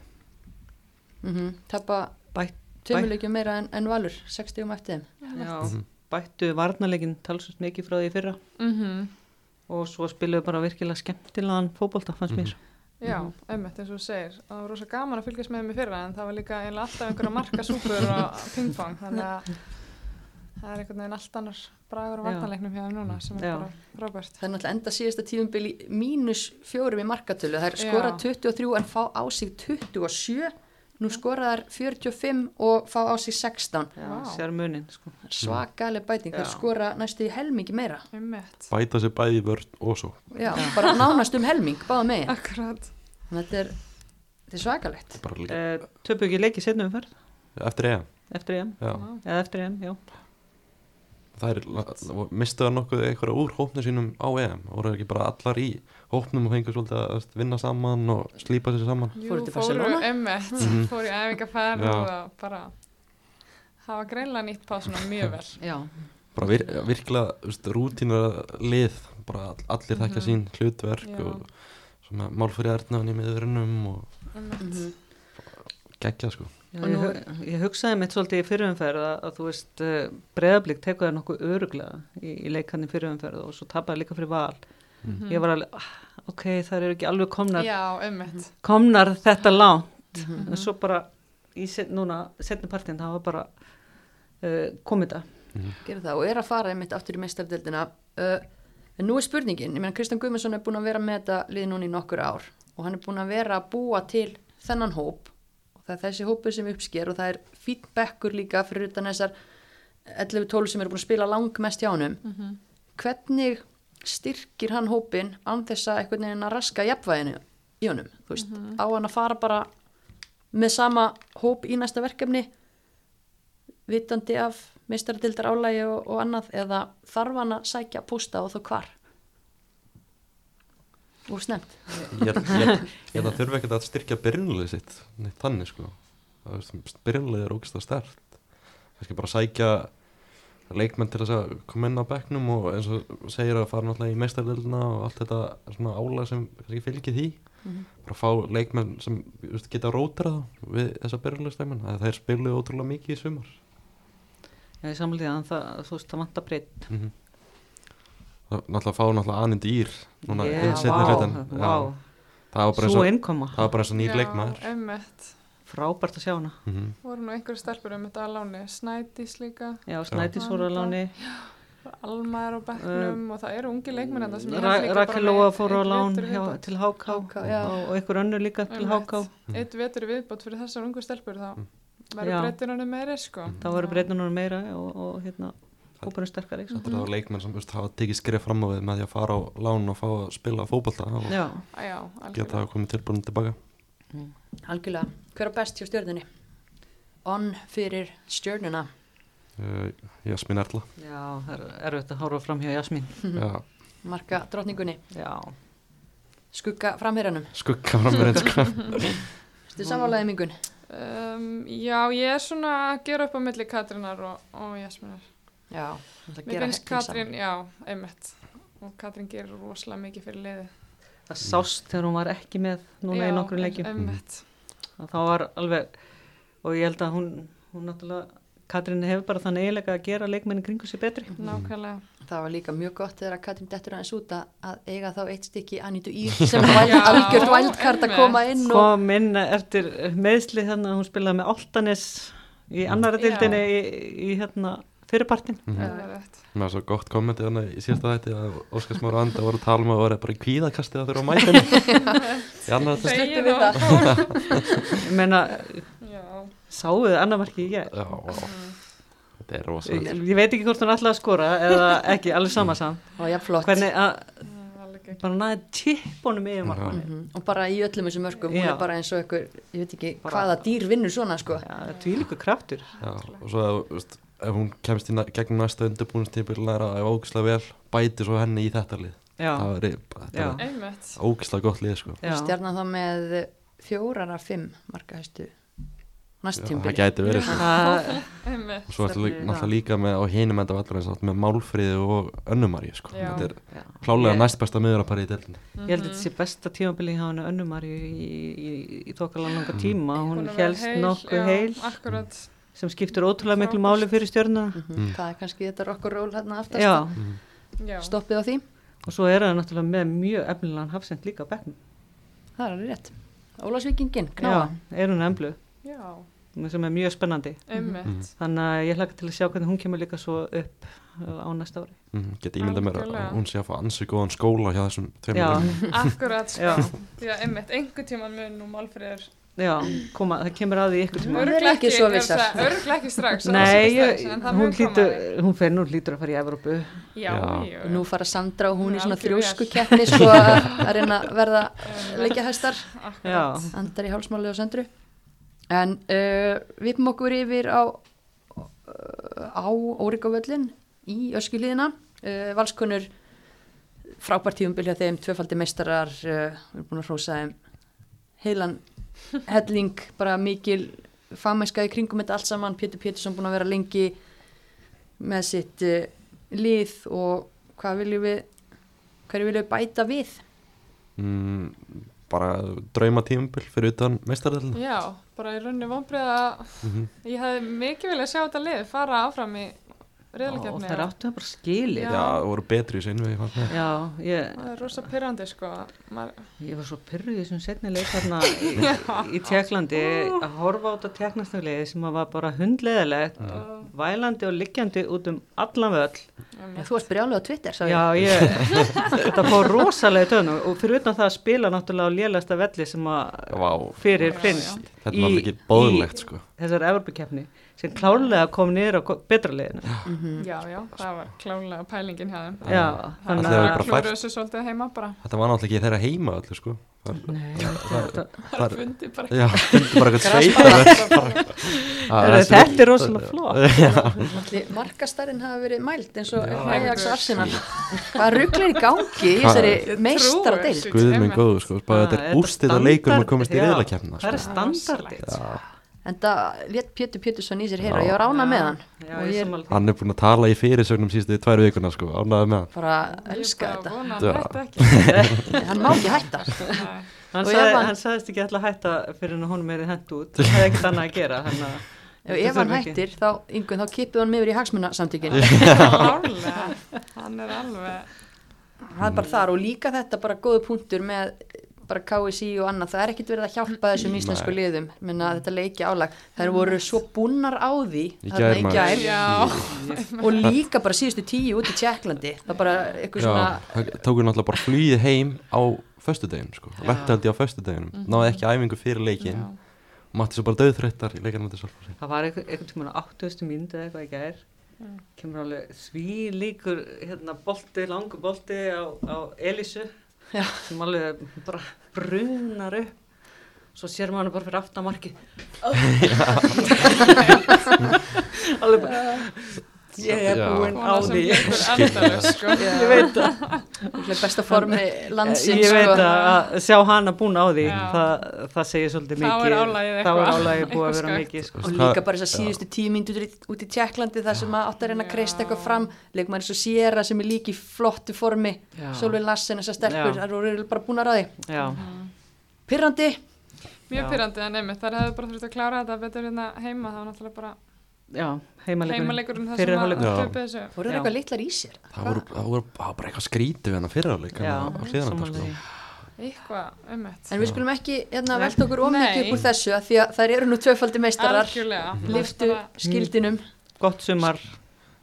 Speaker 2: mm -hmm. tapa
Speaker 4: Bætt-
Speaker 2: tömuleikjum meira en, en valur 60 um eftir þeim
Speaker 4: já. bættu varnarleikin talsvist mikið frá því í fyrra
Speaker 5: Mhm.
Speaker 4: og svo spiluðu bara virkilega skemmtilegan fótbolta fannst mér
Speaker 5: Já, einmitt eins og þú segir það var rosa gaman að fylgjast með þeim í fyrra en það var líka eiginlega alltaf einhverja markasúpur og pingpong þannig að það er einhvern veginn allt annar bragur og
Speaker 4: Já.
Speaker 5: varnarleiknum hjá þeim núna sem er
Speaker 4: Já.
Speaker 5: bara frábært
Speaker 2: það er náttúrulega enda síðasta tífumbil í mínus fjórum í markatölu, það er
Speaker 5: Já.
Speaker 2: skora 23 en fá á sig 27 nú skora þær 45 og fá á sig 16
Speaker 4: já,
Speaker 5: Vá.
Speaker 4: sér munin sko.
Speaker 2: svakaleg bæting, þær
Speaker 4: Já.
Speaker 2: skora næstu í helmingi meira
Speaker 5: einmitt,
Speaker 3: bæta sér bæði í vörn og svo
Speaker 2: Já, bara nánast um helming, báða megin
Speaker 5: akkurat
Speaker 2: Þannig að þetta er, þetta er svakalegt
Speaker 3: bara líka
Speaker 4: eh, töpu ekki leiki setnum umferð
Speaker 3: eftir EM
Speaker 4: eftir EM,
Speaker 3: já.
Speaker 5: Vá.
Speaker 4: eða eftir EM, já
Speaker 3: það er, mistu það nokkuð einhverja úr hópnum sínum á EM voru ekki bara allar í hópnum og fengur svolítið að þú veist, vinna saman og slípa sér saman
Speaker 5: Jú,
Speaker 2: Fóruð til
Speaker 5: fóru
Speaker 2: Barcelona?
Speaker 5: einmitt,
Speaker 3: Mhm.
Speaker 5: fóru í æfingarferð
Speaker 3: Já.
Speaker 5: og það bara hafa greinlega nýtt pásuna mjög vel
Speaker 2: Já,
Speaker 3: bara vir, virkilega þú veist, rútínar lið bara all- allir þekkja sín hlutverk
Speaker 5: Já.
Speaker 3: og svona málfyrir erðnaðan í miðurinnum og
Speaker 5: einmitt,
Speaker 2: mm
Speaker 3: geggja sko
Speaker 4: Já,
Speaker 2: Og
Speaker 4: ég,
Speaker 2: nú-
Speaker 4: hu- ég hugsaði mitt svolítið í fyrirumferð að, að þú veist, breðablík tekur það nokkuð öruglega í, í leikann í fyrirumferð og svo tapaði líka fyrir val ég var alveg, ah, ok, það eru ekki alveg komnar,
Speaker 5: já, einmitt
Speaker 4: komnar þetta langt en svo bara í set, núna, setni partin, það var bara uh, komið það
Speaker 2: gera það og er að fara einmitt aftur í meistardeldina uh, en nú er spurningin, ég meina Kristján Guðmundsson er búin að vera með þetta lið núna í nokkur ár og hann er búin að vera að búa til þennan hóp og það er þessi hópur sem uppsker og það er feedbackur líka fyrir utan þessar 11-12 sem eru búin að spila langmest hjá hann hvernig styrkir hann hópin án þess að einhvern veginn að raska jafnvæginu í honum, þú veist, á hann að fara bara með sama hóp í næsta verkefni vitandi af meistarildar álægi og, og annað eða þarf hann að sækja pústa og þá hvar og snemt
Speaker 3: ég held- ég held ég held að þurfa ekkert að styrkja byrjunlega sitt neitt þannig sko byrjunlega er ógæst að stert kannski bara sækja leikmenn til þess að koma inn á bekknum og eins og segir að fara náttúrulega í meistardelina og allt þetta svona álag sem kannski fylgir því
Speaker 4: Mhm.
Speaker 3: bara fá leikmenn sem þú veist, geta rótrað við þessa byrjunlega stæmin að þeir spiluðu ótrúlega mikið í sumar
Speaker 4: ég samlega því að það, þú veist, það vantar breytt
Speaker 3: mm -hmm. náttúrulega fá náttúrulega aninn dýr núna
Speaker 4: Já,
Speaker 3: yeah, setni
Speaker 4: vá,
Speaker 3: hlutan
Speaker 4: vá.
Speaker 3: það var bara eins
Speaker 4: svo
Speaker 3: og
Speaker 4: innkoma,
Speaker 3: það var bara eins og nýr
Speaker 5: Já,
Speaker 3: leikmaður
Speaker 5: einmitt,
Speaker 4: frábært að sjá hana
Speaker 3: mm -hmm.
Speaker 5: voru nú einhverju stelpur um þetta að láni, Snædís líka
Speaker 4: já, Snædís voru að láni
Speaker 5: Alma er á bekknum og það eru ungi leikmenn þetta sem ég held líka bara
Speaker 4: Eh, Rakel Lóa
Speaker 5: með
Speaker 4: fór á
Speaker 5: einn
Speaker 4: lán
Speaker 5: vetur í
Speaker 4: hjá,
Speaker 5: viðbót.
Speaker 4: til HK
Speaker 2: Háká, já.
Speaker 4: og, og einhver önnur líka til
Speaker 5: Einmitt.
Speaker 4: HK
Speaker 5: Eitt vetur í viðbót fyrir þessar ungu stelpur þá
Speaker 4: Já. Mm.
Speaker 5: verður breytinunum meiri sko
Speaker 4: það voru breytunum meira og, og hérna hópurinn sterkari sko.
Speaker 3: þetta er þá leikmenn sem þú veist, hafa tekið skrif fram á við með því að fara á lán og fá að spila fótbolta og
Speaker 4: já,
Speaker 5: Á, Já,
Speaker 3: geta
Speaker 5: algjörlega
Speaker 3: að koma tilbúin tilbaka
Speaker 2: algjörlega, hver er best hjá stjörnunni on fyrir stjörnuna
Speaker 3: uh, Jasmín Erla
Speaker 4: já, það er erfitt að horfa fram hjá Jasmín
Speaker 3: Já,
Speaker 2: marka drottningunni,
Speaker 4: já,
Speaker 2: skugga framherjanum
Speaker 3: skugga framverðin sko.
Speaker 2: Þetta er samanlega mingun
Speaker 5: um, Já, ég er svona að gera upp á milli Katrínar og, og Jasminar
Speaker 2: Já, það
Speaker 5: Mér
Speaker 2: gera
Speaker 5: finnst
Speaker 2: helling saman.
Speaker 5: Katrín, já, einmitt og Katrín gerir rosalega mikið fyrir liði
Speaker 4: það sást þegar hún var ekki með núna
Speaker 5: já,
Speaker 4: í nokkrum leikjum
Speaker 5: Einmitt,
Speaker 4: að það var alveg og ég held að hún, hún náttúrulega Katrín hefur bara þann eiginlega að gera leikmennin kringu sér betri
Speaker 5: nákvæmlega
Speaker 2: Það var líka mjög gott þegar að Katrín dettur aðeins út að- að eiga þá eitt stykki Anítu Ír sem var
Speaker 5: Já,
Speaker 2: algjört vældkart að koma inn og
Speaker 4: kom inn eftir meðsli þannig að hún spilaði með Altanes í annara
Speaker 5: Já.
Speaker 4: dildinni í, í hérna fyrirpartin
Speaker 5: Það er rétt.
Speaker 3: með svo gott kommenti þannig í síðasta þætti að Óskar Smára Anda voru að tala um að voru bara í kvíðakasti að þurfa að mæta henni. Í annað þetta
Speaker 5: Segir
Speaker 2: við
Speaker 5: það
Speaker 4: ég meina
Speaker 5: Já,
Speaker 4: Sáuðu þið annað markið í gær?
Speaker 3: Já, vá,
Speaker 4: Mhm.
Speaker 3: þetta er rosa
Speaker 4: Ég, ég veit ekki hvort hún ætlaði að skora eða ekki, alveg sama saman.
Speaker 2: það var jafn flott
Speaker 4: Hvernig að
Speaker 5: Það var líka
Speaker 4: bara naði tippunum yfir markmanni.
Speaker 2: Mhm. og bara í öllum þessum örkum hún
Speaker 4: Já.
Speaker 2: er bara eins og einhver, ég veit ekki
Speaker 4: Bara-
Speaker 2: hvaða dýr vinnur svona sko
Speaker 4: Já, það er tvílíku kraftur.
Speaker 3: Já, og svo ef, þú veist, ef hún kemst í na- gegnum næsta undirbúinstímpil læra að ef ógislega vel bæti svo henni í þetta lið
Speaker 4: Já,
Speaker 3: það er þetta
Speaker 4: Já.
Speaker 3: er
Speaker 5: einmitt.
Speaker 3: ógislega gott lið sko.
Speaker 4: já.
Speaker 2: stjarnan hérna þá með fjórar af fimm marga hæstu
Speaker 3: Já,
Speaker 2: næst
Speaker 3: það
Speaker 2: tímbil
Speaker 3: gæti verið sko.
Speaker 4: Það,
Speaker 5: Einmitt.
Speaker 3: og svo ertu lí-
Speaker 4: Stefnir í
Speaker 3: náttúrulega líka með á hinum enda vallarins átt með Málfríði og Önnumaríu sko.
Speaker 5: Já.
Speaker 3: þetta er
Speaker 4: já.
Speaker 3: klálega
Speaker 4: Ég-
Speaker 3: næst besta miðurapari í delinni
Speaker 4: Ég held að þetta sé besta tímabili hjá henni önnumari í, í, í þokkalega langa tíma. Hún
Speaker 5: að vera
Speaker 4: helst nokkuð
Speaker 5: já,
Speaker 4: heil
Speaker 5: Akkurat,
Speaker 4: sem skiptir ótrúlega miklu máli fyrir stjörnuna.
Speaker 2: Mhm.
Speaker 3: Mm.
Speaker 2: það er kannski þetta rokkur ról hérna aftast
Speaker 4: Já,
Speaker 5: já.
Speaker 2: stoppið á því,
Speaker 4: og svo er það náttúrulega með mjög efnilegan hafsend líka á bekknum.
Speaker 2: það er alveg rétt Ólasvíkingin,
Speaker 4: Já,
Speaker 2: knáa
Speaker 4: er hún emblu
Speaker 5: Já,
Speaker 4: sem er mjög spennandi.
Speaker 5: einmitt.
Speaker 4: Þannig að ég hlaka til að sjá hvernig hún kemur líka svo upp uh, á næsta ári.
Speaker 3: Mhm. get ímynda mér að
Speaker 5: Algjörlega.
Speaker 3: hún sé að fá ansi góðan skóla hjá þessum tveimur
Speaker 4: Já,
Speaker 3: leikmönnum.
Speaker 5: Akkurat,
Speaker 4: Já.
Speaker 5: sko. Já, einmitt. Einhver tíman mun nú málfriður.
Speaker 4: já, koma, það kemur að því ykkur tíma.
Speaker 2: Maður er ekki svo vissar.
Speaker 5: Örgla ekki strax. það er
Speaker 4: Nei,
Speaker 5: ekki
Speaker 4: ég,
Speaker 5: strax, en það mun
Speaker 4: hún,
Speaker 5: koma
Speaker 4: lítur,
Speaker 5: að því.
Speaker 4: hún fer nú lítur að fara í Evrópu.
Speaker 5: Já,
Speaker 3: Já.
Speaker 5: já.
Speaker 2: Nú fara Sandra og hún í
Speaker 5: Hún er
Speaker 2: svona
Speaker 5: algjör
Speaker 2: þrjósku keppni svo að að reyna að verða leikja hæstar
Speaker 4: Já,
Speaker 5: Akkurat.
Speaker 2: andar í hálsmáli og söndru en uh, við pum okkur yfir á uh, á Órikavöllin í öskjuliðina uh, valskunnur frábært tíumbil hjá þeim, tvöfaldi meistarar uh, við erum búin að hrósa þeim heilan helling bara mikil fagmennska í kringum þetta allt saman, Pétur Pétursson búin að vera lengi með sitt uh, lið og hvað viljum við hverju viljum við bæta við
Speaker 3: Mm, bara drauma tímpil fyrir utan meistardelina
Speaker 5: Já, bara í rauninu vonbreið að
Speaker 3: Mhm.
Speaker 5: ég hefði mikið viljað sjá þetta lið fara áfram í
Speaker 4: og
Speaker 5: reyðlakefni.
Speaker 4: það áttu það bara skilið.
Speaker 5: Já.
Speaker 3: Já, það voru betri í sinu ég fannst það.
Speaker 4: Já, ég,
Speaker 5: Það er rosa pyrrandi, sko. Maður,
Speaker 4: ég var svo pyrruð í þessum setni leik þarna í, í Tjekklandi að horfa á þetta teknastafliði sem að var bara hundleðilegt, vælandi og liggjandi út um allan völl.
Speaker 2: Já, þú varst brjálega á Twitter, sagði
Speaker 4: Já, ég, þetta fór rosalega tönum og fyrir utan það að spila náttúrulega á lélægsta velli sem að
Speaker 3: Vá,
Speaker 4: fyrir finnst
Speaker 3: þetta er
Speaker 4: í-
Speaker 3: náttúrulega ekki bóðlegt sko.
Speaker 4: í þessar Evropakeppni sem klárlega kom niður á go- betra leiðinu
Speaker 2: Mhm.
Speaker 5: já, já, það var klálega pælingin hjá þeim.
Speaker 4: Já,
Speaker 5: Það
Speaker 4: þannig
Speaker 3: Allir
Speaker 4: að
Speaker 3: eru bara
Speaker 5: klúður
Speaker 3: fært.
Speaker 5: þessu svolítið heima bara.
Speaker 3: þetta var náttúrulega ekki þeirra heima öllu sko. það,
Speaker 4: Nei, þetta,
Speaker 5: Það fundi bara.
Speaker 3: Já, fundi bara eitthvað sveita
Speaker 4: þetta, þetta er rosalega flott
Speaker 2: Ætli markastarinn hafa verið mælt eins og
Speaker 3: Já.
Speaker 2: Ajax og Arsenal Hvað rugglir í gangi í þessari meistar á deild?
Speaker 3: Guð minn góður sko, bara þetta
Speaker 4: Ah, Þetta
Speaker 3: er úrstið að leikur um að
Speaker 4: standard-
Speaker 3: komast í
Speaker 4: já,
Speaker 3: reyðlakefna
Speaker 4: Það
Speaker 3: sko.
Speaker 4: er standardið
Speaker 2: En það létt Pétur Pétursson í sér heyra,
Speaker 3: Já.
Speaker 2: ég var ána með hann
Speaker 4: Já,
Speaker 2: og
Speaker 4: ég
Speaker 2: ég
Speaker 4: sammála því.
Speaker 3: Hann er búinn að tala í fyrirsögnum sístu tvær vikuna sko, ánæði með hann
Speaker 2: bara elska
Speaker 5: Elskar þetta.
Speaker 2: þetta,
Speaker 5: Ég bara vona
Speaker 3: Já.
Speaker 5: að hætta ekki.
Speaker 2: hann má ekki hætta
Speaker 5: Nei.
Speaker 4: Hann
Speaker 2: Og ég
Speaker 4: sagði-
Speaker 2: vann.
Speaker 4: hann sagðist ekki alltaf hætta fyrir en hún meiri hent út Það hefði ekkert annað að gera þannig að-
Speaker 2: og ef hann hættir þá, yngvun, þá kippið hann yfir í hagsmunasamtökin
Speaker 5: Klálega, hann er alveg
Speaker 2: það er bara þar og líka þetta bara góðu punktur með bara KSI og annað, það er ekkert verið að hjálpa þessum íslensku liðum, menna þetta leiki álag þær voru svo búnar á því
Speaker 3: Í
Speaker 2: þarna
Speaker 3: gær, maður.
Speaker 2: gær.
Speaker 5: Já,
Speaker 2: og líka bara síðustu tíu út í Tjekklandi það bara eitthvað
Speaker 3: Já,
Speaker 2: svona
Speaker 3: það tóku náttúrulega bara flýið heim á föstudeginu sko, lektaldi á föstudeginum Náði ekki æfingu fyrir leikin Matti svo bara döðþreyttar í leikinu með þessu
Speaker 4: Það var einhvern einhver tíma á 80. mínúti eða eitthvað í gær
Speaker 5: Mm.
Speaker 4: kemur alveg svílíkur hérna bolti, langur bolti á, á Elísu
Speaker 2: Já.
Speaker 4: sem alveg bara brunar upp svo sér maður hana bara fyrir aftamarki alveg bara ég er
Speaker 3: Já.
Speaker 4: búinn á
Speaker 5: kona sem
Speaker 4: því
Speaker 5: leikur endalaus sko
Speaker 4: ég veit það
Speaker 2: yeah. besta formi landsins
Speaker 4: ég veit
Speaker 2: sko.
Speaker 4: að að sjá hana búin á því
Speaker 5: Já.
Speaker 4: það, það segir svolítið
Speaker 5: Þá er
Speaker 4: mikið þá
Speaker 5: álagið
Speaker 4: er
Speaker 5: eitthvað-
Speaker 4: álagið búið
Speaker 5: eitthvað
Speaker 4: að vera
Speaker 5: skakkt.
Speaker 4: mikið sko.
Speaker 2: og líka bara þess að síðustu tíu myndur út í Tjekklandi þar sem maður átt að reyna að
Speaker 5: Já.
Speaker 2: kreista eitthvað fram leikmaður eins og Sierra sem er líki flottu formi
Speaker 4: Já.
Speaker 2: Solveig Lassen þessar stelpur
Speaker 4: Já.
Speaker 2: þar voru eiginlega bara búin að ráði
Speaker 4: já,
Speaker 2: Pirrandi,
Speaker 4: Já.
Speaker 5: Mjög pyrrandi en einmitt, þar hefðu bara þurft að klára þetta betur hérna heima, það var náttúrulega bara
Speaker 4: já, heimaleikurinn
Speaker 5: heimaleikurinn það
Speaker 4: Fyrri
Speaker 5: sem að
Speaker 4: hálfleikur.
Speaker 3: Já.
Speaker 5: töpu þessu
Speaker 2: voru
Speaker 4: Já.
Speaker 2: það eitthvað litlar í sér
Speaker 3: Það voru, það voru það var bara eitthvað skrítið við hennar fyrirháleik
Speaker 4: já,
Speaker 3: á hliðarenda
Speaker 4: sammála
Speaker 3: sko.
Speaker 4: því.
Speaker 5: eitthvað einmitt
Speaker 2: en við skulum ekki hérna,
Speaker 4: Nei.
Speaker 2: velta okkur of mikið
Speaker 5: Nei.
Speaker 2: upp úr þessu af því að þær eru nú tvöfaldi meistarar
Speaker 5: Algjörlega
Speaker 2: liftu
Speaker 5: Bara-
Speaker 2: skildinum
Speaker 4: gott sumar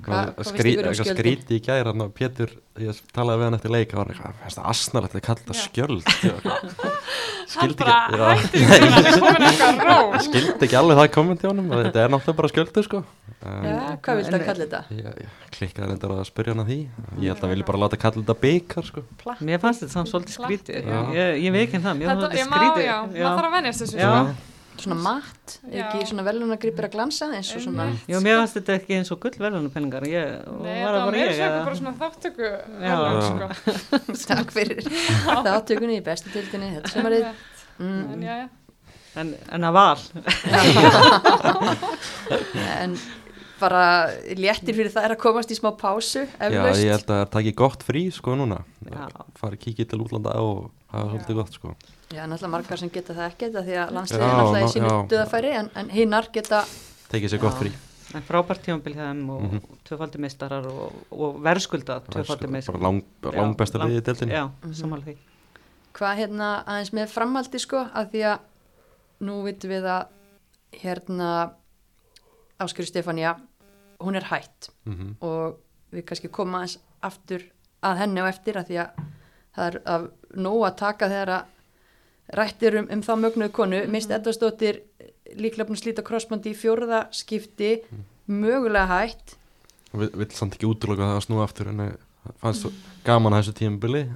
Speaker 2: Hvað- hvað finnst ykkur um
Speaker 3: eitthvað
Speaker 2: skjöldin?
Speaker 3: skríti í gæra og Pétur, ég talaði við hann eftir leik og hann var eitthvað, finnst það asnalegt að kalla það
Speaker 5: Já.
Speaker 3: skjöld sko.
Speaker 5: Hann
Speaker 3: skildi
Speaker 5: bara
Speaker 3: ekki já,
Speaker 5: hætti þessu að það komin eitthvað ró.
Speaker 3: skildi ekki alveg það komandi á honum að þetta er náttúrulega bara skjöldu sko
Speaker 4: Mm.
Speaker 3: um,
Speaker 2: Já, hvað viltu að
Speaker 4: einmitt.
Speaker 2: kalla þetta?
Speaker 3: ég, ég klikkaði reyndar að spyrja hann að því ég held að hann vilja bara láta kalla þetta byggar sko
Speaker 4: Mér fannst þetta samt svolítið skrítið.
Speaker 3: Já.
Speaker 4: Ég, ég veit ekki það, mér fannst
Speaker 5: Þetta, ég
Speaker 4: þetta
Speaker 5: má,
Speaker 4: skrítið.
Speaker 5: já, maður þarf að venjast þessu. sko.
Speaker 4: Já.
Speaker 5: svona.
Speaker 2: Svona matt, er ekki
Speaker 5: Já.
Speaker 2: svona velunargripir að glansa eins og svona
Speaker 5: Einmitt.
Speaker 4: Já, mér fannst þetta ekki eins og gullverðunapenningar. Ég var
Speaker 5: Nei, þetta
Speaker 4: það
Speaker 5: var
Speaker 4: bara
Speaker 5: meira
Speaker 4: ég.
Speaker 5: sér
Speaker 4: eða?
Speaker 5: bara svona þáttöku
Speaker 4: Já.
Speaker 5: verðlaun, sko.
Speaker 2: takk fyrir það átökunni í bestu tildinni þetta sumarið mm,
Speaker 5: En já, já.
Speaker 4: En, en að val.
Speaker 2: en bara léttir fyrir það er að komast í smá pásu
Speaker 3: já,
Speaker 2: eflaust
Speaker 3: ég held að það taki gott frí sko núna
Speaker 4: Já.
Speaker 3: fara að kíkja til útlanda og hafa
Speaker 5: Já.
Speaker 3: svolítið gott sko
Speaker 2: Já, náttúrulega margar sem geta það ekki því að landsliðin
Speaker 3: Já,
Speaker 2: náttúrulega í
Speaker 3: ná-
Speaker 2: sínu
Speaker 3: já.
Speaker 2: döðafæri en, en hinnar geta
Speaker 3: tekið sér
Speaker 4: Já.
Speaker 3: gott frí
Speaker 4: En frábært tímanbíl hjá þeim og mm -hmm. tvöfaldi meistarar og, og verðskuldað tvöfaldi
Speaker 3: Mhm. bara
Speaker 4: meistarar.
Speaker 3: lang, langbesta
Speaker 4: lang-
Speaker 3: liðið í deildinni
Speaker 4: Já,
Speaker 5: Mhm.
Speaker 4: samanlega því.
Speaker 2: hvað hérna aðeins með framhaldi sko af því að nú vitum við að hérna Áskjöru Stefania hún er hætt
Speaker 3: Mhm.
Speaker 2: og við kannski koma aðeins aftur að henni og eftir að því að það er af nóg að taka þegar að rættir um, um þá mögnuðu konu mist Edvarsdóttir líklega búin að slíta krossbandi í fjórða skipti mögulega hætt
Speaker 3: Vi, vill samt ekki útloka það að snúa aftur en eh, fannst svo gaman að þessu tímbili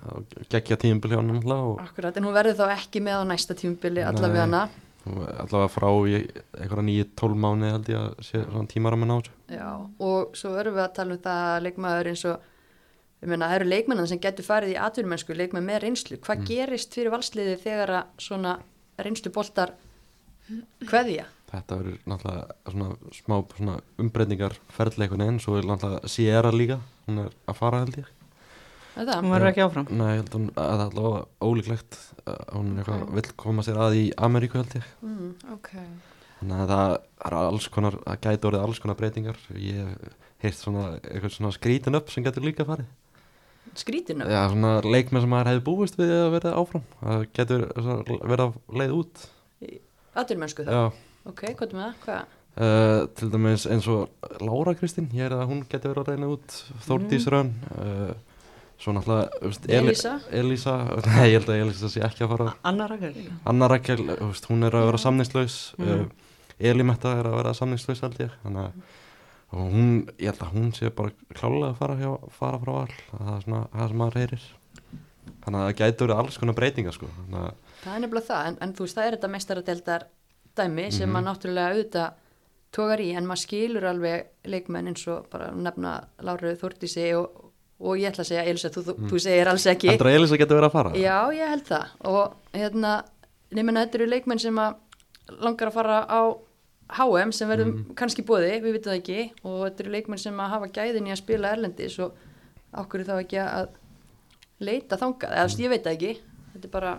Speaker 3: geggja tímbili á hann náttúrulega og
Speaker 2: akkurat en hún verður þá ekki með á næsta tímubili allavega hana
Speaker 3: og allavega frá í einhverja nýju tólf mánu held ég að sé svona tímaramenn á þessu
Speaker 2: Já, og svo verðum við að tala um það að leikmaður eins og ég meina, það eru leikmennan sem getur farið í atvinnumennsku leikmenn með reynslu, hvað gerist fyrir valsliði þegar að svona reynslu boltar kveðja
Speaker 3: þetta verður náttúrulega svona smá svona umbreytingar ferðleikunni en svo er náttúrulega Sierra líka hún er að fara held ég
Speaker 2: Er það?
Speaker 4: Hún verður ekki áfram.
Speaker 3: Nei, ég held hún að það er allavega ólíklegt að hún er eitthvað, vill koma sér að í Ameríku held ég
Speaker 5: Ok.
Speaker 3: þannig að það er alls konar það gæti orðið alls konar breytingar ég hef heyrt svona eitthvað svona skrítin upp sem getur líka farið
Speaker 2: skrítinu
Speaker 3: Já, svona leikmenn sem maður hefði búist við að verða áfram það getur svona verið að leið út
Speaker 2: atvinnumennsku það,
Speaker 3: Já,
Speaker 2: ok, hvað er með það? Hvað?
Speaker 3: Uh, til dæmis eins og Lára Kristín, ég er að hún getur verið að reyna út Þórdís Rönn uh, svo náttúrulega þú veist, Eli-
Speaker 2: Mm. Elísa?
Speaker 3: Elísa, nei ég held að Elísa sé ekki að fara
Speaker 4: Anna Rakel.
Speaker 3: Anna Rakel, eh, þú veist, hún er að
Speaker 2: Mm.
Speaker 3: vera samningslaus uh, Elimetta er að vera samningslaus held ég þannig að og hún, ég held að hún sé bara klálega að fara, hjá, fara frá all það er svona það sem maður heyrir þannig að það gæti verið alls konar breytingar sko þannig að
Speaker 2: það er nefnilega það, en, en þú veist það er þetta meistaradeldar dæmi sem
Speaker 3: Mhm.
Speaker 2: maður náttúrulega auðvitað tókar í en maður skilur alveg leikmenn eins og bara nefna Láru Þórtísi og, og ég ætla að segja Elsa, þú, þú,
Speaker 3: Mm.
Speaker 2: þú segir alls ekki
Speaker 3: heldur að Elísa getur verið að fara
Speaker 2: Já, ég held það og hérna, nefnir að þetta eru leikmenn sem að langar að fara á HM sem verðum kannski bóði, við vitum það ekki og þetta eru leikmenn sem að hafa gæðin í að spila erlendis og okkur þá ekki að leita þangað, eða þú veist, ég veit það ekki þetta er bara,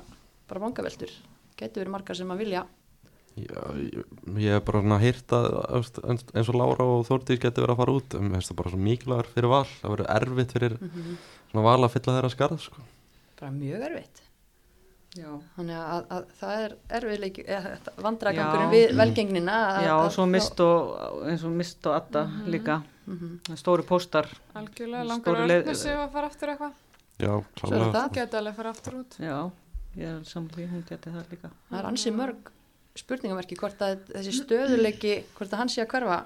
Speaker 2: bara vangaveltur getur verið margar sem að vilja
Speaker 3: Já, ég, ég hef bara svona heyrt að þú veist, eins, eins og Lára og Þórdís getur verið að fara út en það er bara svo mikilvægur fyrir val það verður erfitt fyrir
Speaker 2: Mhm.
Speaker 3: svona val að fylla þeirra skarð sko.
Speaker 2: bara mjög erfitt
Speaker 4: Já.
Speaker 2: þannig að, að, það er erfiðleiki vandragangurinn
Speaker 4: Já.
Speaker 2: við velgengnina að-
Speaker 4: Já,
Speaker 2: að-
Speaker 4: svo mist og, eins og mist og Adda
Speaker 5: Mhm.
Speaker 4: líka.
Speaker 2: Mhm.
Speaker 4: Stóri póstar.
Speaker 5: Algjörlega
Speaker 4: Stóru
Speaker 5: langar
Speaker 4: leið-
Speaker 5: Örnu sig að fara aftur eitthvað.
Speaker 3: já,
Speaker 2: Svo er
Speaker 3: klálega sko.
Speaker 2: það.
Speaker 5: Gæti alveg að fara aftur út.
Speaker 4: Já, ég er samlega því hún geti það líka.
Speaker 2: það er ansið mörg spurningamerki hvort að þessi stöðuleiki hvort að hann sé að hverfa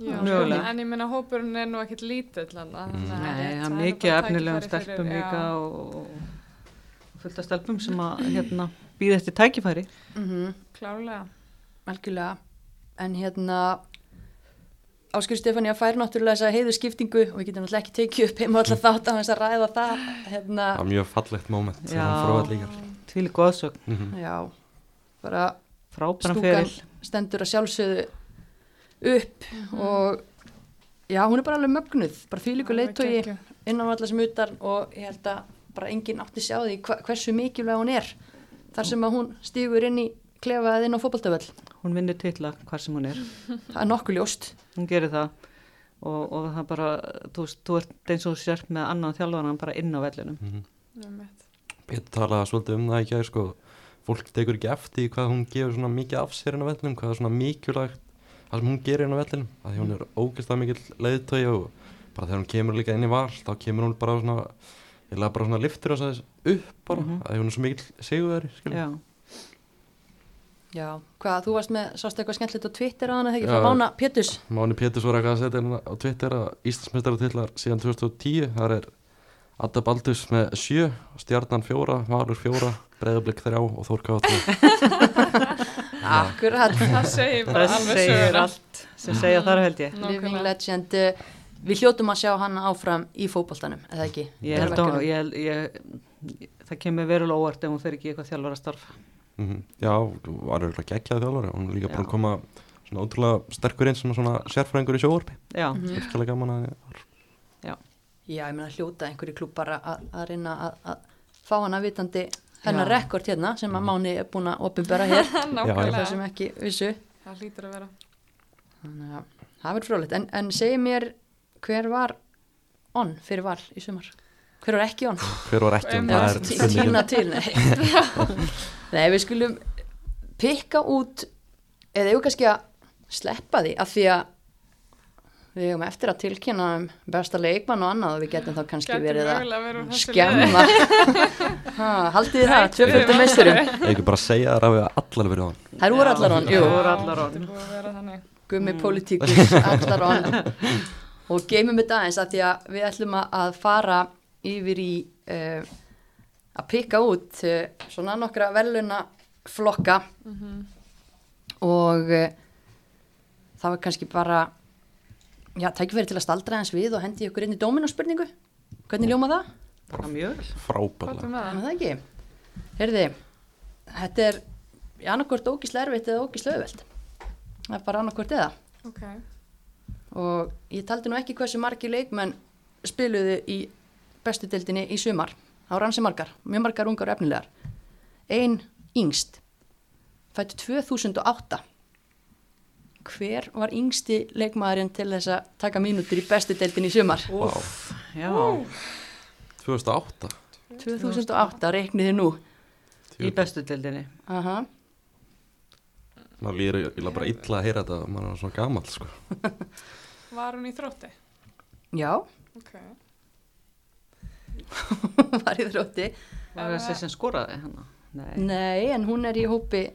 Speaker 5: Já, sko,
Speaker 4: Mögulega.
Speaker 5: En ég minna hópurinn er nú ekkit lítill alveg.
Speaker 4: Nei, það er mikið efnilegum stelpum líka og, og fullt af stelpum sem að hérna, býða eftir tækifæri.
Speaker 5: Klárlega.
Speaker 2: algjörlega en hérna Áskur Stefania fær náttúrulega þessa heiðu skiptingu og við getum náttúrulega ekki tekið upp heima alltaf þátt af þess að ræða það hérna,
Speaker 3: það er mjög fallegt moment
Speaker 4: Já.
Speaker 3: þegar hann fróðar Mhm. líkar
Speaker 4: Tvíli góðsögn,
Speaker 2: já, bara
Speaker 4: frábæran
Speaker 2: stúkan
Speaker 4: feril.
Speaker 2: stendur að sjálfsögðu upp og já, hún er bara alveg mögnuð bara þvílíku
Speaker 5: Alveg
Speaker 2: leiðtogi
Speaker 5: geggjuð.
Speaker 2: innan allar sem utan og ég held að bara enginn átti sjá því hva, hversu mikilvæg hún er þar sem að hún stígur inn í klefaðið inn á fótboltavöll
Speaker 4: Hún vinnur titla hvar sem hún er.
Speaker 2: það er nokkuð ljóst
Speaker 4: Hún gerir það og, og það bara, þú, veist, þú ert eins og þú sért með annan þjálfaran bara inn á vellinum.
Speaker 5: Einmitt.
Speaker 3: Pétur talaði svolítið um það í gær sko. fólk tekur ekki eftir því hvað hún gefur svona mikið af sér en að vellum hvað er svona mikilvægt það sem hún gerir inn á vellinum að því hún er ógeðslega mikill leiðtögi og bara þegar hún kemur líka inn í val þá kemur hún bara svona eða bara svona liftur þess aðeins upp bara
Speaker 4: Mhm.
Speaker 3: að því hún er svo mikill sigurveri
Speaker 4: já,
Speaker 2: Já, hvað, þú varst með, sástu eitthvað skemmtilegt á Twitter á hana, þegar
Speaker 3: Já.
Speaker 2: frá Mána Péturs
Speaker 3: Máni Péturs var eitthvað að setja hérna á Twitter að Íslandsmeistaratitlar síðan 2010 þar er Adda Baldus með 7 Stjarnan 4, Valur 4 Breiðablík 3 og Þór Kátt
Speaker 2: Akkurat,
Speaker 5: það segir bara
Speaker 4: það
Speaker 5: alveg
Speaker 4: segir
Speaker 5: söguna
Speaker 4: allt sem segja þar held ég
Speaker 2: Living
Speaker 5: Nákvæmlega.
Speaker 2: Legend eh, Við hljótum að sjá hana áfram í fótboltanum, eða ekki?
Speaker 4: ég held að hún- ég, held- ég, það kemur verulega óvart ef hún fer ekki í eitthvað þjálfara starf
Speaker 3: Mhm. Já, var eitthvað geggjað þjálfari hún er líka bara
Speaker 4: Já.
Speaker 3: að koma svona ótrúlega sterkur inn sem svona sérfræðingur í sjóorpi
Speaker 4: já,
Speaker 3: virkilega gaman að
Speaker 2: Já, ég meina hljóta einhverju klúpar að að reyna að- að fá hana vitandi hennar
Speaker 4: Já.
Speaker 2: rekord hérna sem að Máni er búin að opinbera hér
Speaker 5: Nákvæmlega.
Speaker 2: það sem ekki vissu
Speaker 5: það hlýtur að vera
Speaker 2: Þannig að það verður frólægt en, en segi mér hver var on fyrir val í sumar hver var ekki on
Speaker 3: hver var ekki um
Speaker 5: Um,
Speaker 3: það er
Speaker 5: Tí-
Speaker 3: spurningin.
Speaker 2: tína til nei. nei, við skulum pikka út eða eigum kannski að sleppa því af því að við eigum eftir að tilkynna um besta leikmann og annað og við getum þá kannski
Speaker 5: Gæti
Speaker 2: verið að
Speaker 5: mögulega verið úr þessu liði.
Speaker 2: skemma ha, haldið þið það,
Speaker 5: Nei,
Speaker 2: 250
Speaker 5: við erum
Speaker 2: meisturum
Speaker 5: aldrei.
Speaker 3: Ég ekki bara að segja þar að við allar verið á hann
Speaker 2: það eru
Speaker 4: Já.
Speaker 2: allar on,
Speaker 4: Jú.
Speaker 2: jú
Speaker 5: Já,
Speaker 4: Voru allar on.
Speaker 5: þetta er búið að vera þannig.
Speaker 2: gummi pólitíkus, allar on og geymum þetta aðeins að því að við ætlum að- að fara yfir í uh, að pikka út uh, svona nokkra verðluna flokka og uh, það var kannski bara já, tækifæri til að staldra aðeins við og hendi ykkur inn í dóminu spurningu hvernig ljóma það?
Speaker 4: það er mjög vel
Speaker 5: Hvað er
Speaker 3: frábæðlega
Speaker 2: Það
Speaker 5: með það?
Speaker 2: er það ekki. Herði, þetta er annarkvort ógíslega erfitt eða ógíslega auðvelt. Það er bara annarkvort eða.
Speaker 5: Ok,
Speaker 2: Og ég taldi nú ekki hversu margir leikmenn spiluðu í bestu deildinni í sumar. Það voru ansi margar, mjög margar ungar og efnilegar. Ein yngst, fættu 2008. Hver var yngsti leikmaðurinn til þess að taka mínútur í bestu deildinni í sumar?
Speaker 3: Vá,
Speaker 4: já,
Speaker 3: 2008
Speaker 2: 2008, reikniði nú.
Speaker 4: í bestu deildinni
Speaker 2: Aha.
Speaker 3: maður líður eiginlega bara illa að heyra þetta maður er svona gamall sko
Speaker 5: var hún í þrótti?
Speaker 2: Já,
Speaker 5: Ok,
Speaker 2: var í þrótti.
Speaker 4: var það sem skoraði hana nei,
Speaker 2: Nei, en hún er í hópi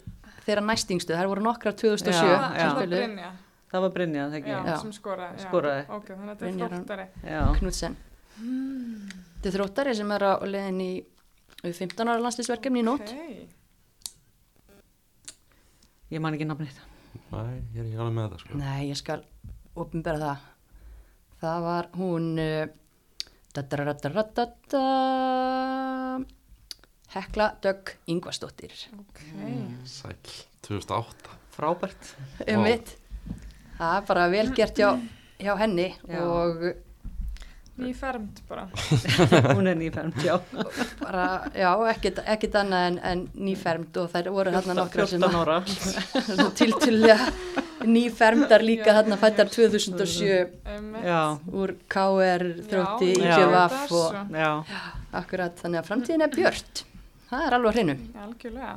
Speaker 2: þeirra næstingstu, þær voru nokkrar 2007
Speaker 5: það
Speaker 4: Já,
Speaker 5: var
Speaker 4: já.
Speaker 5: það
Speaker 2: sem spiluðu.
Speaker 5: Brynja
Speaker 4: það var Brynja, það ekki
Speaker 5: já,
Speaker 2: Já.
Speaker 5: sem skoraði, já.
Speaker 4: Skoraði.
Speaker 5: ok, þannig að þetta
Speaker 2: Brynjar
Speaker 5: er
Speaker 2: hann-
Speaker 5: þróttari
Speaker 4: já,
Speaker 2: Knudsen. Þetta er þróttari sem er á leiðin í 15 ára landslýsverkefni í nótt.
Speaker 5: okay.
Speaker 4: ég man ekki nafnið
Speaker 3: Nei, ég er ekki alveg með það sko
Speaker 2: Nei, ég skal opinbera það. Það var hún uh, dadararadadadada, Hekla Dögg Yngvastóttir.
Speaker 3: Sæl, 2008
Speaker 4: frábært
Speaker 2: Um mitt. Það er bara vel gert hjá, hjá henni
Speaker 4: Já.
Speaker 2: og
Speaker 5: nýfermd bara
Speaker 4: hún er nýfermt, já
Speaker 2: bara, já, ekkit, ekkit annað en, en nýfermd og þær voru hérna
Speaker 4: 14
Speaker 2: nokkra sem að
Speaker 4: 14 ára
Speaker 2: tiltulega nýfermdar líka þarna fættar 2007
Speaker 5: um,
Speaker 4: já,
Speaker 2: úr KR þrótti
Speaker 5: já,
Speaker 4: já.
Speaker 2: IGVF og
Speaker 5: þessu.
Speaker 4: já,
Speaker 2: akkurat þannig að framtíðin er björt það er alveg á hreinu
Speaker 5: algjörlega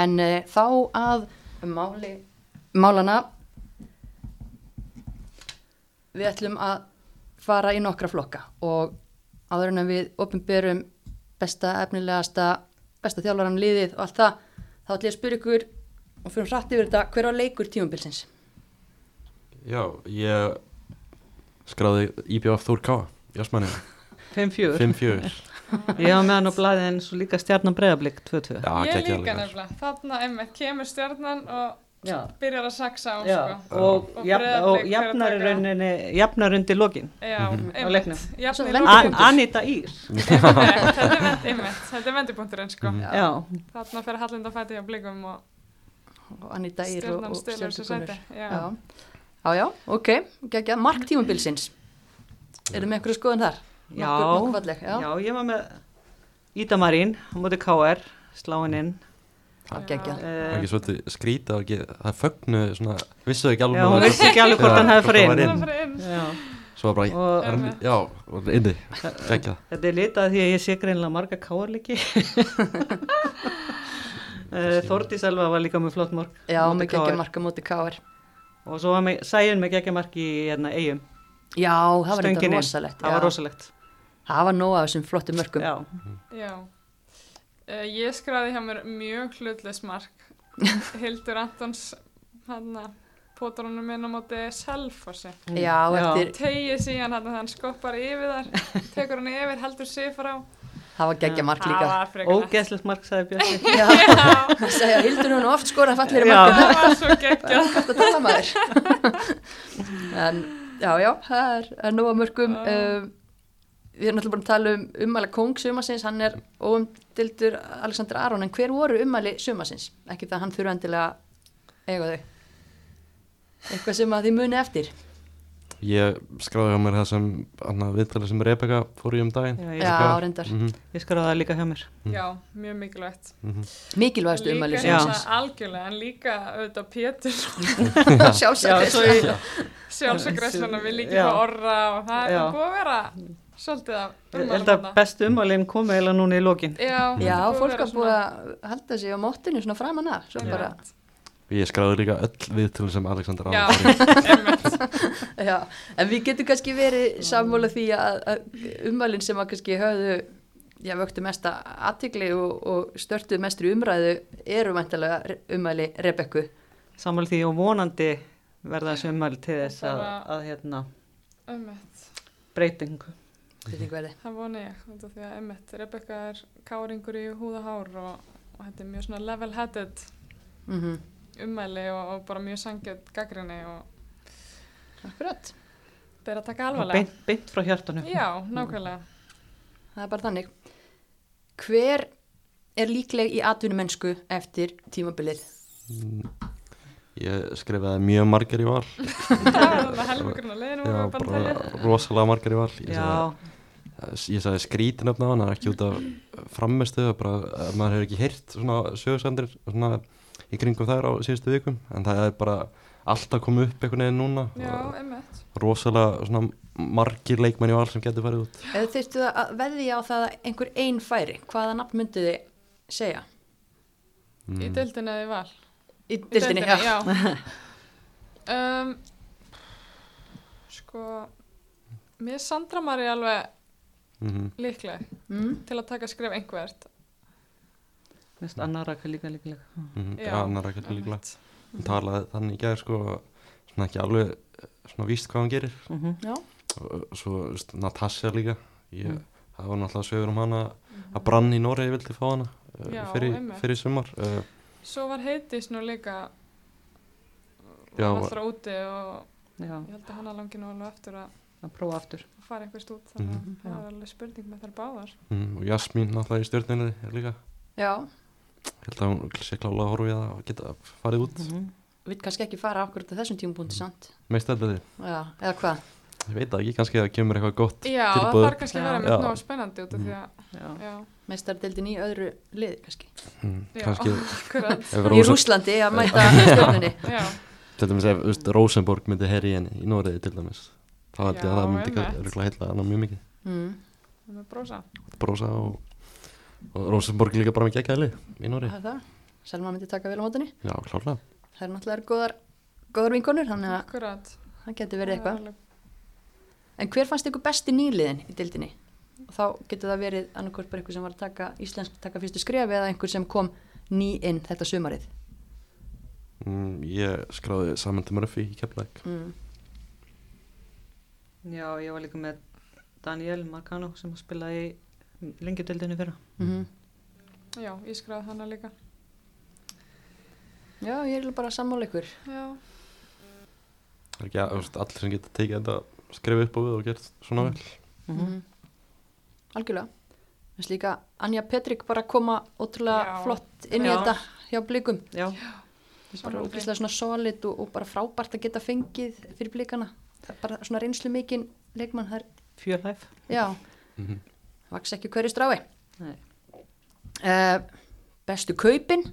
Speaker 2: en uh, þá að máli málana við ætlum að fara í nokkra flokka og áður en að við opinberum besta efnilegasta besta þjálfaran liðið og allt það þá ætlum ég að spyrja ykkur og fyrir hratt yfir þetta hver var leikur tímumbilsins
Speaker 3: Já, ég skráði IBF Þór Káa Jasmanni,
Speaker 4: 5-4
Speaker 3: 5-4
Speaker 4: ég var með hann á blaði en svo líka stjarnan breyðablík 2-2
Speaker 3: Já,
Speaker 5: ég
Speaker 3: geggjaður
Speaker 5: líka
Speaker 3: leikur.
Speaker 5: nefnilega, þarna einmitt kemur stjarnan og
Speaker 4: já,
Speaker 5: byrjar að saksa á
Speaker 4: já.
Speaker 5: sko.
Speaker 4: og,
Speaker 5: Og
Speaker 4: jafn- og
Speaker 5: Breiðablik fer að
Speaker 4: jafnar í
Speaker 5: taka-
Speaker 4: rauninni jafnar undir lokin
Speaker 5: já,
Speaker 3: Mhm.
Speaker 4: Á leiknum.
Speaker 5: einmitt
Speaker 2: Svo
Speaker 5: Jafnir
Speaker 2: vendipunktur.
Speaker 4: An
Speaker 5: lokin.
Speaker 4: Anita Ír
Speaker 3: Ah.
Speaker 5: Einmitt, þetta er vend- einmitt, þetta er vendipunkturinn sko.
Speaker 3: Mhm.
Speaker 4: já,
Speaker 5: þarna fer Hallinda fæti hjá blikum og
Speaker 2: og Anita Ír og,
Speaker 5: stjarnan
Speaker 2: og
Speaker 5: stelur sér
Speaker 2: stjórnukonur
Speaker 5: sæti já.
Speaker 2: Já, já, já ok, geggja, mark tímumbilsins Erum við einhverju skoðun þar?
Speaker 4: já,
Speaker 2: Nokkuð- nokkuð falleg, já.
Speaker 4: já. ég var með Ída Marín á móti KR sláin inn
Speaker 3: Já.
Speaker 2: Geggja
Speaker 3: Það er
Speaker 4: uh,
Speaker 3: ekki svolítið skrýta og ekki, það er fögnu svona, vissu ekki alveg
Speaker 4: Já, hún
Speaker 3: nákvæmlega-
Speaker 4: vissi ekki alveg hvort
Speaker 3: Já,
Speaker 4: hann hefði farið
Speaker 3: hvort
Speaker 4: inn.
Speaker 5: það
Speaker 3: hann var
Speaker 5: fer inn
Speaker 4: Eh, já,
Speaker 3: Svo var bara,
Speaker 4: og
Speaker 5: Já.
Speaker 3: hann- já, og inni, geggja
Speaker 4: Þetta er litað því að ég sé greinilega marga káarleiki. Eh, Þórdís Elva var líka með flott mark.
Speaker 2: Já,
Speaker 4: Móti
Speaker 2: með geggja
Speaker 4: KR.
Speaker 2: marka móti káar
Speaker 4: og svo var með, sæjun með geggjamark í hérna, eigum,
Speaker 2: Já, það var eitthvað
Speaker 4: stöngin inn.
Speaker 2: rosalegt
Speaker 4: það
Speaker 2: já.
Speaker 4: var rosalegt
Speaker 2: Það var nóg af þessum flottum mörgum
Speaker 4: já,
Speaker 5: Já, uh, ég skraði hjá mér mjög hlutleis mark Hildur Antons hana, potarunum minn á móti selfossi
Speaker 2: Já, eftir,
Speaker 5: tegið síðan hann hann skoppar yfir þar tekur hann yfir, heldur sig frá
Speaker 2: það var geggja mark
Speaker 5: það
Speaker 2: líka
Speaker 5: var frekar
Speaker 4: ógeðslegt mark sagði Björn
Speaker 2: Já,
Speaker 5: Já,
Speaker 2: það segja, hildur hún oft skora fallir
Speaker 4: Já.
Speaker 2: mark
Speaker 5: það var svo geggjað
Speaker 2: Hvað að tala maður En, já, já, það er, er nóg af mörgum
Speaker 5: Já.
Speaker 2: um, Við erum náttúrulega bara að tala um ummæli kong sumasins, hann er óumdildur Alexander Aron, en hver voru ummæli sumasins? Ekki það hann þurfa endilega að eiga þau Eitthvað sem að þið muni eftir
Speaker 3: Ég skráði á mér það sem annað viðtalið sem Rebecca fór í um daginn.
Speaker 4: já,
Speaker 2: Já,
Speaker 4: ég,
Speaker 2: reyndar,
Speaker 3: Mhm,
Speaker 4: ég skráði það líka hjá mér
Speaker 5: Já, mjög mikilvægt
Speaker 3: mhm.
Speaker 2: mikilvægastu ummæli
Speaker 4: Já.
Speaker 5: þess að algjörlega, en líka auðvitað Pétur
Speaker 2: sumasins
Speaker 4: já, svo
Speaker 2: Sjálfsagt
Speaker 4: ég,
Speaker 5: sjálfsagressluna við líka
Speaker 4: Já.
Speaker 5: fá orra og það
Speaker 4: Já.
Speaker 5: er búið að vera svolítið að
Speaker 4: ég held
Speaker 5: ummæla
Speaker 4: að bestu umvalin komi eða núna í lokin
Speaker 5: Já,
Speaker 2: Já,
Speaker 5: þetta er
Speaker 2: fólk
Speaker 5: vera
Speaker 2: að búið að halda sig á móttinu svona framan að, svo
Speaker 5: svona-
Speaker 2: bara
Speaker 3: Ég skráði líka öll viðtalið sem Alexander
Speaker 5: Já,
Speaker 3: Arnold fór í.
Speaker 5: einmitt
Speaker 2: Já, en við getum kannski verið sammála því að, að umvælinn sem að kannski höfðu, já, vöktu mesta aðtikli og, og störtu mestri umræðu eru vantilega umvæli Rebekku.
Speaker 4: samanlega því og vonandi verða þessu umvalin til þess að, að hérna,
Speaker 5: einmitt,
Speaker 4: breytingu
Speaker 2: Breytingverði.
Speaker 5: það voni ég út af því að einmitt, Rebecca er káringur í húðahár og, og þetta er mjög svona level-headed
Speaker 2: Mm
Speaker 5: ummæli og, og bara mjög sangjöld gaggrinni og
Speaker 2: Akkurat,
Speaker 5: það er að taka alvarlega
Speaker 4: beint, beint frá hjartanum
Speaker 5: Já, nákvæmlega
Speaker 2: það er bara þannig. Hver er líkleg í atvinnumennsku eftir tímabilið?
Speaker 3: Mm. Ég skrifaði mjög margar í val.
Speaker 5: Það var þannig helmingurinn að leiðinu
Speaker 3: Já,
Speaker 5: og Mm, bara að telja
Speaker 3: bara rosalega margar í val. Ég
Speaker 4: Já,
Speaker 3: sagði, ég sagði skrítinöfn á hann, það er ekki út af framistu, það er bara að maður hefur ekki heyrt svona sögursendir svona í kringum þær á síðustu vikum, en það er bara allt að koma upp einhvern veginn núna.
Speaker 5: Já,
Speaker 3: og
Speaker 5: einmitt
Speaker 3: Rosalega svona margir leikmenn í val sem getur farið út.
Speaker 2: Eða þurftu að veðja á það að einhver ein færi, hvaða nafn myndið þið segja?
Speaker 3: Mm.
Speaker 5: Í deildinni eða í val
Speaker 2: Í
Speaker 5: Í
Speaker 2: dildinni, já.
Speaker 5: já um, Sko Mér er Sandra Marí alveg
Speaker 3: Mm
Speaker 5: líkleg
Speaker 2: Mm.
Speaker 5: til að taka skref einhvert
Speaker 4: mest annar raka líka líka líka
Speaker 3: Mhm,
Speaker 5: Já,
Speaker 3: Já, hann er ekkert líklega
Speaker 5: einmitt.
Speaker 3: Hann talaði þannig í gæðir sko svona ekki alveg eh, svona víst hvað hann gerir
Speaker 4: mm -hmm.
Speaker 2: Já,
Speaker 3: og svo þú veist, Natasja líka ég,
Speaker 5: Mm.
Speaker 3: það var náttúrulega sögur um hana að brann í Noregi vildi fá hana uh,
Speaker 5: Mhm. Já,
Speaker 3: fyrir,
Speaker 5: einmitt.
Speaker 3: fyrir sumar uh,
Speaker 5: Svo var Heidís nú líka
Speaker 3: Já,
Speaker 5: Já, allra úti og
Speaker 4: Já,
Speaker 5: ég held að hana langi nú alveg eftir að
Speaker 4: að prófa aftur
Speaker 5: fara einhverst út þannig að það var alveg spurning með þær báðar
Speaker 3: mm, og Jasmín náttúrulega í stjórninni líka
Speaker 2: já.
Speaker 3: Ég held að hún sé klálega að horfa í það og geta farið út
Speaker 5: Mhm.
Speaker 3: mm -hmm.
Speaker 2: Mhm. Við kannski ekki fara akkurat á þessum tímapunkti, sant?
Speaker 3: meist þetta því,
Speaker 2: Já, eða hvað?
Speaker 3: ég veit það ekki kannski að það kemur eitthvað gott
Speaker 5: Já, það
Speaker 3: tilboð.
Speaker 5: þarf kannski að vera
Speaker 3: Já.
Speaker 5: með nóg spennandi út af því að
Speaker 4: Já,
Speaker 5: Já,
Speaker 2: Meistardildin í öðru lið kannski.
Speaker 3: mm,
Speaker 5: já,
Speaker 3: kannski
Speaker 5: akkurat
Speaker 3: ef
Speaker 2: Í
Speaker 3: Rósa,
Speaker 2: Rúslandi að mæta stjórninni.
Speaker 5: Já,
Speaker 3: til dæmis ef þú veist, Rosenborg myndi herri í henni í Noregi til dæmis þá held ég að
Speaker 5: Já,
Speaker 3: það myndi
Speaker 5: einmitt.
Speaker 3: kannski heitla hana mjög mikið
Speaker 2: Mm.
Speaker 5: með brosa
Speaker 3: brosa og, og Rosenborg líka bara með geggjaðli í Nóri.
Speaker 2: Það er það. Selma myndi taka vel á mótunni.
Speaker 3: Já, klárlega.
Speaker 2: Það eru náttúrulega góðar, góðar vinkonur, þannig að
Speaker 5: Akkurat
Speaker 2: það getur verið eitthvað. En hver fannst ykkur besti nýliðin í dildinni? Og þá getur það verið annarkvort bara einhver sem var að taka íslensk, taka fyrstu skref eða einhver sem kom ný inn þetta sumarið.
Speaker 3: Mm, ég skráði saman til Murphy í Keflæk.
Speaker 2: Mm.
Speaker 4: Já, ég var líka með Daniel Marcano sem spilaði í lengjudeldinu fyrra
Speaker 2: Mm
Speaker 5: Já, ég skraði hana líka
Speaker 2: Já, ég er eiginlega bara að sammála ykkur.
Speaker 5: Já,
Speaker 3: Það er ekki að, þú veist, allir sem getur tekið þetta skrifa upp á við og gert svona vel.
Speaker 2: Mm Algjörlega. Þess líka Anja Petrik bara að koma ótrúlega
Speaker 5: Já.
Speaker 2: flott inn í
Speaker 4: Já.
Speaker 2: þetta hjá blikum.
Speaker 4: Já,
Speaker 2: Það er bara
Speaker 5: Sammála.
Speaker 2: ógeðslega svona solid og, og bara frábært að geta fengið fyrir blikana. Það er bara svona reynslu mikinn leikmann þar.
Speaker 4: fjölhæf
Speaker 2: Já,
Speaker 3: Mhm.
Speaker 2: vaks ekki hverju strái.
Speaker 4: Nei.
Speaker 2: Uh, bestu kaupin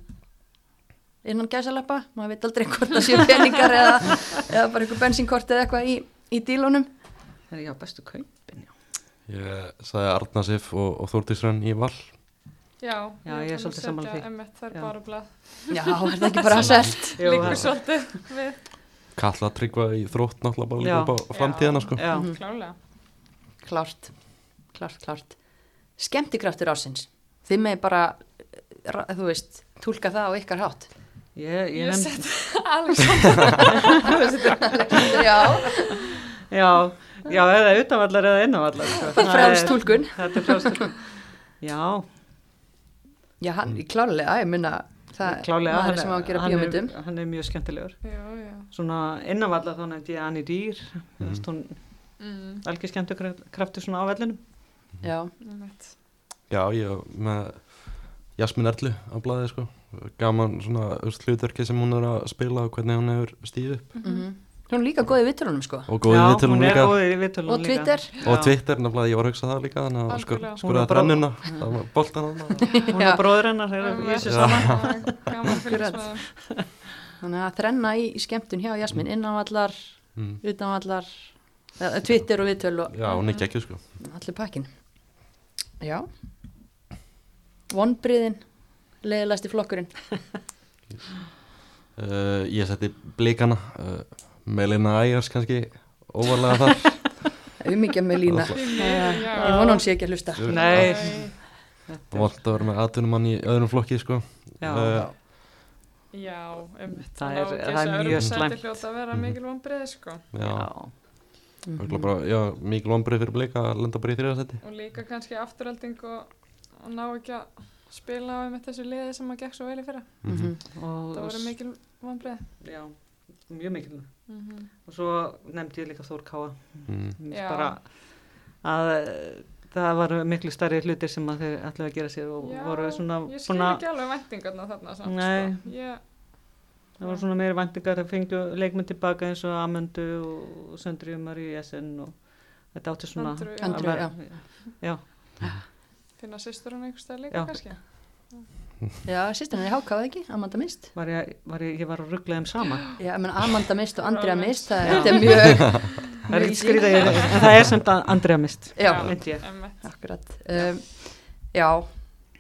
Speaker 2: innan gæsalappa, maður veit aldrei hvort það séu peningar eða, eða bara einhver bensinkort eða eitthvað í, í dílunum.
Speaker 4: Það er já, bestu kaupin já.
Speaker 5: Mm.
Speaker 3: Ég sagði Arna Sif og, og Þórtísrönn í Val.
Speaker 5: já
Speaker 4: Já, ég er svolítið sammála því.
Speaker 5: Emmett, það er
Speaker 4: Já.
Speaker 5: bara blað
Speaker 2: Já, er það ekki bara selt?
Speaker 4: Jú,
Speaker 5: Líkur
Speaker 4: það-
Speaker 5: svolítið við
Speaker 3: kalla tryggva í þrótt náttúrulega bara líka
Speaker 4: Já.
Speaker 3: upp á framtíðina sko.
Speaker 4: Já,
Speaker 2: Mhm.
Speaker 5: klálega.
Speaker 2: klárt, klárt, klárt skemmtikraftur ásins þið með bara, eh, ra- þú veist tólka það á ykkar hátt
Speaker 4: ég, ég
Speaker 5: Ég
Speaker 4: nefndi
Speaker 5: set Alexander
Speaker 2: já,
Speaker 4: Já, já, eða utanvallar eða innanvallar. Sko.
Speaker 2: frjáls tólkun
Speaker 4: Það er- Þetta er frjálstúlkun. Já,
Speaker 2: já, hann, klálega, ég minna það
Speaker 4: klálega.
Speaker 2: maður
Speaker 4: hann
Speaker 2: er sem á að gera
Speaker 4: hann er-
Speaker 2: bíómyndum
Speaker 4: Hann er mjög skemmtilegur.
Speaker 5: Já, já.
Speaker 4: Svona innanvallar þá nefndi ég Annie Dýr. Mm.
Speaker 3: Mhm.
Speaker 4: Veist, hún
Speaker 5: Mm,
Speaker 4: algjör skemmtikraftur svona á vellinum.
Speaker 2: já,
Speaker 5: einmitt.
Speaker 3: Já, ég var með Jasmin Erlu á blaði sko. gaman svona þú veist, hlutverki sem hún er að spila og hvernig hún hefur stíð upp
Speaker 2: mm hún er líka góð í vitturunum sko
Speaker 3: og góði
Speaker 4: já,
Speaker 3: viðtölum
Speaker 4: hún er
Speaker 3: líka
Speaker 4: góð í viðtölum
Speaker 2: og
Speaker 4: líka.
Speaker 2: Twitter
Speaker 3: og Twitter, nefnilega ég var að hugsa það líka þannig að sko,
Speaker 5: Algjörlega.
Speaker 4: Hún er
Speaker 3: skoraði
Speaker 4: bara-
Speaker 3: brennuna það var boltan hann
Speaker 4: Hún
Speaker 2: Já.
Speaker 4: og bróður hennar er að
Speaker 5: Einmitt.
Speaker 4: vísa
Speaker 5: Já,
Speaker 4: saman.
Speaker 5: Gaman fyrir
Speaker 2: Akkurat.
Speaker 5: svona.
Speaker 2: þannig að þrenna í, í skemmtun hjá Jasmin innanvallar,
Speaker 3: Mm.
Speaker 2: utanvallar eh, Twitter og viðtöl og
Speaker 3: Já, hún er geggjuð sko
Speaker 2: allir pakkin já vonbriðin leiðilegasti flokkurinn
Speaker 3: uh, Ég setti blikana uh, Melina Ægars kannski óvarlega þar
Speaker 2: umíkja með lína
Speaker 3: Það
Speaker 5: Því
Speaker 2: Eh,
Speaker 5: miður, já.
Speaker 2: ég vona hún sé ekki að hlusta
Speaker 3: Jú.
Speaker 4: Nei,
Speaker 3: var vant að vera með atvinnumann í öðrum flokki sko
Speaker 4: já,
Speaker 3: Eh,
Speaker 5: Já, einmitt.
Speaker 4: Það
Speaker 5: Ná,
Speaker 4: er-
Speaker 5: ok,
Speaker 4: það er
Speaker 5: þessi
Speaker 4: mjög
Speaker 5: Evrópusæti
Speaker 4: slæmt.
Speaker 5: hljóta að vera
Speaker 3: Mhm.
Speaker 5: mikil vonbreið, sko.
Speaker 3: Já,
Speaker 4: já.
Speaker 2: Mhm.
Speaker 3: örugglega bara, já mikil vombrið fyrir blika að lenda bara í þriðarsæti
Speaker 5: Og líka kannski afturölding og, og ná ekki að spila á einmitt þessu liði sem maður gekk svo vel í fyrra.
Speaker 3: mm
Speaker 2: Mhm.
Speaker 3: -hmm.
Speaker 4: Og,
Speaker 5: Það voru mikil vonbreið.
Speaker 4: já, mjög mikil.
Speaker 5: Mm
Speaker 2: Mhm.
Speaker 4: Og svo nefndi ég líka Þór Káa.
Speaker 3: mm.
Speaker 4: Mér finnst
Speaker 5: Já.
Speaker 4: bara að eh, það var miklu starri hlutir sem að þeir ætlaði að gera sér og
Speaker 5: Já,
Speaker 4: voru svona,
Speaker 5: Ég skil
Speaker 4: svona
Speaker 5: ekki alveg væntingarna þarna samt,
Speaker 4: Nei.
Speaker 5: sko. Ég,
Speaker 4: það voru svona meiri vantingar að fengju leikmenn tilbaka eins og Amundu og Söndri Umar í SN og þetta átti svona
Speaker 5: Andrew, já,
Speaker 4: að
Speaker 2: Andrew,
Speaker 4: vera-
Speaker 5: finna sýstur hann einhverstað líka
Speaker 4: Já.
Speaker 5: kannski.
Speaker 2: já, sýstur henni hákáði ekki, Amanda Mist
Speaker 4: Var ég, var ég, ég var að ruggla þeim saman
Speaker 2: já, menn Amanda Mist og Andrea
Speaker 5: Romance.
Speaker 2: Mist það er- þetta er mjög
Speaker 4: það er ekki skrýta, ég, það er samt að Andrea mist
Speaker 2: já,
Speaker 4: myndi ég
Speaker 5: Einmitt.
Speaker 2: akkurat um, já,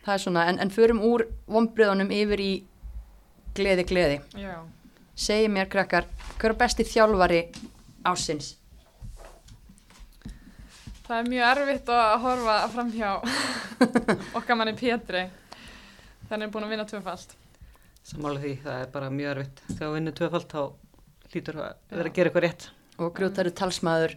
Speaker 2: það er svona en, en förum úr vonbriðunum yfir í gleði, gleði
Speaker 5: Já.
Speaker 2: segi mér krakkar, hver er besti þjálfari ásins?
Speaker 5: Það er mjög erfitt að horfa framhjá okkar manni Pétri. Þannig er búin að vinna tvöfalt.
Speaker 4: sammála því, það er bara mjög erfitt þegar við vinnum tvöfald þá hlýtur að vera
Speaker 5: Já.
Speaker 4: að gera eitthvað rétt
Speaker 2: og grjótaru talsmaður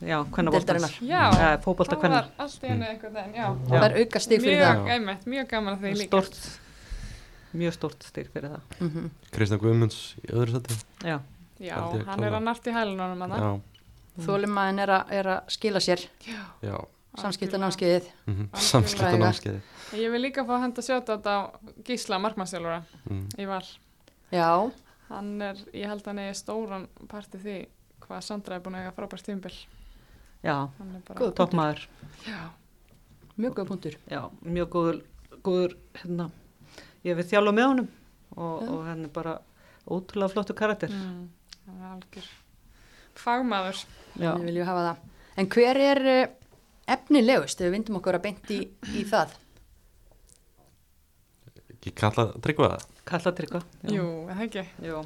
Speaker 4: já, hvernig
Speaker 2: Deildarinnar.
Speaker 5: Já.
Speaker 4: Mm. fótbolta
Speaker 5: það
Speaker 4: hvernig
Speaker 5: var allt í hennu
Speaker 4: Mm.
Speaker 5: einhvern veginn, já.
Speaker 4: Já.
Speaker 2: það er auka stig fyrir
Speaker 5: mjög,
Speaker 2: það
Speaker 3: það.
Speaker 5: einmitt, mjög gaman að því líka.
Speaker 4: stort, mjög stort stig fyrir það
Speaker 2: mm
Speaker 3: Kristján Guðmunds í öðru sæti
Speaker 4: já,
Speaker 5: Já,
Speaker 3: Held ég
Speaker 5: hann er
Speaker 3: klálega.
Speaker 5: að nart í hælunum hann.
Speaker 3: Já,
Speaker 2: þólimaðin er, að- er að skila sér
Speaker 3: já
Speaker 2: samskiptanámskeiðið
Speaker 3: mm -hmm.
Speaker 5: Algjörlega.
Speaker 3: Samskipta námskeiði
Speaker 5: Ég vil líka fá að henda sjáta þetta á Gísla Markmannsjálfara
Speaker 3: mm.
Speaker 5: í val.
Speaker 2: já,
Speaker 5: Hann er, ég held hann eigi stóran part í því hvað Sandra er búin að eiga frábært tímbil.
Speaker 4: já,
Speaker 5: Hann er bara,
Speaker 2: Góð.
Speaker 4: toppmaður
Speaker 5: já,
Speaker 2: mjög góð punktur
Speaker 4: já, mjög góður, góður hérna, ég hef við þjálfa með honum og,
Speaker 2: Já.
Speaker 4: og hann er bara ótrúlega flottu karakter
Speaker 5: mm, hann er algjör fagmaður.
Speaker 4: já,
Speaker 2: við viljum hafa það en hver er eh, efnilegust ef við vindum okkur að beint í, í það
Speaker 3: Ekki kalla tryggva það
Speaker 4: kalla tryggva
Speaker 5: Jú, er það ekki.
Speaker 4: já,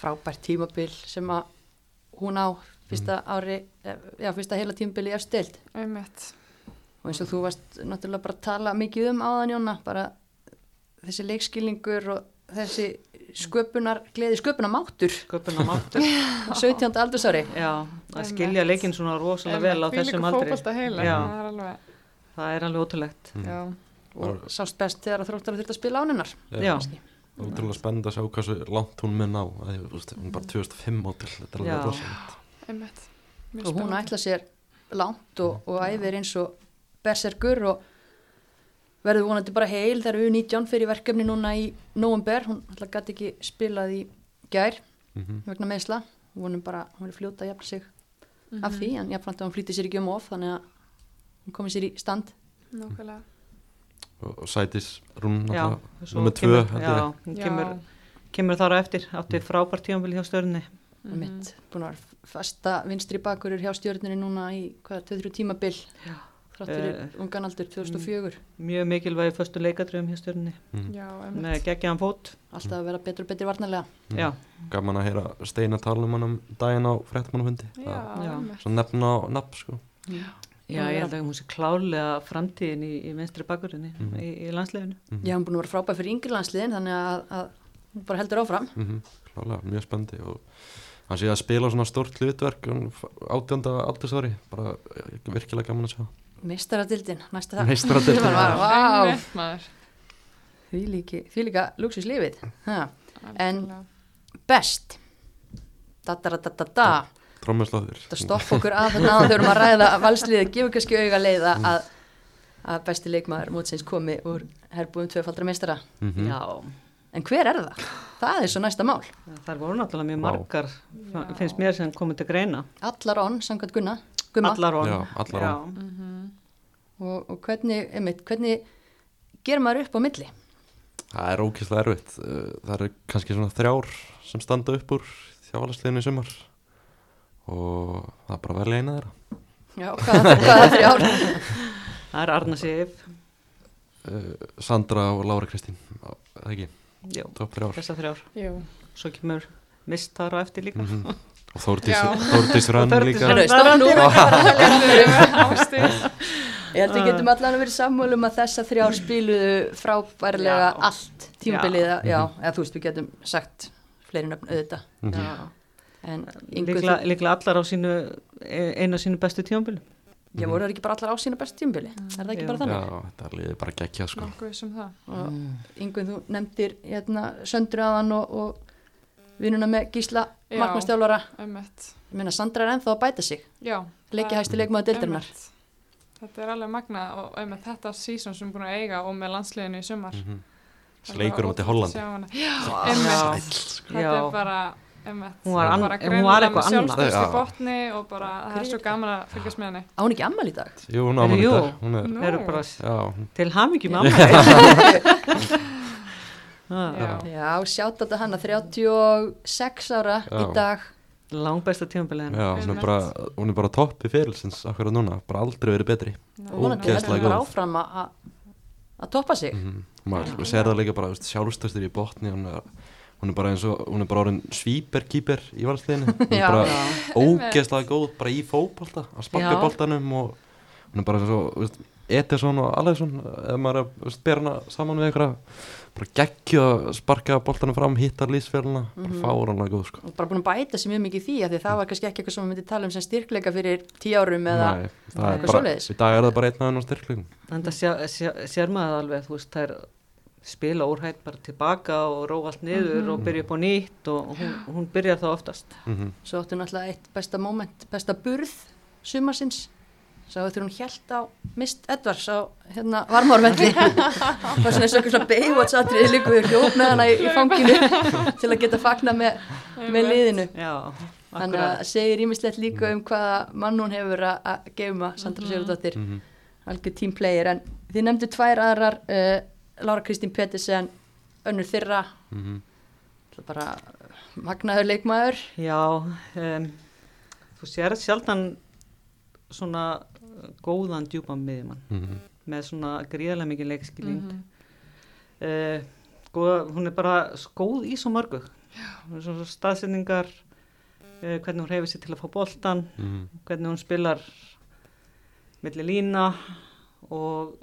Speaker 2: frábært tímabil sem að hún á fyrsta ári eh, já, fyrsta heila tímabil í efstild
Speaker 5: Einmitt.
Speaker 2: og eins og þú varst náttúrulega bara að tala mikið um áðan Jóna bara þessi leikskilningur og þessi sköpunar, gleði sköpunar máttur
Speaker 4: sköpun á máttur
Speaker 2: 17. aldursári
Speaker 4: já, að skilja
Speaker 5: Einmitt.
Speaker 4: leikinn svona rosalega vel á þessum aldri
Speaker 5: Fólkvölda heila,
Speaker 4: Já.
Speaker 5: það er alveg,
Speaker 4: það er alveg ótrúlegt
Speaker 3: Mm.
Speaker 5: já.
Speaker 2: og sást best þegar að þróttar þurft að spila ánunar
Speaker 4: já,
Speaker 3: Eh, Ótrúlega spennend að sjá hversu langt hún mun á að, því, þú veist, Hún er bara 2005 mótil Þetta er
Speaker 4: Mhm. Já.
Speaker 3: alveg rosalegt
Speaker 5: Einmitt. Mjög
Speaker 2: og hún
Speaker 5: spennandi.
Speaker 2: ætla sér langt og, og æfir eins og berserkur og verður vonandi bara heil þegar við 19 fyrir verkefni núna í november, hún ætla gæti ekki spilað í gær
Speaker 3: mm
Speaker 2: vegna meðsla og vonum bara, að hún vil fljóta að jafna sig
Speaker 5: Mhm.
Speaker 2: af því, en jafnframt að hún flýti sér ekki um of þannig að hún komi sér í stand
Speaker 5: Nákvæmlega.
Speaker 3: og, og Sætis Rún
Speaker 4: já
Speaker 3: náttúrulega.
Speaker 4: svo
Speaker 3: Númer tvö,
Speaker 4: kemur-
Speaker 3: held ég.
Speaker 4: já, hún kemur, kemur þar á eftir átti frábært tímanbili hjá störni
Speaker 5: Já.
Speaker 2: mm mitt, búin að vera fasta vinstri bakurur hjá stjórnirinn núna í hvaða, 2-3 tímabil þrátt fyrir ungan aldur 2004
Speaker 4: Mjög mikilvægi föstu leikadröfum hjá stjórnni
Speaker 5: Já,
Speaker 4: með
Speaker 5: einmitt.
Speaker 4: geggjaðan fót
Speaker 2: alltaf að vera betur og betur varnarlega
Speaker 3: Mm.
Speaker 4: Já,
Speaker 3: Gaman að heyra Steina tala um hann um daginn á fréttamannafundi
Speaker 5: Já,
Speaker 4: Já.
Speaker 5: einmitt.
Speaker 3: Svo nefna á nafn sko
Speaker 4: Já ég held að hún sé klálega framtíðin í, í venstri bakkurinni
Speaker 3: Mhm.
Speaker 4: í, í landsleginu
Speaker 2: ég hafði búin að vera frábæð fyrir yngri landsliðin þannig að, að hún bara heldur áfram
Speaker 3: mm Klálega, mjög spennandi og hann sé að spila svona stórt hlutverk átjönda aldursári bara eh, virkilega gaman að sjá
Speaker 2: meistaradildin, næsta það
Speaker 3: Meistaradildin.
Speaker 2: Maður bara, vá,
Speaker 5: Einmitt, maður.
Speaker 2: því líki- því líka luxus lífið ha. En-
Speaker 5: Algjörlega.
Speaker 2: best da da da da da da
Speaker 3: Trómmusláður
Speaker 2: þetta stoppa okkur að þarna áðan þegar við erum að ræða valsliðið, gefur kannski auga leið að- að, að besti leikmaður mótsins komi úr herbúðum tvöfaldra meistara
Speaker 3: Mhm.
Speaker 4: Já,
Speaker 2: en hver er það? Það er svo næsta mál
Speaker 4: þar voru náttúrulega mjög
Speaker 3: Vá.
Speaker 4: margar
Speaker 5: Já.
Speaker 4: finnst mér sem komið til greina
Speaker 2: allar onn, samkvæmt Gunna Gumma,
Speaker 4: Allar orð
Speaker 3: Já, allar
Speaker 4: Já.
Speaker 2: og, og hvernig, einmitt, hvernig ger maður upp á milli?
Speaker 3: Það er ókýrslega erfitt Eh, það eru kannski svona þrjár sem standa upp úr þjávalasliðinu í sumar og það er bara að velja eina þeirra
Speaker 2: Já, hvað, hvað er þrjár?
Speaker 4: Það er Arna Sif
Speaker 3: Eh, Sandra og Lára Kristín á- það ekki,
Speaker 4: Jú,
Speaker 3: topp þrjár
Speaker 4: þessar þrjár
Speaker 5: Jú.
Speaker 4: Svo kemur mistar á eftir líka
Speaker 3: Mhm. og Þórdís
Speaker 5: Já.
Speaker 3: Þórdís Rönn
Speaker 4: Og Þórdís
Speaker 3: líka
Speaker 4: Rönn.
Speaker 2: Herru, stopp nú, við erum að velja.
Speaker 5: Ástíð.
Speaker 2: Ég held við getum allan að vera sammálum að þessa þrjár spiluðu frábærilega
Speaker 4: Já.
Speaker 2: allt tímabilið, já, eða þú veist, við getum sagt fleiri nöfn auðvitað
Speaker 3: Mhm.
Speaker 4: Já.
Speaker 2: en yngur,
Speaker 4: Líklega, líklega allar á sínu e, einu af sínu bestu tímabili
Speaker 2: já, voru það ekki bara allar á sína besta tímabili er það ekki
Speaker 4: Já.
Speaker 2: bara þannig?
Speaker 3: Já, þetta er liðið bara gekkja sko
Speaker 5: Nokkuð sem það.
Speaker 3: Mm.
Speaker 2: og Ingun þú nefndir hérna, söndru aðan og, og vinnuna með Gísla
Speaker 5: Já.
Speaker 2: Markmannstjálfara
Speaker 5: Einmitt.
Speaker 2: ég meina Sandra er ennþá að bæta sig
Speaker 5: Já.
Speaker 2: leikja hægstu leikmaður deildarinnar
Speaker 5: Einmitt. Þetta er alveg magna og einmitt þetta sísón sem við erum búin að eiga og með landsliðinu í sumar.
Speaker 3: Mhm.
Speaker 5: Það er
Speaker 3: Leikur á
Speaker 5: bara
Speaker 3: móti
Speaker 5: ótrúlegt að
Speaker 3: Hollandi.
Speaker 5: sjá hana. Já, einmitt. Þetta
Speaker 4: Já.
Speaker 5: er bara, einmitt.
Speaker 4: Hún var
Speaker 5: bara
Speaker 4: ann- en hún
Speaker 5: greinilega
Speaker 4: var eitthvað
Speaker 5: með
Speaker 4: annað.
Speaker 5: Sjálfstæðist í
Speaker 3: Já.
Speaker 5: botni og bara, það er svo gaman að fylgjast með henni.
Speaker 2: á hún ekki ammal í dag
Speaker 3: Jú, hún á mann í
Speaker 4: Jú.
Speaker 3: dag Hún er,
Speaker 5: Nú.
Speaker 4: Það eru bara
Speaker 3: já, hún-
Speaker 4: til hamingjum ammæli
Speaker 5: Já.
Speaker 2: já, sjátt á þetta hana 36 ára í
Speaker 3: Já.
Speaker 2: dag
Speaker 4: Langbesta tímabili hennar
Speaker 3: já, hún er
Speaker 5: Einmitt.
Speaker 3: bara Hún er bara toppi fyrirlsins akkur að núna Bara aldrei verið betri
Speaker 2: og vonandi heldur hún
Speaker 3: Ógeðslega góð.
Speaker 2: bara áfram að- að að toppa sig
Speaker 3: mm Maður ja. sér það líka bara veist, sjálfstöðstur í botni hún er, hún er bara eins og Hún er bara orðin svíperkýper í valsliðinu Hún
Speaker 2: Já.
Speaker 3: er bara ógeðslega góð Bara í fótbolta, að
Speaker 4: Já.
Speaker 3: sparka boltanum Og hún er bara eins og veist, Etisson og Alesson Ef maður er að veist, bera hana saman við einhverja Bara geggju að sparka boltanum fram Hittar lýsfélina, bara fáranlega góð sko.
Speaker 2: og bara búin að bæta sig mjög mikið í því af því það var kannski ekki eitthvað sem við myndið tala um sem styrkleika fyrir 10 árum eða
Speaker 3: Nei, það er
Speaker 2: eitthvað
Speaker 3: bara,
Speaker 2: svoleiðis.
Speaker 3: í dag er það bara einn aðeins styrklegum
Speaker 4: Þannig að sjá- sjá- sér maður það alveg þú veist það er spila úrhætt bara tilbaka og róa allt niður og byrja upp á nýtt og og hún, hún byrjar þá oftast
Speaker 3: mm -hmm.
Speaker 2: Svo áttu náttúrulega eitt besta moment, besta burð sumarsins. Svo þegar hún hjælt á Mist Edwards á hérna varmárvelli. Það var svona eins og einhver svona Baywatch atriði líka við hljóp með hana í, í fanginu til að geta fagna með, með liðinu.
Speaker 4: Já,
Speaker 2: Þannig að
Speaker 4: akkurat
Speaker 2: segir ímislegt líka um hvaða mann hún hefur að- að geima, Sandra Sigurdóttir, algjör tímplayer. En þið nefndu tvær aðrar, uh, Lára Kristín Pettersen, önnur þeirra,
Speaker 3: mhm,
Speaker 2: ætla bara magnaður leikmaður.
Speaker 4: Já, um, þú sér sjaldan svona uh, góðan djúpan miðjumann
Speaker 3: mhm,
Speaker 4: með svona gríðarlega mikið leikskilning mm hún er bara skóð í svo mörgu Hún er svona staðsendingar uh, hvernig hún hefur sér til að fá boltan
Speaker 3: mhm.
Speaker 4: hvernig hún spilar milli lína og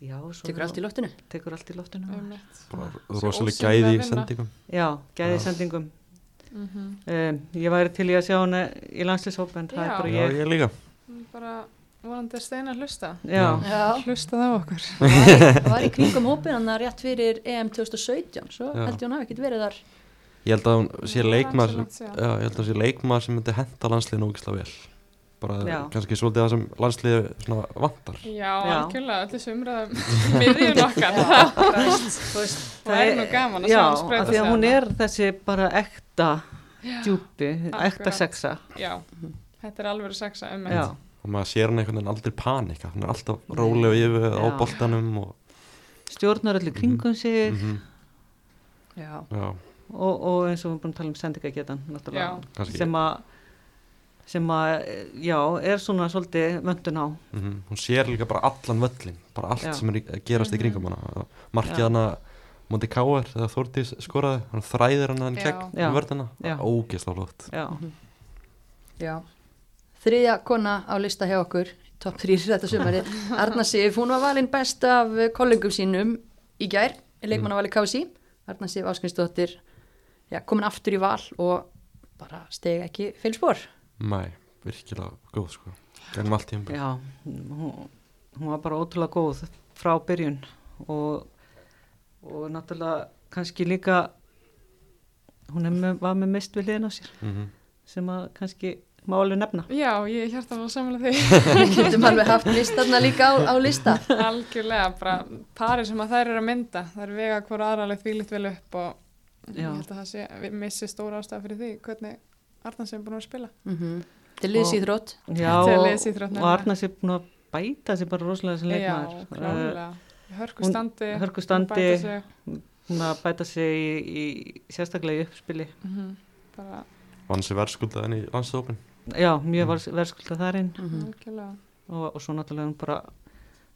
Speaker 4: já, svo
Speaker 2: Tekur allt í loftinu.
Speaker 4: tekur allt í loftinu
Speaker 5: Einmitt. Svo
Speaker 3: rosalega
Speaker 5: ósýnilega
Speaker 3: gæði í
Speaker 5: vinna.
Speaker 3: sendingum
Speaker 4: já, gæði sendingum um, ég væri til í að sjá hana í landslýshóp en það er
Speaker 5: Já.
Speaker 4: bara
Speaker 3: Já,
Speaker 4: ég
Speaker 3: ég líka
Speaker 5: Hún er Bara vonandi er steina að hlusta.
Speaker 4: já,
Speaker 2: Já.
Speaker 5: Hlusta það á okkur.
Speaker 2: var, var í kringum hópin hann rétt fyrir EM 2017 svo
Speaker 3: Já.
Speaker 2: held ég hún hafi ekkert verið þar
Speaker 3: Ég held að hún sé
Speaker 5: Já,
Speaker 3: leikmaður
Speaker 5: langt
Speaker 3: sem-
Speaker 5: síðan.
Speaker 3: já, Ég held að hún sé leikmaður sem myndi henta landsliðinu ógislega vel bara
Speaker 4: Já.
Speaker 3: kannski svolítið það sem landsliði svona vantar
Speaker 5: Já,
Speaker 4: Já.
Speaker 5: algjörlega, öll þessu umræðum miðjun okkar. Það
Speaker 4: þú veist,
Speaker 5: Það er nú gaman að sjá
Speaker 4: já,
Speaker 5: hann sprauta
Speaker 4: af því
Speaker 5: sig
Speaker 4: að hún
Speaker 5: þarna.
Speaker 4: er þessi bara ekta djúpi, ekta
Speaker 5: akkurat.
Speaker 4: sexa
Speaker 5: Já, þetta er alveg sexa um
Speaker 4: já,
Speaker 3: og maður sér hann einhvern veginn aldrei panika hún er alltaf róleg yfir á
Speaker 4: Já.
Speaker 3: boltanum og,
Speaker 4: stjórnar öllu kringum sig
Speaker 3: mhm,
Speaker 2: já.
Speaker 3: já,
Speaker 4: og, og eins og við erum búin að tala um sendingagetan náttúrulega,
Speaker 5: Já.
Speaker 3: Kannski.
Speaker 4: sem að sem að, já, er svona svolítið vöndun á.
Speaker 3: -hmm. hún sér líka bara allan völlin bara allt
Speaker 4: Já. Mhm.
Speaker 3: sem er í, að gerast í kringum hana markið
Speaker 4: Já.
Speaker 3: hana Monti Káar þegar Þórdís skoraði hann þræðir hana hann
Speaker 5: Já.
Speaker 3: gegn
Speaker 4: Já.
Speaker 3: vörðina
Speaker 4: Já.
Speaker 3: ógeðslega flott
Speaker 4: Já,
Speaker 2: Já. Þriðja kona á lista hjá okkur, top 3 þetta sumari, Arna Sif, hún var valinn best af eh, kollegum sínum í gær, leikmannavali KSI, Arna Sif Áskvinsdóttir, já, komin aftur í val og bara steg ekki fylgspor.
Speaker 3: mæ, virkilega góð sko gangum allt í um
Speaker 4: já, hún, hún var bara ótrúlega góð frá byrjun og, og náttúrulega kannski líka, hún er með, var með mist við hliðin á sér
Speaker 3: Mhm.
Speaker 4: sem að kannski má alveg nefna.
Speaker 5: Já, ég er hjartanlega samanlega því.
Speaker 2: Við getum alveg haft listarna líka á, á lista.
Speaker 5: Algjörlega, bara pari sem að þær eru að mynda. Þær vega hvora aðraleg þvílitt vel upp og
Speaker 4: Já.
Speaker 5: ég held að það sé, við missi stóra ástæða fyrir því hvernig Arnars er búin að spila.
Speaker 2: Mm Til liðs í þrótt.
Speaker 4: Já,
Speaker 5: Til
Speaker 4: og,
Speaker 5: liðsíþrótt,
Speaker 4: og Arna sér búin að bæta sér bara rosalega sem leikmaður. Eh, Uh,
Speaker 5: Já, klálega. Hörku
Speaker 4: hún-
Speaker 5: standi.
Speaker 4: hörku standi.
Speaker 5: Bæta sig.
Speaker 4: Hún að bæta sig í, í sérstaklega í uppspili.
Speaker 5: Mhm. Bara,
Speaker 3: vann sér verðskuldaðin í landsdópin
Speaker 4: Já, mjög mm. verðskulda þar inn
Speaker 5: Mhm.
Speaker 2: Mhm.
Speaker 5: algjörlega.
Speaker 4: og, og svo náttúrulega hún bara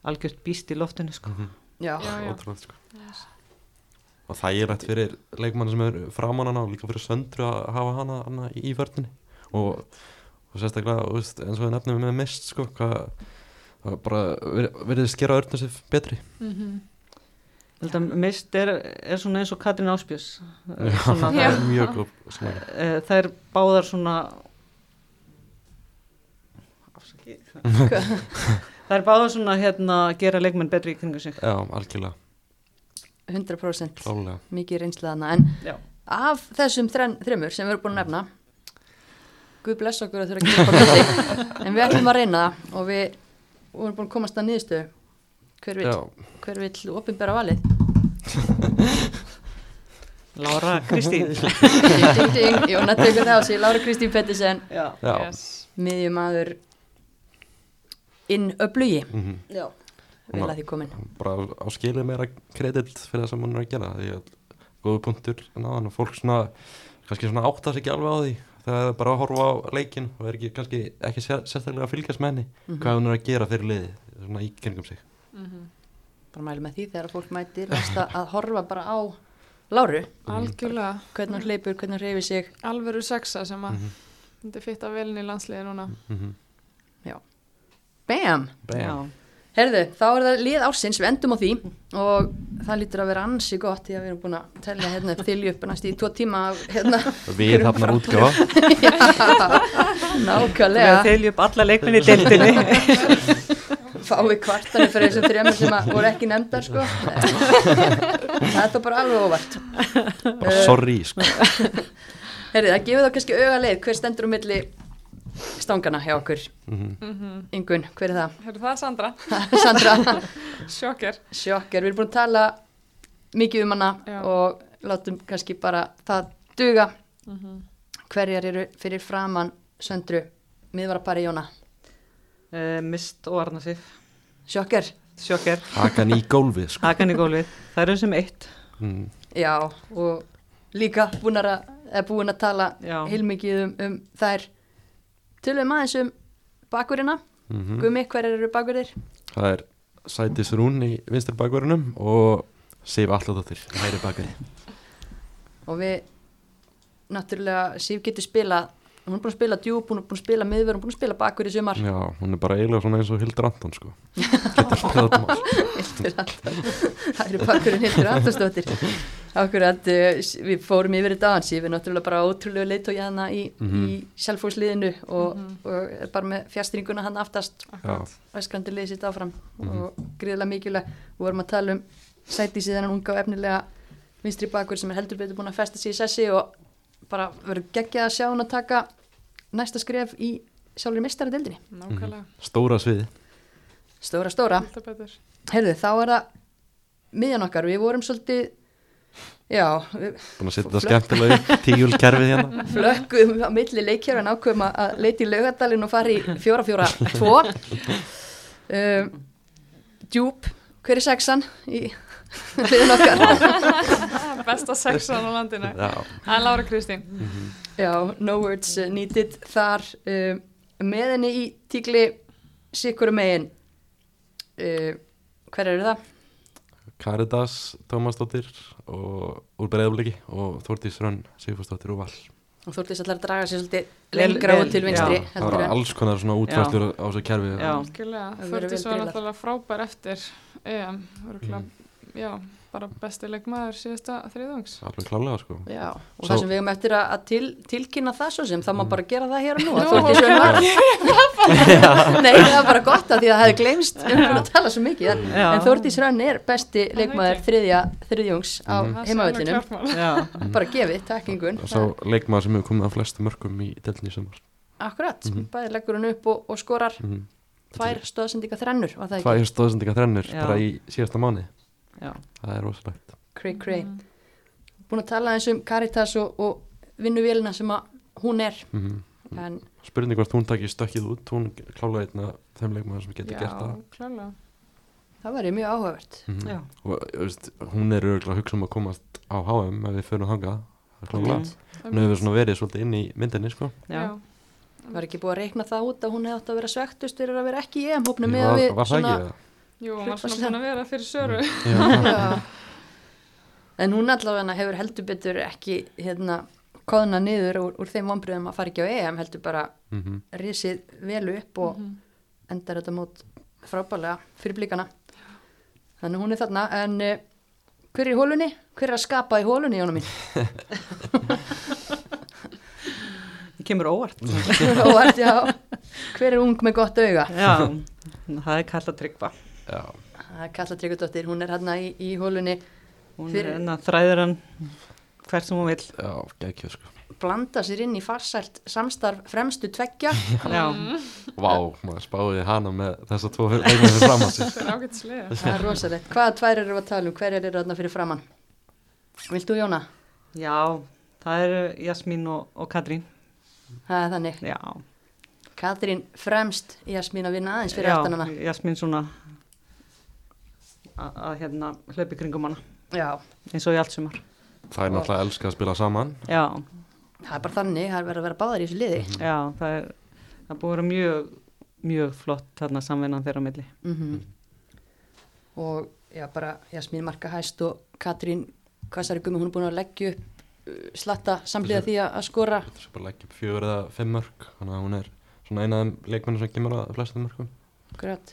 Speaker 4: algjört býst í loftinu sko.
Speaker 3: Mhm.
Speaker 2: Já.
Speaker 5: Já, já.
Speaker 3: ótrúlega sko og það er rétt fyrir leikmann sem er framann hana og líka fyrir söndru að hafa hana, hana í vörðinni og, og sérstaklega þú veist, eins og við nefnum með mist sko hvað það var bara verið- verið að skera örnum sér betri
Speaker 5: Mhm.
Speaker 4: Þetta mist er, er svona eins og Katrin Áspjörs. Eh,
Speaker 3: Já,
Speaker 4: Svona,
Speaker 3: það er mjög góð sko. svona,
Speaker 4: eh, það er báðar svona Afsakið. það er báðar svona hérna gera leikmenn betri í kringu sig.
Speaker 3: Já, algjörlega,
Speaker 2: 100%
Speaker 3: klálega
Speaker 2: mikið reynslaðana en
Speaker 4: Já.
Speaker 2: af þessum þren, þremur sem við erum búin að nefna Guð bless okkur að þurfa að gera bara þetta en við ætlum að reyna það og við við erum búin að komast að niðurstöðu hver vill,
Speaker 3: Já,
Speaker 2: hver vill opinbera valið
Speaker 4: Lára Kristín.
Speaker 2: ding, ding, ding, Jóna tekur það á sig Lára Kristín Pettersen,
Speaker 4: Já.
Speaker 3: já,
Speaker 5: Yes.
Speaker 2: miðjum aður inn öflugi
Speaker 3: mhm.
Speaker 2: Já. vel að því komin
Speaker 3: bara á skilið meira kredit fyrir það sem hún er að gera því að góðu punktur en aðan og fólk svona kannski svona átta sig ekki alveg á því þegar það er bara að horfa á leikin og er ekki, kannski ekki sér, sérstaklega að fylgjast með henni hvað hún er að gera fyrir liði svona í kringum sig
Speaker 2: bara mælu með því þegar fólk mætir verst að að horfa bara á Láru,
Speaker 5: Algjörlega.
Speaker 2: hvernig hann hleypur, hvernig hann reyfir sig
Speaker 5: Alveru sexa sem að þetta er fitt að velin í landsliði núna.
Speaker 2: Bam!
Speaker 4: Já.
Speaker 2: Herðu, þá er það lið ársins, við endum á því og það lítur að vera ansi gott því að við erum búin að tella hérna upp til í upp næst í tvo tíma af, hérna,
Speaker 3: við hafnar útgjáða
Speaker 4: Við
Speaker 2: nákvæmlega
Speaker 4: þeiljum upp alla leikmenn í deildinni.
Speaker 2: fái kvartanir fyrir þessum þremur sem að voru ekki nefndar sko það er þá bara alveg óvart
Speaker 3: bara sorry sko
Speaker 2: Herðu, það gefur þá kannski auga leið hver stendur um milli stangana hjá okkur
Speaker 3: Mhm.
Speaker 2: Ingun, hver er það?
Speaker 5: Herru það, Sandra?
Speaker 2: Sandra,
Speaker 5: Sjokker.
Speaker 2: sjokker, við erum búin að tala mikið um hana
Speaker 5: Já.
Speaker 2: og látum kannski bara það duga hverjar eru fyrir framann söndru miðvarapari Jóna
Speaker 4: Eh, mist og Arna Sif.
Speaker 2: sjokker,
Speaker 4: Sjokker.
Speaker 3: hakan í gólfið sko
Speaker 4: Hakan í gólfið. Það eru sem eitt.
Speaker 3: mm.
Speaker 2: já og líka búnar að, eða búin að tala
Speaker 4: Já.
Speaker 2: heilmikið um, um þær tölum aðeins um bakurina
Speaker 3: Mm
Speaker 2: gummi, hverjar eru bakurir?
Speaker 3: það er Sætis Rún í vinstri bakverunum og Sif Alladóttir hæri bakverði
Speaker 2: og við náttúrulega Sif getur spila hún er búin að spila djúb, hún er búin að spila miðverð hún er búin að spila bakur í sumar
Speaker 3: já, hún er bara eiginlega svona eins og Hildur Anton sko getur spilað um þetta mál
Speaker 2: Hildur Anton það eru bakkurinn Hildur Antonsdóttir akkurat uh, við fórum yfir þetta aðeins ég er náttúrulega bara ótrúlega leitt og jæðna í, í sjálfhúsliðinu og, og er bara með fjastringuna hann aftast
Speaker 3: já,
Speaker 2: öskrandi liðið sitt áfram og gríðilega mikilvæg og vorum að tala um sæti síðan unga og efnilega vinstri bakur sem er heldur betur búin að festa sig í sessi og bara verður geggjað að sjá hann að taka næsta skref í sjálfur mestaradeldinni
Speaker 5: Nákvæmlega.
Speaker 3: stóra sviði
Speaker 2: stóra stóra
Speaker 5: Þetta Mhm. betur.
Speaker 2: Herðu, þá er það miðjan okkar, við vorum svolítið já, við
Speaker 3: búin að setja þetta skemmtilega upp, tíulkerfið hérna
Speaker 2: flökkum á milli leikjara en ákveðum að- að leita í laugadalinn og fara í 4-4-2 um, Djúb, hver er sexan í hliðin okkar
Speaker 5: besta sexan á landinu
Speaker 3: Já,
Speaker 5: það er Lára Kristín
Speaker 2: Já, no words needed þar uh, með henni í tíkli sikkur um megin uh, hver eru það?
Speaker 3: Karitas Tómasdóttir og úr breyðabliki og Þórtís Rönn Sigfúrsdóttir úr Val.
Speaker 2: Og Þórdís ætlar að draga sér svolítið
Speaker 4: Vel-
Speaker 2: lengra
Speaker 4: vel,
Speaker 2: út til
Speaker 4: já.
Speaker 2: vinstri
Speaker 4: Það
Speaker 3: Það
Speaker 2: heldur
Speaker 3: var
Speaker 2: en
Speaker 3: alls konar svona útfæstur á þessu kerfi.
Speaker 4: Já.
Speaker 5: Algjörlega,
Speaker 2: Það verður
Speaker 5: Þórdís
Speaker 2: vel
Speaker 5: var
Speaker 2: grillað.
Speaker 5: náttúrulega frábær eftir EM, örgulega,
Speaker 3: Mhm.
Speaker 5: já, bara besti leikmaður síðasta þriðungs.
Speaker 3: Alveg klálega sko.
Speaker 2: Já, og
Speaker 3: Sá-
Speaker 2: það sem við hefum eftir að, að til, tilkynna það svo sem, það
Speaker 3: Mm.
Speaker 2: má bara gera það hér og nú
Speaker 5: Nú,
Speaker 2: að Þórdís Rönn var Nei, það var bara gott að því að það hefði gleymst við erum búin að tala svo mikið en,
Speaker 4: Já.
Speaker 2: en Þórdís Rönn er besti
Speaker 5: það
Speaker 2: leikmaður
Speaker 5: ekki?
Speaker 2: þriðja, þriðjungs á
Speaker 3: Mhm.
Speaker 5: Það
Speaker 2: mm.
Speaker 5: sé alveg klárt mál.
Speaker 4: Já,
Speaker 2: bara gefið, takkingun
Speaker 3: Sá leikmaður sem hefur komið að flestu mörgum í deltinni í sumar.
Speaker 2: Akkurat,
Speaker 3: Mhm.
Speaker 2: bæði leggur hún upp og, og skorar
Speaker 3: Mm -hmm.
Speaker 2: tvær stöðsendinga þrennur var það ekki?
Speaker 3: Tvær stóðsendinga þrennur
Speaker 4: Já.
Speaker 3: bara í síðasta mánu.
Speaker 4: já,
Speaker 3: Það er rosalegt.
Speaker 2: Cray Cray
Speaker 5: Mhm.
Speaker 2: Búin að tala eins um Caritas og, og vinnuvélina sem að hún er
Speaker 3: Mm
Speaker 2: en
Speaker 3: Spurning hvort hún takir stökkið út, hún klálega einn af þeim leikmaður sem getur gert það.
Speaker 5: Já, klálega.
Speaker 2: það væri mjög áhugavert
Speaker 3: Mhm.
Speaker 4: já.
Speaker 3: og þú veist, hún er örgulega að hugsa um að komast á HM ef við förum þangað Það er klárlega.
Speaker 4: Mhm.
Speaker 3: hún hefur svona verið svolítið inn í myndinni sko.
Speaker 4: já.
Speaker 2: Var ekki búið að reikna það út að hún hefði átt að vera svektust fyrir að vera ekki í EM-hópni með
Speaker 3: var,
Speaker 2: að við
Speaker 3: var það ekki það?
Speaker 5: Jú, hún var svona búin að vera fyrir söru.
Speaker 2: Já. En hún allavega hefur heldur betur ekki hérna kóðna niður úr, úr þeim vonbröðum að fara ekki á EM heldur bara
Speaker 3: Mm
Speaker 2: risið vel upp og endar þetta mót frábælega fyrir blíkana þannig hún er þarna en uh, hver er í hólunni? hver er að skapa í hólunni Jónum mín?
Speaker 4: Það kemur óvart.
Speaker 2: Óvart, já. hver er ung með gott auga?
Speaker 4: Já, það er kallað tryggva.
Speaker 3: Já,
Speaker 2: það er Kalla Tryggudóttir, hún er hérna í, í hólunni
Speaker 4: Hún
Speaker 2: Fyrir-
Speaker 4: er enna þræður hann hvert sem hún vil.
Speaker 3: já, gekkjör sko
Speaker 2: blanda sér inn í farsælt samstarf fremstu tveggja
Speaker 4: Já,
Speaker 2: Mm.
Speaker 3: Vá, maður spáði hana með þessa tvo leikmaður fram að sér
Speaker 5: Það er ágætt sliða.
Speaker 2: það er rosalegt, hvaða tvær eru að tala um hverjar eru hérna fyrir framann? Vilt þú Jóna?
Speaker 4: já, það eru Jasmín og, og Katrín.
Speaker 2: Það er þannig,
Speaker 4: Já,
Speaker 2: Katrín fremst Jasmín að vinna aðeins fyrir
Speaker 4: já
Speaker 2: aftan hana
Speaker 4: Jasmín svona að að, hérna hlaupi kringum hana
Speaker 2: já,
Speaker 4: eins og í allt sumar.
Speaker 3: Það er náttúrulega elska að spila saman
Speaker 4: Já,
Speaker 2: það er bara þannig, það er verið að vera báðar í þessu liði
Speaker 4: já, það er það er búið að vera mjög, mjög flott þarna samvinnan þeirra á milli.
Speaker 2: -hmm. og já bara Jasmín Marka Hæst og Katrín Kvassari Gumi hún er búin að leggja upp uh, slatta samlega því að að skora
Speaker 3: Þetta er bara að leggja upp fjögur eða fimm mörg þannig að hún er svona eina af þeim leikmennum sem kemur að flestum mörgum
Speaker 2: Gröt.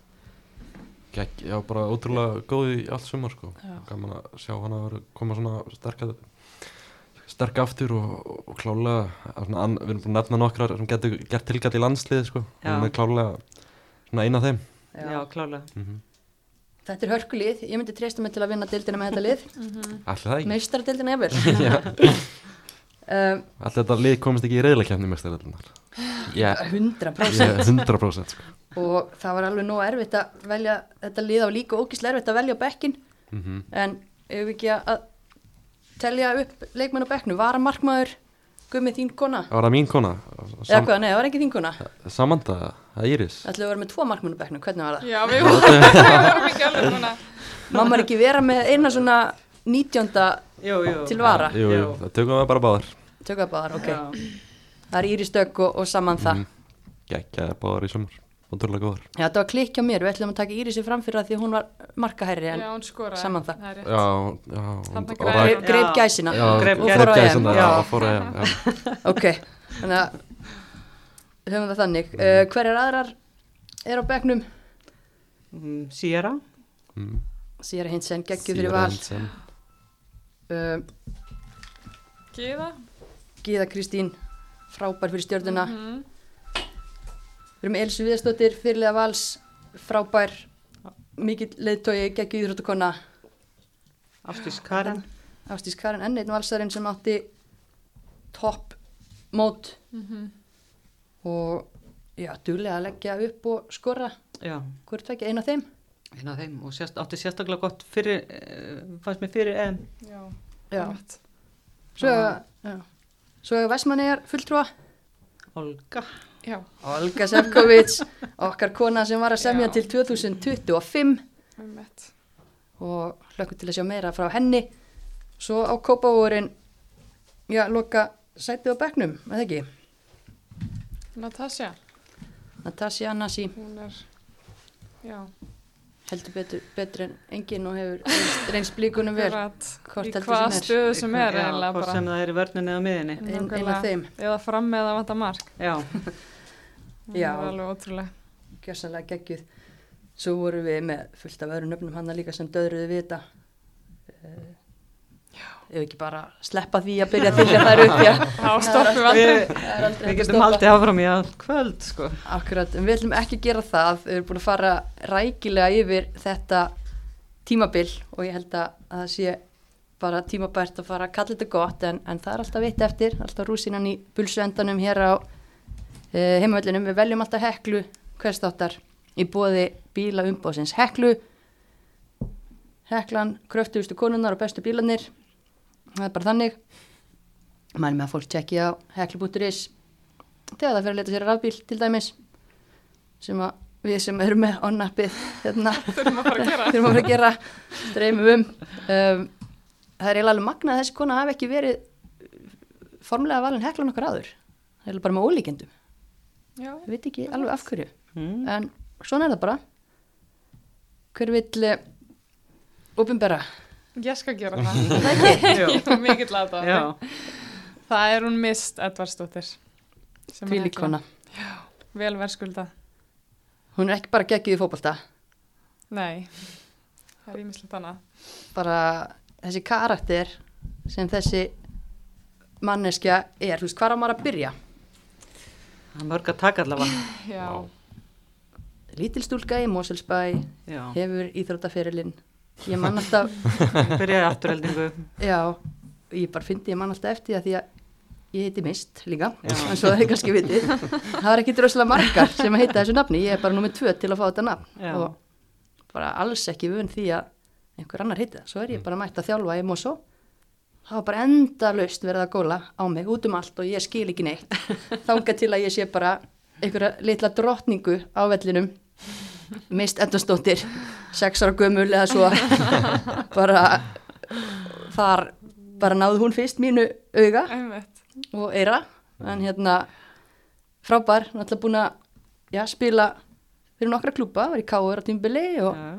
Speaker 3: Gekk, já, bara ótrúlega góð í allt sumar sko
Speaker 2: Já.
Speaker 3: Gaman að sjá hana vera- koma svona sterk sterk aftur og, og klálega að svona, ann- við erum búin að nefna nokkrar sem getur gert tilgætt í landslið sko
Speaker 4: Já.
Speaker 3: hún er klálega svona eina af þeim
Speaker 2: Já.
Speaker 4: Já, klálega.
Speaker 3: mm -hmm.
Speaker 2: Þetta er hörkulið, ég myndi treysta mig til að vinna deildina með þetta lið,
Speaker 3: Allir það ekki?
Speaker 2: meistara deildina jafnvel um,
Speaker 3: Allir þetta lið komist ekki í reyðlakefni mestaröldunar Já,
Speaker 2: Uh, 100%
Speaker 3: ég er 100% sko
Speaker 2: og það var alveg nóg erfitt að velja þetta lið á líka ógíslega erfitt að velja bekkin
Speaker 3: mm
Speaker 2: en ef við ekki að telja upp leikmenn á bekknu, vara markmaður Gumi þín kona,
Speaker 3: Það var það mín kona
Speaker 2: eða
Speaker 3: Sam
Speaker 2: hvað, nei það var ekki þín kona
Speaker 3: Samantha, það er Íris
Speaker 2: Ætlum við að vera með tvo markmenn á bekknu, hvernig var það?
Speaker 5: Já, við vorum ekki alveg núna.
Speaker 2: Mamma er ekki vera með eina svona 19.
Speaker 4: Jú, jú.
Speaker 2: til vara
Speaker 3: Jú, jú,
Speaker 4: Já.
Speaker 3: það tökum við bara báðar
Speaker 2: Tökabáðar, ok
Speaker 4: Já.
Speaker 2: Það er Íris Dögg og, og saman það
Speaker 3: Mhm. Gekkaði báðar í sumar Ótrúlega góðar
Speaker 2: Já, þetta var klikk hjá mér, við ætlum að taka Írisi fram fyrir það því að hún var markahærri en
Speaker 5: Já, hún skoraði.
Speaker 2: saman það.
Speaker 5: er rétt.
Speaker 3: Já, já
Speaker 5: Þarna
Speaker 3: og- og
Speaker 5: græði-
Speaker 3: rak-
Speaker 2: greip, greip
Speaker 4: Já.
Speaker 2: gæsina
Speaker 3: Já,
Speaker 4: Greip
Speaker 3: greip
Speaker 2: gæsina.
Speaker 3: gæsina,
Speaker 4: Já.
Speaker 3: já, fór að EM, já.
Speaker 2: Ok, þannig að höfum það þannig uh, Hverjar aðrar er á bekknum?
Speaker 4: Mm, Sierra.
Speaker 3: Mm.
Speaker 2: Sýra Hinsen, geggjum
Speaker 3: Síra
Speaker 2: fyrir val
Speaker 3: Hansen.
Speaker 2: uh,
Speaker 5: Gíða.
Speaker 2: Gíða Kristín, frábær fyrir stjórnuna
Speaker 5: Mhm.
Speaker 2: Við erum með Elsu Viðarsdóttir, fyrirlega vals frábær, mikill leiðtói geggjum íþróttukonna
Speaker 4: Ástís
Speaker 2: Ah,
Speaker 4: Karen.
Speaker 2: Ástís Karin enn einn valsarinn sem átti topp mót og já, duglega að leggja upp og skora
Speaker 4: Já,
Speaker 2: hvort ekki eina þeim
Speaker 4: eina af þeim og sérst, átti sérstaklega gott fyrir, uh, fannst mér fyrir EM.
Speaker 5: Já,
Speaker 2: já.
Speaker 5: einmitt.
Speaker 2: Svo, já. Svo er Vestmannegar fulltrúa
Speaker 4: Olga.
Speaker 5: Já,
Speaker 2: Olga Sefkovic, okkar kona sem var að semja
Speaker 5: Já.
Speaker 2: til 2025
Speaker 5: einmitt.
Speaker 2: og hlökkum til að sjá meira frá henni svo á kópavórin já, loka sætið á bekknum, eða ekki
Speaker 5: Natasja,
Speaker 2: Natasja Nasi
Speaker 5: hún er, já,
Speaker 2: heldur betur, betur en engin og hefur reynst, reynst blíkunum vel
Speaker 5: grætt
Speaker 2: Hvort
Speaker 5: í
Speaker 2: heldur
Speaker 5: hvaða
Speaker 2: sem er.
Speaker 5: stöðu sem er
Speaker 4: Já,
Speaker 5: eiginlega
Speaker 4: hvort
Speaker 5: bara.
Speaker 4: sem það er í vörninni eða miðinni
Speaker 2: Ein- ein
Speaker 5: Nákvæmlega.
Speaker 2: af þeim.
Speaker 5: Eða fram eða vanta mark.
Speaker 4: já,
Speaker 5: Hún
Speaker 2: Já.
Speaker 5: er alveg ótrúlega.
Speaker 2: gjössanlega geggjuð svo vorum við með fullt af öðru nöfnum hann líka sem döðruðu við þetta Eh, ef ekki bara sleppa því að byrja að fylgja þær upp já.
Speaker 5: Þá stoppum við
Speaker 4: við,
Speaker 5: aldrei.
Speaker 2: Það er aldrei
Speaker 4: við
Speaker 2: hægt að
Speaker 4: getum
Speaker 2: stoppa.
Speaker 4: haldið áfram í all kvöld sko.
Speaker 2: Akkurat, en við ætlum ekki að gera það við erum búin að fara rækilega yfir þetta tímabil og ég held að að það sé bara tímabært að fara að kalla þetta gott en, en það er alltaf veitt eftir, alltaf rúsinan í bulsuendanum hér á uh, heimavöllinum, við veljum alltaf heklu hverstáttar í bóði bíla umbóðsins heklu heklan, kröftugustu konunnar og bestu bílanir það er bara þannig mælum með að fólk tjekki á heklu.is þegar það fyrir að leta sér að rafbíl til dæmis sem að við sem erum með onnappið hérna,
Speaker 5: Þurfum að fara að gera.
Speaker 2: þurfum að fara að gera streymum um um það er eiginlega alveg magnað að þessi kona hafi ekki verið formlega valin heklan okkur áður það er eiginlega bara með ólíkendum
Speaker 5: Já,
Speaker 2: við veit ekki alveg af hverju
Speaker 4: mm.
Speaker 2: en svona er það bara hver vill eh, ofinbera
Speaker 5: ég skal gera það.
Speaker 4: já,
Speaker 5: Ég var mikill að það.
Speaker 4: já,
Speaker 5: Það er hún mist Edvardsdóttir. sem er
Speaker 2: því
Speaker 5: Hekla.
Speaker 2: líkona
Speaker 5: Vel verðskulda.
Speaker 2: hún er ekki bara geggið í fótbolta
Speaker 5: Nei, það er ímislegt annað.
Speaker 2: bara þessi karakter sem þessi manneskja er, þú veist, hvað á maður að byrja?
Speaker 4: það er mörg að taka allavega
Speaker 5: Já,
Speaker 3: Vá.
Speaker 2: Lítilstúlka í Moselsbæ
Speaker 4: já,
Speaker 2: hefur íþróttaferilinn ég man alltaf,
Speaker 4: byrjaði afturheldingu
Speaker 2: já ég bara fyndi, ég man alltaf eftir því að því að ég heiti Mist líka,
Speaker 4: Já.
Speaker 2: en svo það er kannski vitið það er ekki droslega margar sem að heita þessu nafni, ég er bara nummið tvö til að fá þetta nafn
Speaker 4: Já.
Speaker 2: og bara alls ekki vun því að einhver annar heita það, svo
Speaker 4: Mm.
Speaker 2: er ég bara mætt að þjálfa í Mosó það var bara endalaust verið að góla á mig út um allt og ég skil ekki neitt þanga til að ég sé bara einhverja litla drottningu á vellinum mist endastóttir sex ára gömul eða svo bara þar bara náði hún fyrst mínu auga
Speaker 5: einmitt.
Speaker 2: og eira en hérna frábær, náttúrulega búin að já, spila fyrir nokkra klúpa var í K.O.R. á tímbili og
Speaker 4: já,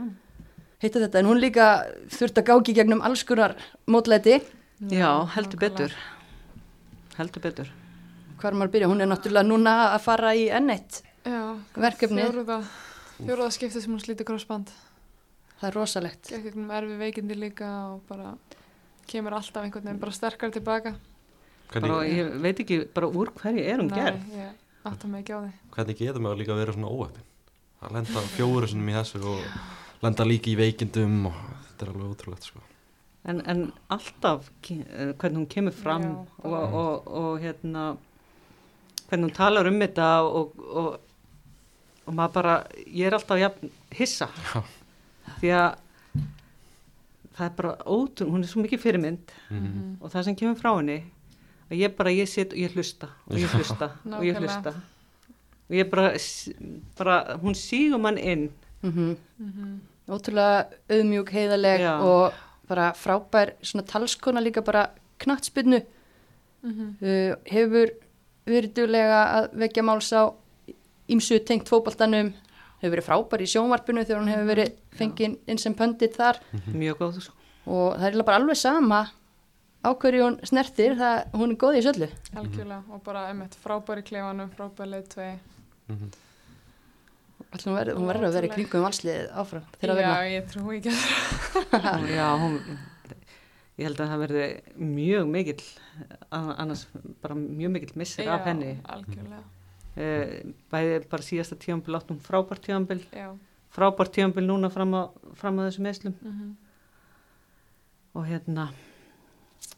Speaker 2: heita þetta en hún líka þurft að gági gegnum alls konar mótlæti
Speaker 4: já, heldur
Speaker 5: nákvæmlega.
Speaker 4: betur heldur betur
Speaker 2: hvar maður byrja, hún er náttúrulega núna að fara í N1
Speaker 5: Já,
Speaker 2: verkefni,
Speaker 5: fjóruða, fjóruða skiptið sem hún slítur krossband.
Speaker 2: það er rosalegt
Speaker 5: Gekk einhvern erfi veikindi líka og bara kemur alltaf einhvern veginn bara sterkar tilbaka.
Speaker 4: bara,
Speaker 3: Hvernig,
Speaker 4: ég veit ekki bara úr hverju er hún gerð
Speaker 5: Nei, ég átta mig ekki á því.
Speaker 3: hvernig getur maður líka að vera svona óöppin? Að lenda fjóru sinum í þessu og lenda líka í veikindum og þetta er alveg ótrúlegt sko.
Speaker 4: en, en alltaf ke- eh, hvernig hún kemur fram
Speaker 5: Já,
Speaker 4: og, og, og, hérna hvernig hún talar um þetta og, og, og maður bara ég er alltaf jafn hissa
Speaker 3: Já.
Speaker 4: því að það er bara ótrú hún er svo mikið fyrirmynd
Speaker 3: Mhm.
Speaker 4: og það sem kemur frá henni að ég bara, ég sit og ég hlusta og ég hlusta og ég
Speaker 5: Nákvæmlega.
Speaker 4: hlusta og ég bara, s- bara hún sígur mann inn
Speaker 2: mm ótrúlega auðmjúk, heiðaleg
Speaker 4: Já.
Speaker 2: og bara frábær svona talskona líka bara knattspinnu
Speaker 4: Mhm.
Speaker 2: uh, hefur verið duglega að vekja máls á ímsu tengt fótboltanum hefur verið frábær í sjónvarpinu þegar hún hefur verið fengið inn sem pöndit þar
Speaker 3: Mhm.
Speaker 4: mjög góð sko.
Speaker 2: og það er eiginlega bara alveg sama á hverju hún snertir það hún er góð í söllu
Speaker 5: Algjörlega og bara einmitt frábær í klefanum, frábær leiðtvei.
Speaker 3: Mhm.
Speaker 2: Ætli hún verður- hún verður að vera í
Speaker 5: Ótrúlega.
Speaker 2: kringum valsliðið áfram þegar
Speaker 5: Já,
Speaker 2: að vinna
Speaker 5: ég trúi ekki að
Speaker 4: já, hún ég held að það verði mjög mikill a- annars bara mjög mikill missir af
Speaker 5: Já,
Speaker 4: henni
Speaker 5: Algjörlega,
Speaker 4: Eh, bæði bara síðasta tíambil átt hún frábært tíambil
Speaker 5: já.
Speaker 4: frábært tíambil núna fram að, fram að þessum meðslum og hérna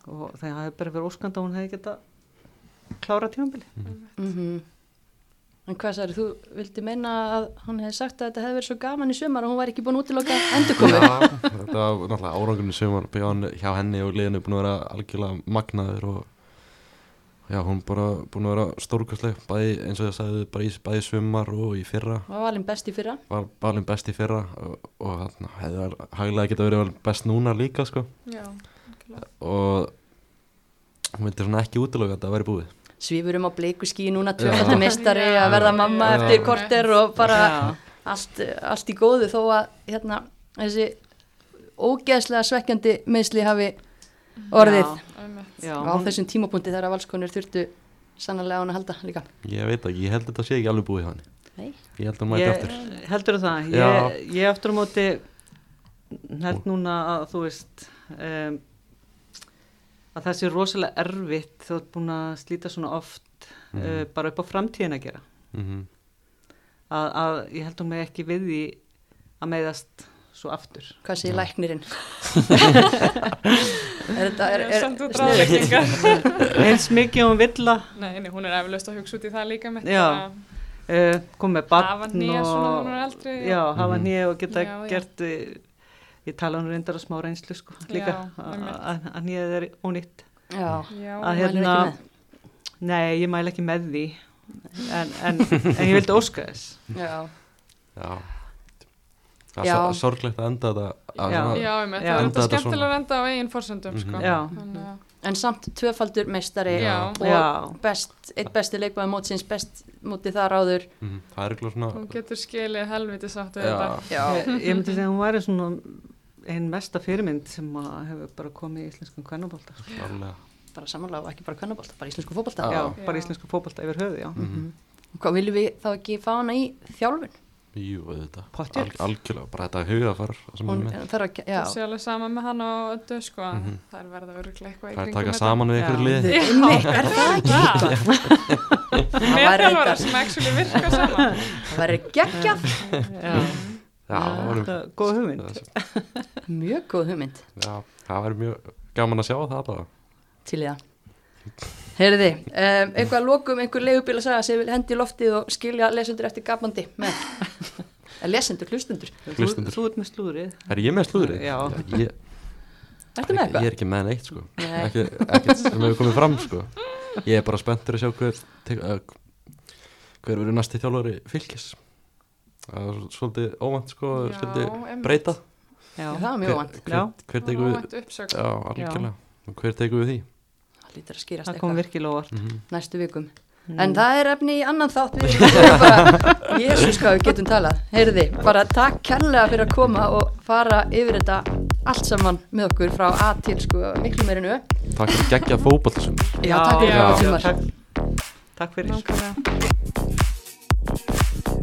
Speaker 4: og það hefði bara verið óskanda að hún hefði geta klára tímabili
Speaker 2: mm en hvað sagður þú vildi meina að hann hefði sagt að þetta hefði verið svo gaman í sumar og hún var ekki búin að útiloka endurkomu
Speaker 3: Já, þetta var náttúrulega árangurinn sem var hjá henni og liðinu búin að vera algjörlega magnaður og Já, hún bara búin að vera stórkastleg bæði, eins og ég sagði, bara í, bæði í sumar og í fyrra,
Speaker 2: Hún var valinn best í fyrra
Speaker 3: var valin best í fyrra og, og hann hefði vel- hæglega geta verið valin best núna líka, sko
Speaker 5: já,
Speaker 3: og hún vildi svona ekki útiloga að það væri búið
Speaker 2: Svífurum um á bleiku skí núna,
Speaker 3: Já.
Speaker 2: tvöfaldar meistari
Speaker 5: Já.
Speaker 2: að verða mamma
Speaker 3: Já.
Speaker 2: eftir korter og bara
Speaker 4: Já.
Speaker 2: allt, allt í góðu þó að hérna, þessi ógeðslega svekkjandi meðsli hafi orðið
Speaker 4: Já.
Speaker 5: einmitt.
Speaker 4: Já,
Speaker 2: á
Speaker 4: hún,
Speaker 2: þessum tímapunkti þegar að valskonur þurftu sannarlega á hann að halda líka.
Speaker 3: Ég veit ekki, ég held þetta sé ekki alveg búið hjá henni
Speaker 2: Nei.
Speaker 3: Ég held að hún mæti
Speaker 4: ég,
Speaker 3: aftur
Speaker 4: heldur það
Speaker 3: Já.
Speaker 4: ég, ég aftur á móti held núna að þú veist um, að það sé rosalega erfitt þú ert búin að slíta svona oft
Speaker 3: Mhm.
Speaker 4: uh, bara upp á framtíðin að gera
Speaker 3: mm -hmm.
Speaker 4: að, að ég held hún með ekki við því að meiðast svo aftur
Speaker 2: Hvað segir læknirinn? er þetta, er,
Speaker 5: Ég er
Speaker 2: er,
Speaker 5: samt út
Speaker 2: sniðugt?
Speaker 5: ráðleggingar
Speaker 4: eins mikið hún vill að
Speaker 5: Nei, nei, hún er eflaust að hugsa út í það líka mitt
Speaker 4: Já.
Speaker 5: að
Speaker 4: uh, koma með barn
Speaker 5: Hafa hné
Speaker 4: og,
Speaker 5: svona þegar hún er eldri, já.
Speaker 4: já, hafa
Speaker 3: Mhm.
Speaker 4: nýja og geta
Speaker 5: Já, já.
Speaker 4: gert já. ég tala hún reyndar að smá reynslu sko, líka
Speaker 5: Já,
Speaker 4: að-
Speaker 5: einmitt.
Speaker 4: að að nýjað er ónýtt
Speaker 2: Já,
Speaker 5: Já,
Speaker 4: að
Speaker 2: mælir
Speaker 4: hérna
Speaker 2: ekki
Speaker 4: nei, ég mæla ekki með því en, en, en ég vildi óska þess
Speaker 2: já.
Speaker 3: Já Það
Speaker 2: Já.
Speaker 3: er sor- sorglegt að enda þetta að
Speaker 4: Já.
Speaker 3: svona-
Speaker 5: já, einmitt,
Speaker 4: Já.
Speaker 5: það er
Speaker 3: Enda
Speaker 5: þetta
Speaker 3: þetta
Speaker 5: skemmtilega að enda á eigin forsöndum
Speaker 3: Mhm.
Speaker 5: sko.
Speaker 4: já,
Speaker 5: Þannig að-
Speaker 2: En samt tvöfaldur meistari
Speaker 5: Já.
Speaker 2: og
Speaker 4: já,
Speaker 2: best, eitt besti leikmaður mótsins, best móti þar áður.
Speaker 3: Mhm. Það er eitthvað svona
Speaker 5: Hún getur skilið helviti sátt
Speaker 3: Já.
Speaker 4: Ég, ég myndi segja að hún væri svona einn mesta fyrirmynd sem að hefur bara komið í íslenskan kvennabólta
Speaker 3: Klárlega.
Speaker 2: bara samanlega og ekki bara kvennabólta, bara íslensku fótbólta.
Speaker 3: Já.
Speaker 4: já, bara íslensku fótbolta yfir höfu, já
Speaker 3: Mhm.
Speaker 2: Hvað viljum við þá ekki fá hana í þjálfun?
Speaker 3: Jú, auðvitað
Speaker 4: Pottþétt.
Speaker 3: Algjörlega, bara þetta hugafar sem
Speaker 2: Hún
Speaker 3: hún er með
Speaker 2: þarf að,
Speaker 5: Það sé
Speaker 2: já,
Speaker 5: alveg sama með hann og öddu sko.
Speaker 3: Mhm.
Speaker 5: Það er verið að örgla eitthvað
Speaker 3: Það
Speaker 5: í
Speaker 3: er
Speaker 5: kringum
Speaker 3: taka
Speaker 5: þetta.
Speaker 3: saman við ykkur
Speaker 4: Já.
Speaker 3: liði
Speaker 5: Já, er það ekki? Með
Speaker 2: væri
Speaker 5: þjálfara
Speaker 2: reyndar-
Speaker 5: sem actually virka saman
Speaker 2: það væri geggjað.
Speaker 4: já,
Speaker 3: Já, það var-
Speaker 4: þetta er góð hugmynd
Speaker 2: Mjög góð hugmynd
Speaker 3: Já, það væri mjög gaman að sjá það allavega
Speaker 2: til í það. Heyriði, um, eitthvað að lokum, einhver leigubíl að sagja sem vil hendi í loftið og skilja lesendur eftir gapandi með. Eh, lesendur, hlustendur.
Speaker 4: þú,
Speaker 3: Hlustendur.
Speaker 4: þú ert með slúrið
Speaker 3: Er ég með slúðri?
Speaker 4: Já.
Speaker 3: Ég,
Speaker 2: Ertu með
Speaker 3: Ég
Speaker 2: eitthvað?
Speaker 3: er ekki með neitt sko
Speaker 2: Nei.
Speaker 3: ekki, Ekkert sem hefur komið fram sko Ég er bara spenntur að sjá hver tek- eh, Hver verður næsti þjálfari fylgis Það er svolítið óvænt sko
Speaker 5: Já,
Speaker 3: Svolítið
Speaker 5: einmitt.
Speaker 3: breyta
Speaker 4: já,
Speaker 2: Það var mjög
Speaker 3: Hver,
Speaker 2: vant.
Speaker 3: hver,
Speaker 4: Já.
Speaker 3: hver
Speaker 5: Það
Speaker 3: tekur
Speaker 5: var
Speaker 3: við
Speaker 5: óvænt uppsögn
Speaker 3: Já, algjörlega Og Hver tekur við því? Mhm.
Speaker 2: Það lítur að skýrast
Speaker 4: það kom
Speaker 2: eitthvað
Speaker 4: virkilega óvart
Speaker 2: næstu vikum. En það er efni í annan þátt. Við erum bara, jésus hvað við getum talað. Heyriði, bara takk kærlega fyrir að koma og fara yfir þetta allt saman með okkur frá A til sko miklu meirinu.
Speaker 3: Takk fyrir geggja fótballsum
Speaker 2: Já, takk fyrir
Speaker 5: Já.
Speaker 2: þetta sumar.
Speaker 4: takk, takk fyrir
Speaker 5: Nákvæmlega